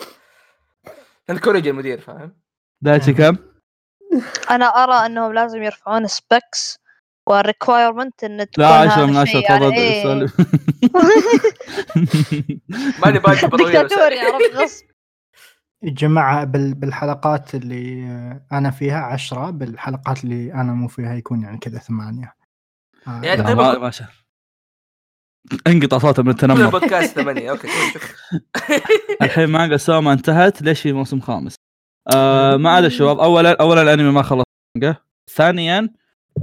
Speaker 6: نكورج المدير فاهم
Speaker 4: دايتشي كم؟
Speaker 2: انا ارى انهم لازم يرفعون سبيكس والريكوايرمنت ان تكون
Speaker 4: لا 10 من
Speaker 2: هذا
Speaker 4: 10
Speaker 2: الشيء يعني إيه.
Speaker 4: تفضل سلم.
Speaker 6: ماني باجي
Speaker 2: دكتاتوري عرفت غصب
Speaker 1: جماعة بال- بالحلقات اللي أنا فيها عشرة بالحلقات اللي أنا مو فيها يكون يعني كذا ثمانية آه،
Speaker 6: يعني
Speaker 4: لا، ما ما شاف انقطع صوته من
Speaker 6: كل
Speaker 4: التنمر
Speaker 6: بودكاست ثمانية اوكي شكرا
Speaker 4: الحين مانجا سوما انتهت ليش في موسم خامس؟ آه ما عدا الشباب اولا اولا الانمي ما خلص مانجا ثانيا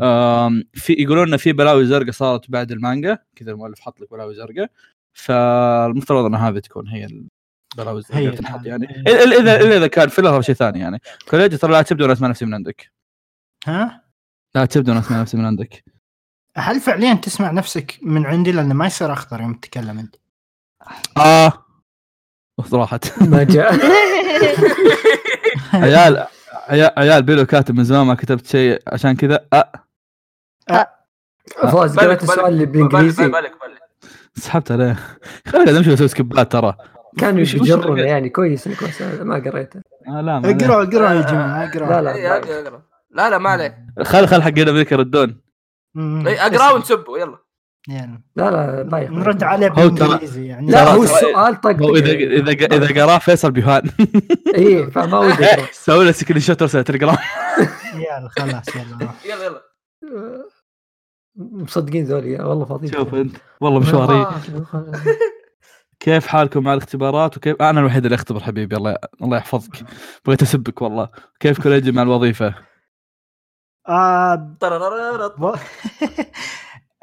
Speaker 4: آم، في يقولون ان في بلاوي زرقاء صارت بعد المانجا كذا المؤلف حط لك بلاوي زرقاء فالمفترض ان هذه تكون هي البلاوي
Speaker 1: هي
Speaker 4: الزرقاء
Speaker 1: ال-
Speaker 4: تنحط يعني إلا- الا اذا الا اذا كان فيلر او شيء ثاني يعني كوليجي ترى لا تبدو انا اسمع نفسي من عندك
Speaker 1: ها
Speaker 4: لا تبدو انا اسمع نفسي من عندك
Speaker 1: هل فعليا تسمع نفسك من عندي لانه ما يصير اخطر يوم تتكلم انت
Speaker 3: آه.
Speaker 4: اه أوف، راحت
Speaker 3: ما جاء
Speaker 4: عيال عيال عيال بيلو كاتب من زمان ما كتبت شيء عشان كذا أه
Speaker 3: فوز
Speaker 6: آه، بالك-
Speaker 3: قرأت
Speaker 6: بالك-
Speaker 3: السؤال اللي
Speaker 6: بالك-
Speaker 3: بالانجليزي
Speaker 6: بالك بالك
Speaker 4: سحبت عليه خلينا قاعد امشي اسوي سكبات ترى
Speaker 3: كانوا
Speaker 4: وش- وش-
Speaker 3: يجرون يعني كويس إني كويس أنا ما قريته
Speaker 4: آه لا ما عليه.
Speaker 1: اقرأوا اقرأوا
Speaker 6: آه.
Speaker 1: يا جماعه
Speaker 3: لا،
Speaker 1: اقرأوا
Speaker 3: لا.
Speaker 6: إيه، أقرأ- أقرأ. لا لا ما عليه
Speaker 4: خل خل حقين امريكا يردون
Speaker 1: مم.
Speaker 6: إيه، اقراه ونسبه يلا
Speaker 1: يعني
Speaker 3: لا لا بايخ
Speaker 1: نرد عليه
Speaker 4: هو ترى-
Speaker 1: بالانجليزي يعني
Speaker 3: لا
Speaker 4: ترى-
Speaker 3: هو
Speaker 4: ترى-
Speaker 3: السؤال طق
Speaker 4: هو اذا اذا اذا قراه فيصل بيهان
Speaker 3: اي إيه، فما ودي أقرأ.
Speaker 4: سوي له سكرين شوت ارسل تليجرام
Speaker 1: يلا خلاص يلا
Speaker 6: يلا يلا
Speaker 3: آه، مصدقين ذولي والله فاضيين
Speaker 4: شوف انت والله مشواري كيف حالكم مع الاختبارات وكيف انا الوحيد اللي اختبر حبيبي الله الله يحفظك بغيت اسبك والله كيف كوليجي مع الوظيفه
Speaker 1: آه
Speaker 6: طرررررررررررررررررررررررررررررررررررررررر.
Speaker 1: و-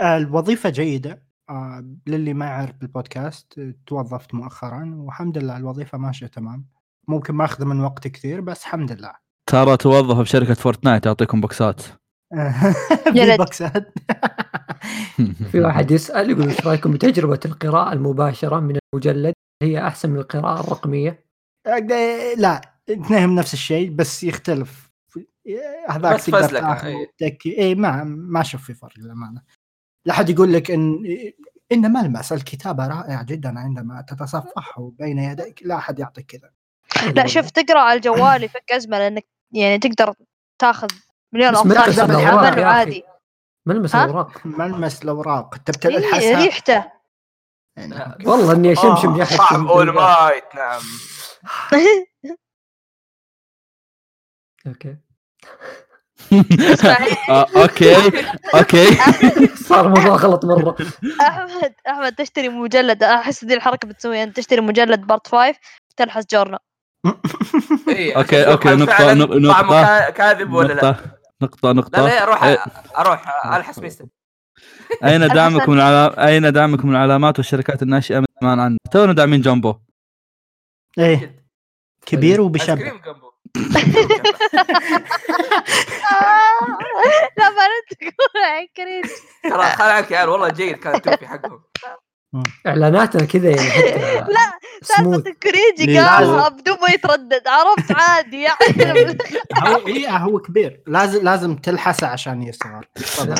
Speaker 1: الوظيفة جيدة آه للي ما يعرف بالبودكاست آه، توظفت مؤخرا والحمد لله الوظيفة ماشية تمام ممكن ما اخذ من وقتي كثير بس الحمد لله
Speaker 4: ترى توظف بشركه فورتنايت تعطيكم بوكسات
Speaker 1: في
Speaker 2: ريت.
Speaker 1: بكسات
Speaker 3: في واحد يسال يقول ايش رايكم بتجربه القراءه المباشره من المجلد هي احسن من القراءه الرقميه
Speaker 1: آه، لا اثنينهم نفس الشيء بس يختلف هذاك
Speaker 6: بس
Speaker 1: تقدر
Speaker 6: فزلكة، إيه.
Speaker 1: تاخذه
Speaker 6: إي.
Speaker 1: وتكي اي ما ما اشوف في فرق للامانه لا احد يقول لك ان ان ملمس الكتابه رائع جدا عندما تتصفحه بين يديك لا احد يعطيك كذا
Speaker 2: لا شوف تقرا على الجوال يفك ازمه لانك يعني تقدر تاخذ مليون
Speaker 3: بس ما
Speaker 2: افكار
Speaker 1: يقصد
Speaker 2: قبل
Speaker 1: الأوراق يا
Speaker 2: عمل
Speaker 3: أخي.
Speaker 2: عادي
Speaker 3: ملمس
Speaker 2: ها؟
Speaker 3: الاوراق
Speaker 1: ملمس الاوراق تبتل
Speaker 2: إيه،
Speaker 1: الحساء
Speaker 2: ريحته
Speaker 1: يعني أوكي.
Speaker 3: والله اني اشمشم يا
Speaker 6: آه،
Speaker 3: اخي
Speaker 6: صعب اول مايت نعم
Speaker 3: اوكي
Speaker 2: اسمع هي-
Speaker 4: آه، اوكي اوكي
Speaker 3: صار الموضوع غلط مره
Speaker 2: احمد احمد تشتري مجلد احس ذي الحركه بتسويها انت تشتري مجلد بارت 5 تلحس جورنا
Speaker 6: إيه،
Speaker 4: أوكي،
Speaker 6: عشان
Speaker 4: أوكي،
Speaker 6: أشوف هل
Speaker 4: نقطة،
Speaker 6: فعلاً
Speaker 4: نق- نقطة.
Speaker 6: طعمه كا- كاذب ولا لا
Speaker 4: نقطه نقطه
Speaker 6: لا
Speaker 4: نقطه
Speaker 6: لا اروح
Speaker 4: إيه.
Speaker 6: اروح الحس ميستر
Speaker 4: اين دعمكم من العلا... اين دعمكم من العلامات والشركات الناشئه من زمان عنا تونا داعمين جامبو
Speaker 1: ايه كبير
Speaker 6: ايس
Speaker 1: وبشب
Speaker 6: كريم جنبه
Speaker 2: آه، لا ما أنا تقول عن كريم
Speaker 6: ترى خال عنك يا عيال والله جيد كانت توفي حقهم
Speaker 3: اعلاناتنا كذا يعني حتى
Speaker 2: لا
Speaker 3: سموث
Speaker 2: سالفه الكريجي
Speaker 4: ليه؟
Speaker 2: قالها بدون ما يتردد عرفت عادي يعني
Speaker 1: هو ايه هو كبير لازم لازم تلحسه عشان يصغر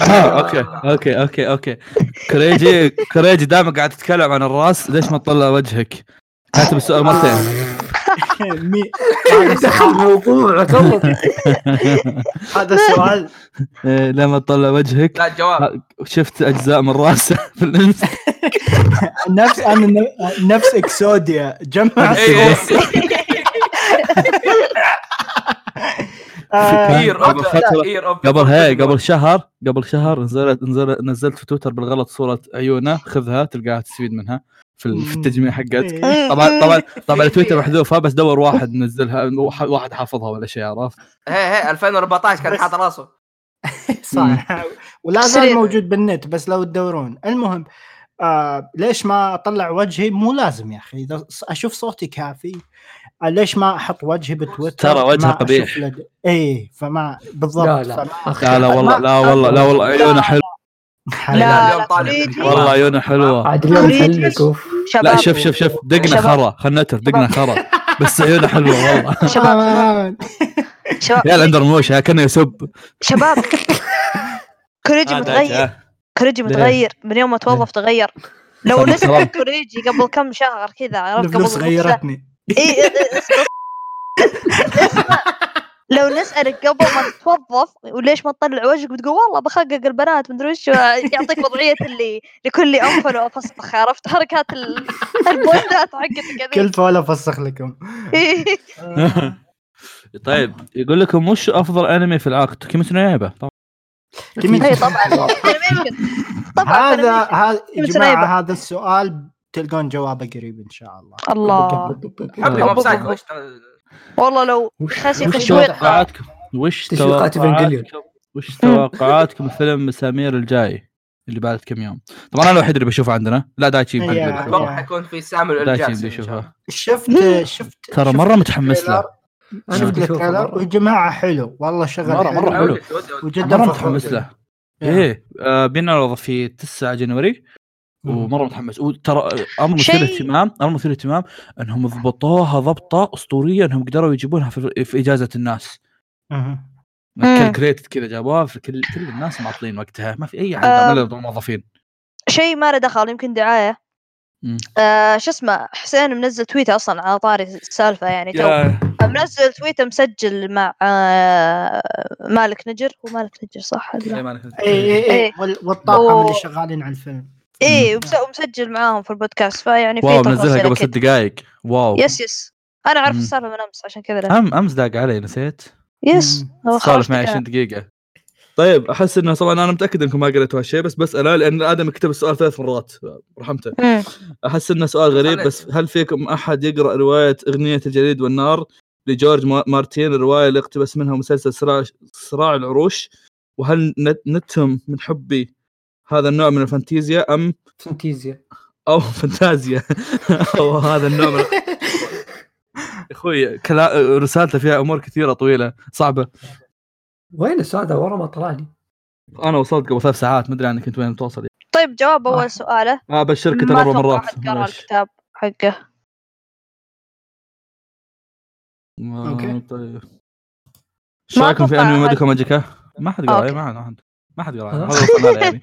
Speaker 4: آه، اوكي اوكي اوكي اوكي كريجي كريجي دائما قاعد تتكلم عن الراس ليش ما تطلع وجهك؟ كاتب السؤال مرتين
Speaker 1: مي-
Speaker 3: دخل موضوع غلط
Speaker 1: هذا السؤال
Speaker 4: إيه، لما تطلع وجهك
Speaker 6: لا جواب
Speaker 4: شفت اجزاء من راسه في الانستا
Speaker 1: نفس انا ن- نفس اكسوديا جمع
Speaker 6: إيه،
Speaker 1: آه،
Speaker 6: اير
Speaker 4: قبل فترة- قبل هي قبل شهر قبل شهر نزلت نزلت نزلت في تويتر بالغلط صوره عيونه خذها تلقاها تستفيد منها في ال- في التجميع حقتك
Speaker 1: إيه.
Speaker 4: طبعا طبعا طبعا تويتر محذوفه بس دور واحد نزلها واحد حافظها ولا شيء عرفت؟
Speaker 6: هي هي 2014 كان
Speaker 1: بس.
Speaker 6: حاط راسه
Speaker 1: صح نعم. ولا زال
Speaker 2: سريع.
Speaker 1: موجود بالنت بس لو تدورون المهم آه ليش ما اطلع وجهي مو لازم يا اخي اذا ص- اشوف صوتي كافي آه ليش ما احط وجهي بتويتر
Speaker 4: ترى وجهه
Speaker 1: ما أشوف
Speaker 4: قبيح.
Speaker 1: لد... ايه فما بالضبط
Speaker 3: لا لا
Speaker 1: فما-
Speaker 3: أخي.
Speaker 4: لا لا والله لا والله لا والله عيونه حلوه
Speaker 2: لا
Speaker 6: اليوم
Speaker 2: لا
Speaker 6: طالع.
Speaker 2: كريجي
Speaker 4: والله عيونه حلوه
Speaker 3: عاد اليوم
Speaker 2: أريد
Speaker 3: تهلك اوف
Speaker 2: شباب
Speaker 4: لا شوف شوف شوف دقنا
Speaker 2: شباب.
Speaker 4: خرا خلنا نتف دقنا خرا بس عيونه حلوه والله
Speaker 1: شباب
Speaker 2: شباب
Speaker 4: يا الاندر موش ها، كانه يسب
Speaker 2: شباب كوريجي متغير كوريجي
Speaker 4: ليه؟
Speaker 2: متغير من يوم ما توظف تغير لو
Speaker 4: صار
Speaker 2: لسه
Speaker 4: مقرب.
Speaker 2: كوريجي قبل كم شهر كذا عرفت قبل
Speaker 1: الفلوس غيرتني
Speaker 2: اي لو نسالك قبل ما تتوظف وليش ما تطلع وجهك بتقول والله بخقق البنات مدري وش يعطيك وضعيه اللي لكل انفل وافسخ عرفت حركات ال- البوستات حقتك هذي.
Speaker 1: كلفه ولا افسخ لكم
Speaker 4: طيب يقول لكم وش افضل انمي في العقد كيميتسو نو يايبا طبعاً.
Speaker 1: كيميتسو.
Speaker 2: اي طبعا Animation. طبعا
Speaker 1: هذا
Speaker 2: Animation.
Speaker 1: هذا يا
Speaker 2: كيف
Speaker 1: جماعه
Speaker 2: سنايبر؟
Speaker 1: هذا السؤال تلقون جوابه قريب ان شاء الله
Speaker 2: الله
Speaker 6: حبي ما
Speaker 4: آه.
Speaker 6: بسايكو إيش ترى-
Speaker 2: والله لو
Speaker 3: وش-
Speaker 2: خسي
Speaker 3: وش
Speaker 2: خشوي
Speaker 4: توقعاتكم وش
Speaker 3: تشويقات
Speaker 4: توقعاتكم
Speaker 3: إيفانجيليون.
Speaker 4: وش توقعاتكم الفيلم مسامير الجاي اللي بعد كم يوم طبعا انا الوحيد اللي بشوفه عندنا لا دايتشي يمكن
Speaker 1: يا
Speaker 4: بيشوفه.
Speaker 6: اتوقع حيكون في سامي
Speaker 4: دايتشي
Speaker 6: الجاسم
Speaker 4: بيشوفه
Speaker 1: شفت شفت
Speaker 4: ترى
Speaker 1: شفت
Speaker 4: مره متحمس له
Speaker 1: التريلر- شفت التريلر وجماعه حلو والله شغل
Speaker 4: مرة-
Speaker 1: حلو إيه.
Speaker 4: مرة حلو.
Speaker 1: وجدا
Speaker 4: مره
Speaker 1: فخور.
Speaker 4: متحمس له
Speaker 1: يا.
Speaker 4: ايه آه، بينعرض في 9 جنوري ومره متحمس وترى امر آه، مثير
Speaker 2: شيء-
Speaker 4: اهتمام امر مثير اهتمام انهم ضبطوها ضبطه اسطوريه انهم قدروا يجيبونها في, في اجازه الناس
Speaker 1: مهم.
Speaker 2: مم.
Speaker 4: كالكريتد كذا جابوها في كل كل الناس معطلين وقتها ما في اي احد
Speaker 2: آه.
Speaker 4: عمل موظفين
Speaker 2: شيء ما له دخل يمكن دعايه
Speaker 4: مم.
Speaker 2: آه شو اسمه حسين منزل تويته اصلا على طاري السالفه يعني تو
Speaker 4: يا-
Speaker 2: منزل تويته مسجل مع آه مالك نجر هو مالك نجر صح ولا لا؟
Speaker 4: إيه، ما أنا كنت-
Speaker 1: اي اي اي
Speaker 2: إيه.
Speaker 1: وال- والطاقم
Speaker 2: و-
Speaker 1: اللي شغالين على الفيلم
Speaker 2: ايه ومس- ومسجل معاهم في البودكاست فيعني في
Speaker 4: واو
Speaker 2: تفاصيل
Speaker 4: منزلها قبل ست
Speaker 2: أكيد.
Speaker 4: دقائق واو
Speaker 2: يس يس انا اعرف
Speaker 4: مم.
Speaker 2: السالفه من امس عشان كذا لا.
Speaker 4: أم امس داق علي نسيت
Speaker 2: يس
Speaker 1: مم.
Speaker 2: هو
Speaker 4: سالف
Speaker 2: خلاص
Speaker 4: معي
Speaker 2: كده.
Speaker 4: 20 دقيقة طيب احس انه طبعا انا متاكد انكم ما قريتوا هالشيء بس بس انا لان ادم كتب السؤال ثلاث مرات رحمته
Speaker 2: مم.
Speaker 4: احس انه سؤال غريب بس هل فيكم احد يقرا روايه اغنيه الجليد والنار لجورج ما- مارتين الروايه اللي اقتبس منها مسلسل صراع صراع العروش وهل نت- نتهم من حبي هذا النوع من الفانتيزيا ام
Speaker 3: فانتيزيا
Speaker 4: او فانتازيا او هذا النوع من اخوي كلا... رسالته فيها امور كثيره طويله صعبه
Speaker 3: وين السؤال ده ورا ما طلع لي
Speaker 4: انا وصلت قبل ثلاث ساعات ما ادري عنك انت وين توصل
Speaker 2: طيب جواب
Speaker 3: آه.
Speaker 2: اول سؤاله
Speaker 4: آه بشرك
Speaker 2: ما
Speaker 4: ترى اربع
Speaker 2: أتوقع
Speaker 4: مرات
Speaker 2: أحد قرا
Speaker 4: معلش.
Speaker 2: الكتاب حقه
Speaker 4: ما-
Speaker 1: أوكي.
Speaker 4: طيب ايش رايكم في
Speaker 2: أتوقع
Speaker 4: انمي
Speaker 2: أحد-
Speaker 4: ميديكو ماجيكا؟ ما حد قرا
Speaker 2: أوكي.
Speaker 4: إيه، ما حد ما حد- ما حد قرا
Speaker 3: آه.
Speaker 4: هذا وصلنا له يعني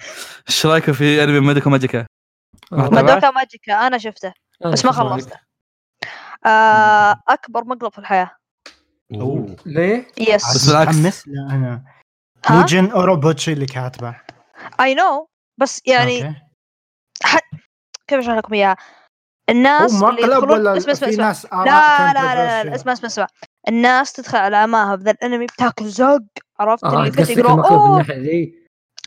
Speaker 4: ايش رايكم في انمي ميديكو ماجيكا؟
Speaker 3: آه،
Speaker 1: طيب.
Speaker 4: تابعت؟
Speaker 2: مادوكا ماجيكا انا شفته
Speaker 3: أنا
Speaker 2: بس ما
Speaker 3: شفت
Speaker 2: خلصت.
Speaker 3: معك.
Speaker 2: آه اكبر مقلب في الحياه
Speaker 4: أوه.
Speaker 3: ليه؟
Speaker 2: يس
Speaker 4: بس بالعكس.
Speaker 1: متحمس له انا
Speaker 2: ها؟
Speaker 1: مو جن اوروبوتشي اللي كاتبه
Speaker 2: اي نو بس يعني
Speaker 1: أوكي.
Speaker 2: كيف اشرح لكم اياها؟ الناس
Speaker 1: هو
Speaker 2: اللي
Speaker 1: مقلب
Speaker 2: يدخلون
Speaker 1: ولا
Speaker 2: اسمع اسمع
Speaker 1: في
Speaker 2: اسمع
Speaker 1: ناس آراء
Speaker 2: لا لا لا,
Speaker 1: controversial؟
Speaker 2: لا اسمع اسمع اسمع الناس تدخل على عماها بذا الانمي بتاكل زق عرفت
Speaker 3: اه
Speaker 2: اللي فت
Speaker 3: قصدك
Speaker 2: يقروا
Speaker 3: المقلب من
Speaker 2: اوه
Speaker 3: الناحيه ذي
Speaker 2: اي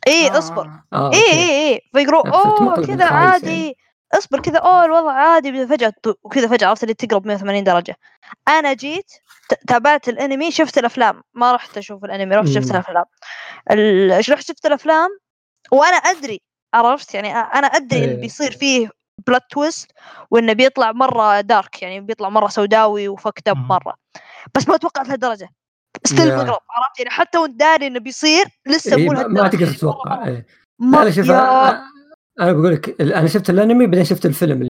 Speaker 1: آه.
Speaker 2: إيه، اصبر
Speaker 3: اه
Speaker 2: اي
Speaker 3: أوكي.
Speaker 2: اي اي فيقروا
Speaker 3: لا، فت
Speaker 2: اوه
Speaker 3: مقلب
Speaker 2: إيه، كذا
Speaker 3: الخايس
Speaker 2: عادي
Speaker 3: يعني.
Speaker 2: اصبر كذا اوه الوضع عادي فجاه ط- وكذا فجاه عرفت اللي تقلب 180 درجه انا جيت ت- تابعت الانمي شفت الافلام ما رحت اشوف الانمي رحت شفت
Speaker 3: مم.
Speaker 2: الافلام ال- ايش رحت شفت الافلام وانا ادري عرفت يعني أ- انا ادري
Speaker 3: إيه.
Speaker 2: اللي بيصير فيه بلوت تويست وانه بيطلع مره دارك يعني بيطلع مره سوداوي وفكت اب
Speaker 1: مم.
Speaker 2: مره بس ما توقعت لهالدرجه ستيل
Speaker 3: يا.
Speaker 2: مغرب عرفت يعني حتى وانت داري انه بيصير لسه
Speaker 3: إيه،
Speaker 2: مو
Speaker 3: ما- ما
Speaker 2: لهالدرجة.
Speaker 3: تقدر
Speaker 2: يعني
Speaker 3: تتوقع
Speaker 2: مرة-
Speaker 3: إيه.
Speaker 2: مرة-
Speaker 3: لا لا شوف أ-
Speaker 2: يا-
Speaker 3: أ- انا بقول لك ال- انا شفت الانمي بعدين شفت الفيلم اللي-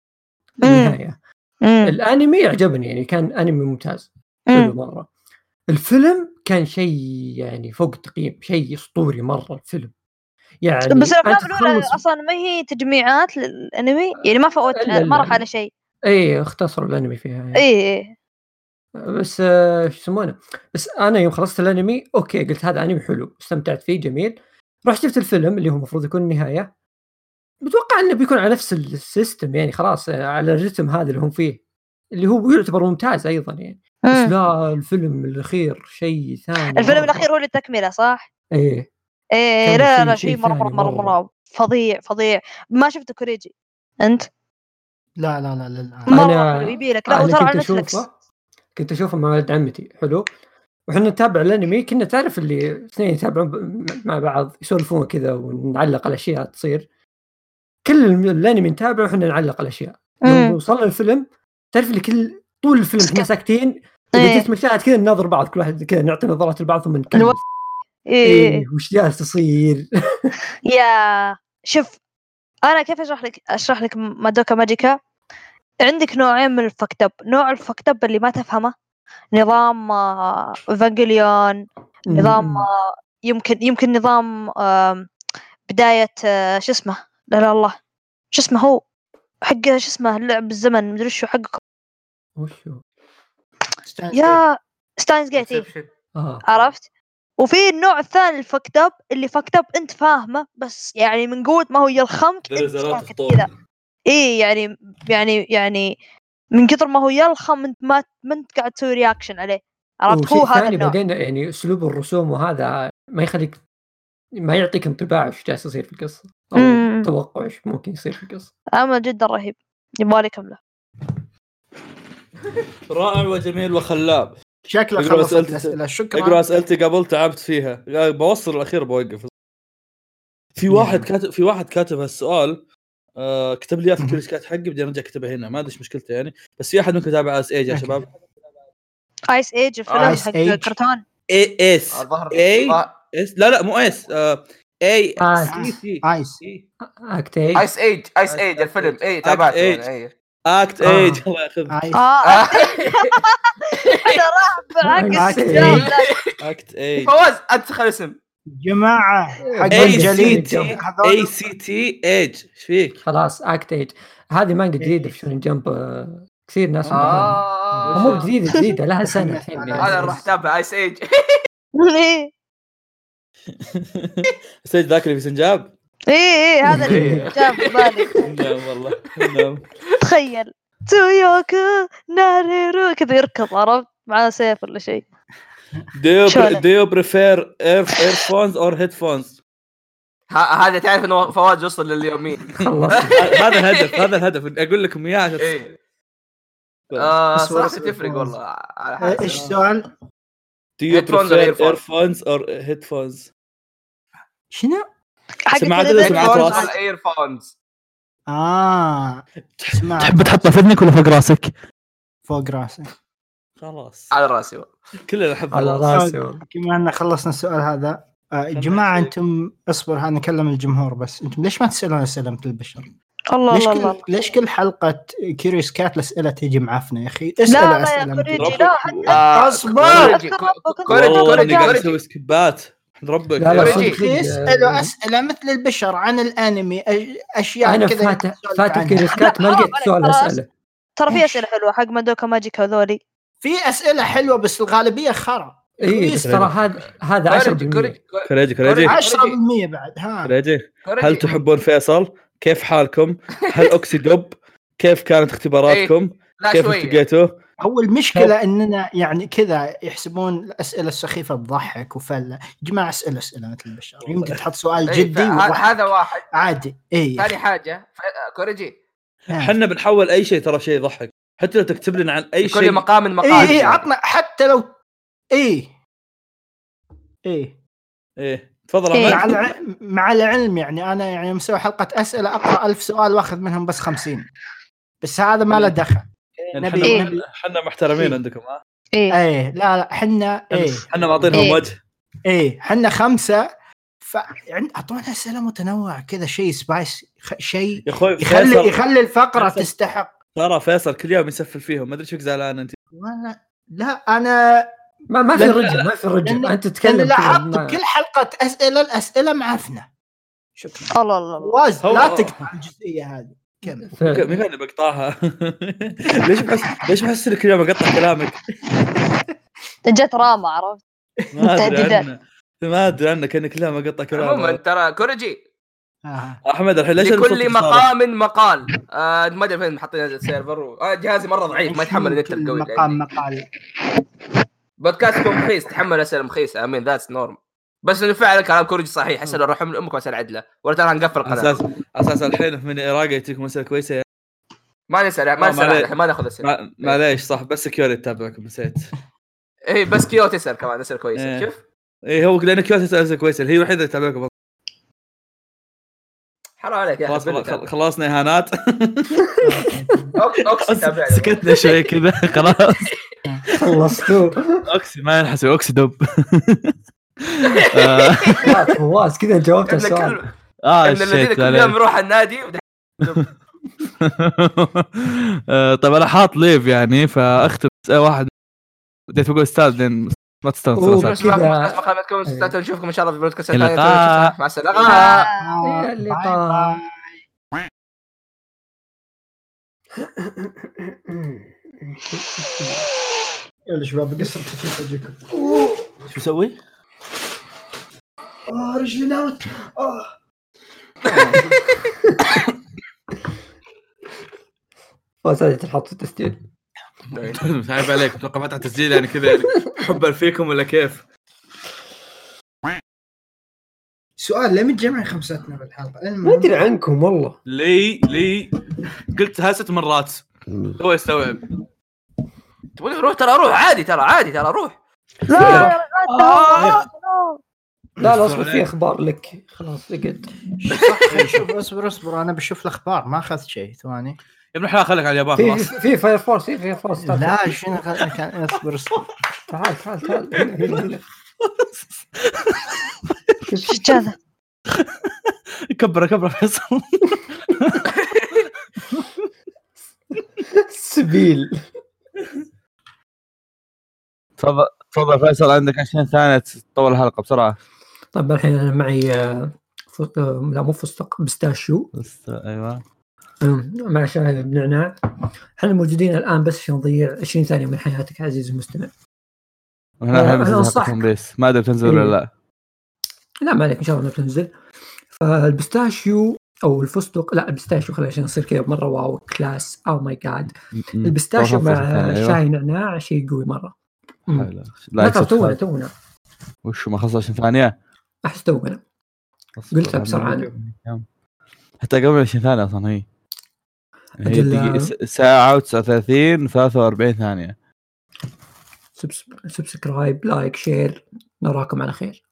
Speaker 3: النهايه
Speaker 2: مم.
Speaker 3: الانمي عجبني يعني كان انمي ممتاز حلو
Speaker 2: مم.
Speaker 3: مره الفيلم كان شيء يعني فوق التقييم شيء اسطوري مره الفيلم يعني
Speaker 2: بس الافلام
Speaker 3: أنت
Speaker 2: الاولى
Speaker 3: تخلص-
Speaker 2: اصلا ما هي تجميعات للانمي يعني ما فوت
Speaker 3: لا، لا،
Speaker 2: ما راح
Speaker 3: لا.
Speaker 2: على شيء إيه،
Speaker 3: اي اختصروا الانمي إيه، فيها يعني.
Speaker 2: اي إي.
Speaker 3: بس آه، شو يسمونه بس انا يوم خلصت الانمي اوكي قلت هذا انمي حلو استمتعت فيه جميل رحت شفت الفيلم اللي هو المفروض يكون النهايه بتوقع انه بيكون على نفس السيستم يعني خلاص آه، على الرتم هذا اللي هم فيه اللي هو يعتبر ممتاز ايضا يعني بس
Speaker 2: مم.
Speaker 3: لا الفيلم الاخير شيء ثاني
Speaker 2: الفيلم
Speaker 3: مرة.
Speaker 2: الاخير هو اللي تكمله صح؟
Speaker 3: ايه
Speaker 2: ايه
Speaker 3: كان
Speaker 2: لا
Speaker 3: شيء-
Speaker 2: لا
Speaker 3: شيء
Speaker 2: شيء
Speaker 3: ثاني
Speaker 2: مره مره مره
Speaker 3: مرة.
Speaker 2: مره فظيع فظيع ما شفت كوريجي انت؟
Speaker 1: لا لا لا للان
Speaker 3: ما-
Speaker 2: مره
Speaker 3: أنا-
Speaker 2: حلو يبي لك لا
Speaker 3: انا
Speaker 2: وترى
Speaker 3: كنت
Speaker 2: على نتفلكس
Speaker 3: اشوفه كنت اشوفه مع ولد عمتي حلو وحنا نتابع الانمي كنا تعرف اللي اثنين يتابعون ب- مع بعض يسولفون كذا ونعلق على اشياء تصير كل الم- الانمي نتابعه وحنا نعلق على اشياء لو
Speaker 2: مم.
Speaker 3: وصلنا الفيلم تعرف اللي كل طول الفيلم احنا ساكتين
Speaker 2: إيه.
Speaker 3: اذا جيت مشاهد كذا نناظر بعض كل واحد كذا نعطي نظرات لبعض ثم نكمل
Speaker 2: الوقت. إيه.
Speaker 3: ايه وش جالس يصير
Speaker 2: يا شوف انا كيف اشرح لك اشرح لك مادوكا ماجيكا عندك نوعين من الفكتب نوع الفكتب اللي ما تفهمه نظام فانجليون نظام آه، يمكن يمكن نظام آم، بداية آه، شو اسمه لا لا الله شو اسمه هو حق شو اسمه لعب الزمن مدري شو حقكم
Speaker 3: وش هو؟
Speaker 2: يا ستاينز جيت إيه.
Speaker 6: Inception.
Speaker 3: اه
Speaker 2: عرفت وفي النوع الثاني الفكت اب اللي فكت اب انت فاهمه بس يعني من قوه ما هو يلخمك
Speaker 5: There is
Speaker 2: انت
Speaker 5: a lot of
Speaker 2: ساكت كذا
Speaker 5: thought.
Speaker 2: ايه يعني يعني يعني من كثر ما هو يلخم انت ما ما انت قاعد تسوي رياكشن عليه عرفت
Speaker 3: وشيء
Speaker 2: هو هذا
Speaker 3: ثاني
Speaker 2: النوع
Speaker 3: بعدين يعني اسلوب الرسوم وهذا ما يخليك ما يعطيك انطباع وش جالس يصير في القصه او
Speaker 2: مم.
Speaker 3: توقع وش ممكن يصير في القصه
Speaker 2: اما جدا رهيب يبغالي كمله
Speaker 5: رائع وجميل وخلاب
Speaker 1: شكلك
Speaker 4: اقرأ
Speaker 1: خلصت
Speaker 4: أسئلتي.
Speaker 1: الاسئله شكرا
Speaker 4: اقرا اسئلتي قبل تعبت فيها قاعد بوصل الاخير بوقف في واحد كاتب في واحد كاتب هالسؤال آه كتب لي إياه في
Speaker 1: مهم.
Speaker 4: كل الشكات حقي بدي ارجع اكتبه هنا ما ادري ايش مشكلته يعني بس في احد منكم يتابع اس ايج يا
Speaker 1: أوكي.
Speaker 4: شباب
Speaker 2: ايس ايج الفيلم
Speaker 1: آيس
Speaker 2: حق
Speaker 1: إيج.
Speaker 2: كرتون
Speaker 4: اي اس
Speaker 6: الظهر
Speaker 4: إيه.
Speaker 6: آه،
Speaker 4: اس لا لا مو اس آه اي
Speaker 3: آه.
Speaker 4: سي سي
Speaker 1: ايس
Speaker 3: اكت ايج
Speaker 6: ايس ايج ايس ايج الفيلم اي تابعته
Speaker 4: إيج.
Speaker 6: أنا، إيه.
Speaker 4: اكت
Speaker 3: آه.
Speaker 4: ايج الله ياخذ
Speaker 1: ايس
Speaker 2: اه
Speaker 6: آه.
Speaker 2: انا راح
Speaker 1: آيس
Speaker 2: بالعكس
Speaker 1: إيج.
Speaker 2: الجواب لا.
Speaker 4: اكت ايج
Speaker 6: فواز انت خل اسم
Speaker 1: جماعه حق
Speaker 4: إيه،
Speaker 3: أي
Speaker 1: الجليد
Speaker 3: سي تي.
Speaker 1: هذول-
Speaker 4: اي سي تي ايج ايش فيك؟
Speaker 3: خلاص اكت ايج هذه مانجا جديده في شونين جمب آه، كثير ناس آه. مو
Speaker 6: آه.
Speaker 3: جديده جديده لها سنه الحين يعني.
Speaker 6: انا راح اتابع ايس ايج
Speaker 2: إيه.
Speaker 4: اس ايج ذاك اللي في سنجاب؟
Speaker 2: ايه ايه هذا اللي
Speaker 3: إيه.
Speaker 2: جاب في بالي
Speaker 4: نعم والله نعم
Speaker 2: تخيل تويوكو ناريرو كذا يركض عرفت معاه سيف ولا شيء
Speaker 4: Do you,
Speaker 2: شلون؟
Speaker 4: do you prefer ear, earphones or headphones؟
Speaker 6: ه- هذا تعرف انه فواز وصل لليومين
Speaker 3: خلص
Speaker 4: ه- هذا الهدف هذا الهدف اقول لكم اياه عشان
Speaker 6: ايه آه،
Speaker 3: بس
Speaker 6: صراحه
Speaker 3: بس-
Speaker 6: تفرق والله على
Speaker 1: إيه،
Speaker 6: حسب. يعني
Speaker 1: ايش السؤال؟
Speaker 4: Do you
Speaker 6: Headphones
Speaker 4: prefer
Speaker 6: or
Speaker 4: earphones
Speaker 6: earphones?
Speaker 4: or headphones؟
Speaker 1: شنو؟
Speaker 2: حق
Speaker 4: سماعات
Speaker 2: التلفزيون.
Speaker 4: سماعات
Speaker 6: Headphones
Speaker 4: راس.
Speaker 6: ولا ايرفونز
Speaker 1: اه اسمع
Speaker 7: تحب تحطه في اذنك ولا فوق راسك؟
Speaker 1: فوق راسي
Speaker 4: خلاص
Speaker 6: على راسي والله.
Speaker 4: كلنا نحب
Speaker 3: على
Speaker 4: الراس.
Speaker 3: راسي والله
Speaker 1: بما ان خلصنا السؤال هذا آه، يا جماعه انتم اصبر ها نكلم الجمهور بس انتم ليش ما تسالون اسئله مثل البشر؟
Speaker 2: الله
Speaker 1: ليش
Speaker 2: الله الله
Speaker 1: كل ليش كل حلقه كيوريوس كات الاسئله تيجي معفنه يا اخي؟
Speaker 2: لا
Speaker 1: اسال
Speaker 2: لا يا
Speaker 1: اسئله مثل
Speaker 2: كوريجي
Speaker 1: البشر.
Speaker 2: لا حتى
Speaker 6: آه،
Speaker 1: اصبر
Speaker 6: كوريجي،
Speaker 2: أذكر ربك
Speaker 6: كوريجي،
Speaker 2: أنت.
Speaker 4: والله
Speaker 6: كوريجي،
Speaker 4: اني قاعد
Speaker 6: كوريجي.
Speaker 4: اسوي سكبات احمد ربك
Speaker 3: لا، لا،
Speaker 4: يا
Speaker 3: صدق.
Speaker 4: رجل.
Speaker 1: اخي اسالوا اسئله مثل البشر عن الانمي أش- اشياء
Speaker 3: انا
Speaker 1: كذا
Speaker 3: فاتح
Speaker 1: يسولف
Speaker 3: فاتح
Speaker 1: عنها.
Speaker 3: كيريوس كات ما
Speaker 2: حرام
Speaker 3: لقيت
Speaker 2: عليك،
Speaker 3: سؤال
Speaker 2: خلاص.
Speaker 3: اساله
Speaker 2: ترى في اسئله حلوه حق مادوكا ماجيك هذولي
Speaker 1: في اسئله حلوه بس الغالبيه خرا
Speaker 3: اي إيه، بس ترى هذا هذا 10%
Speaker 6: كوريجي، كوريجي، كوريجي.
Speaker 4: كريجي
Speaker 3: إيه.
Speaker 4: كريجي
Speaker 6: كوريجي.
Speaker 1: 10% بعد ها
Speaker 4: كريجي هل
Speaker 6: كوريجي.
Speaker 4: تحبون فيصل؟ كيف حالكم؟ هل اوكسيدوب؟ كيف كانت اختباراتكم؟
Speaker 6: لا
Speaker 4: كيف
Speaker 6: شويه
Speaker 4: التقيتوا؟
Speaker 1: هو المشكله اننا يعني كذا يحسبون الاسئله السخيفه تضحك وفله يا جماعه اسئله اسئله مثل البشر يمكن تحط سؤال
Speaker 6: إيه،
Speaker 1: جدي
Speaker 6: فه-
Speaker 1: وضحك.
Speaker 6: هذا واحد
Speaker 1: عادي إيه اي
Speaker 6: ثاني حاجه ف- كوريجي
Speaker 2: آه.
Speaker 1: آه.
Speaker 4: احنا بنحول اي شيء ترى شيء يضحك حتى لو تكتب لنا عن اي
Speaker 6: كل
Speaker 4: شيء إيه،
Speaker 6: مقام
Speaker 1: اي اي
Speaker 6: مقال
Speaker 1: إيه، عطنا حتى لو إيه. اي اي
Speaker 4: ايه تفضل
Speaker 2: إيه.
Speaker 4: احمد
Speaker 1: مع العلم مع العلم يعني انا يعني مسوي حلقه اسئله اقرا ألف سؤال واخذ منهم بس خمسين بس هذا ما له
Speaker 6: طيب.
Speaker 1: دخل
Speaker 4: يعني
Speaker 1: نبي-
Speaker 2: إيه.
Speaker 4: حنا-
Speaker 1: نبي.
Speaker 4: حنا محترمين
Speaker 1: إيه.
Speaker 4: عندكم ها
Speaker 2: ايه
Speaker 1: ايه لا لا حنا
Speaker 4: طيب.
Speaker 1: ايه
Speaker 4: حنا معطينهم
Speaker 2: إيه.
Speaker 4: وجه
Speaker 1: ايه حنا خمسه ف عن- اعطونا اسئله متنوعه كذا شيء سبايس خ... شيء
Speaker 4: يا اخوي
Speaker 1: يخلي
Speaker 4: فيصل
Speaker 1: يخلي الفقره
Speaker 4: فيصل.
Speaker 1: تستحق
Speaker 4: ترى فيصل كل يوم يسفل فيهم ما ادري شو زعلان انت
Speaker 1: وانا لا انا
Speaker 3: ما ما في
Speaker 1: لأن-
Speaker 3: رجع ما في
Speaker 1: لأن-
Speaker 3: رجع انت
Speaker 1: كان
Speaker 3: تتكلم
Speaker 1: لاحظت
Speaker 3: كذا،
Speaker 1: بكل حلقه اسئله الاسئله معفنه شكرا
Speaker 2: الله الله الله
Speaker 1: فواز
Speaker 4: هو-
Speaker 1: لا
Speaker 4: هو-
Speaker 1: تقطع الجزئيه هذه كمل
Speaker 3: ما- ف-
Speaker 4: مين اللي بقطعها ليش بحس ليش بحس إني كل يوم اقطع كلامك
Speaker 2: جت راما عرفت
Speaker 4: ما ادري
Speaker 2: تهديدات.
Speaker 4: عنه ما ادري عنه كان كل يوم اقطع
Speaker 6: عموما
Speaker 4: كلامك
Speaker 6: ترى كوريجي
Speaker 1: آه.
Speaker 4: احمد الحين ليش
Speaker 6: لكل
Speaker 4: أنا صوتك صار؟
Speaker 6: مقام مقال آه ما ادري فين حاطين هذا السيرفر و... آه جهازي مره ضعيف ما يتحمل يعني. النت القوي اللي
Speaker 1: مقام
Speaker 6: عندي.
Speaker 1: مقال
Speaker 6: بودكاستكم مخيس تحمل اسئله مخيسه امين ذاتس نورم بس انه فعلا كلام كوريجي صحيح اسئله روح من امك واسال عدله ولا ترى هنقفل
Speaker 4: على
Speaker 6: القناه
Speaker 4: اساس على اساس الحين من العراق يجيكم اسئله كويسه يعني.
Speaker 6: ما نسال
Speaker 4: آه، ما
Speaker 6: ما نسال
Speaker 4: عليك.
Speaker 6: عدلة، ما ناخذ اسئله
Speaker 4: ما- معليش صح بس سكيورتي تتابعكم نسيت
Speaker 6: اي إيه، بس كيو تسال كمان اسئله كويسه
Speaker 4: إيه.
Speaker 6: شوف
Speaker 4: ايه هو لان كيوت تسال اسئله كويسه هي الوحيده اللي تتابعكم
Speaker 6: حرام عليك يا
Speaker 4: خلاص
Speaker 6: حبيبي
Speaker 4: خلاص- خلصنا اهانات
Speaker 6: أوك- أوكس تابعني.
Speaker 4: سكتنا شوي كذا خلاص
Speaker 3: خلصتوه
Speaker 4: اوكسي ما ينحسب اوكسي دب
Speaker 3: لا، فواز كذا جاوبت
Speaker 6: إن كل-
Speaker 3: السؤال
Speaker 4: اه
Speaker 6: إن الذين
Speaker 4: الشيت
Speaker 6: كل يوم يروح النادي ودح-
Speaker 4: آه، طيب انا حاط ليف يعني فاختم بس- آه، واحد بديت بقول استاذ لين ما
Speaker 3: أوه،
Speaker 4: تستنصر
Speaker 3: بس-
Speaker 6: نسمعكم-
Speaker 3: كذا-
Speaker 6: نسمع خدمتكم، نستمتع، نشوفكم ان شاء الله في بودكاست
Speaker 4: إلى
Speaker 6: ثاني.
Speaker 4: اللقاء.
Speaker 6: مع السلامه
Speaker 3: يا
Speaker 1: آه، باي باي.
Speaker 3: اللقاء.
Speaker 1: يلا شباب قصة في وجهكم
Speaker 4: شو اسوي؟
Speaker 1: اه رجلي ناوت اه
Speaker 3: فواز هذه تنحط في التسجيل
Speaker 4: مش عارف عليك اتوقع فتح تسجيل يعني كذا يعني حبا فيكم ولا كيف؟
Speaker 1: سؤال لم تجمع خمساتنا بالحلقه
Speaker 3: ما
Speaker 1: المهم.
Speaker 3: ادري عنكم والله
Speaker 4: لي لي قلت ها ست مرات هو يستوعب
Speaker 6: تبغوني اروح ترى اروح عادي ترى عادي ترى اروح
Speaker 2: لا لا لا
Speaker 6: آه.
Speaker 3: لا لا اصبر في اخبار لك خلاص لقيت
Speaker 1: صح، شوف اصبر اصبر انا بشوف الاخبار ما اخذت شيء ثواني
Speaker 4: يا ابن الحلال خليك على اليابان
Speaker 3: في
Speaker 4: خلاص
Speaker 3: في- في فاير فورس في فاير
Speaker 6: طيب.
Speaker 3: فورس تعال
Speaker 1: لا شنو أخذ- كان- اصبر اصبر
Speaker 3: تعال تعال تعال هنا- هنا- هنا.
Speaker 2: ايش جاذا
Speaker 4: كبره كبره فيصل
Speaker 3: سبيل
Speaker 4: تفضل تفضل فيصل عندك 20 ثانيه تطول الحلقه بسرعه
Speaker 3: طيب الحين انا معي آه، فستق لا مو فستق بستاشيو
Speaker 4: بس ايوه
Speaker 3: أم، مع شاي بنعناع احنا موجودين الان بس عشان نضيع 20 ثانيه من حياتك عزيزي المستمع أنا
Speaker 4: هنا حمس
Speaker 3: أنصحك.
Speaker 4: حلقه ون بيس ما ادري بتنزل ولا لا
Speaker 3: لا ما عليك ان شاء الله إنها بتنزل فالبستاشيو او الفستق لا البستاشيو خلينا عشان نصير كذا مره واو كلاس Oh او ماي جاد
Speaker 4: م-
Speaker 3: البستاشيو مع
Speaker 4: طبعاً فرصة ثانية، أيوة.
Speaker 3: شاي نعناع شيء قوي مره أمم.
Speaker 4: حلو.
Speaker 3: لا
Speaker 4: لا
Speaker 3: ترى تونا
Speaker 4: يصدق.
Speaker 3: تونا
Speaker 4: وشو ما خلص 20 ثانيه
Speaker 3: احس تونا قلتها بسرعة
Speaker 4: حتى قبل 20 ثانيه اصلا هي هي
Speaker 3: أجل-
Speaker 4: دقيقة- س- ساعة و39 43 ثانية
Speaker 3: سبس- سبسكرايب لايك شير نراكم على خير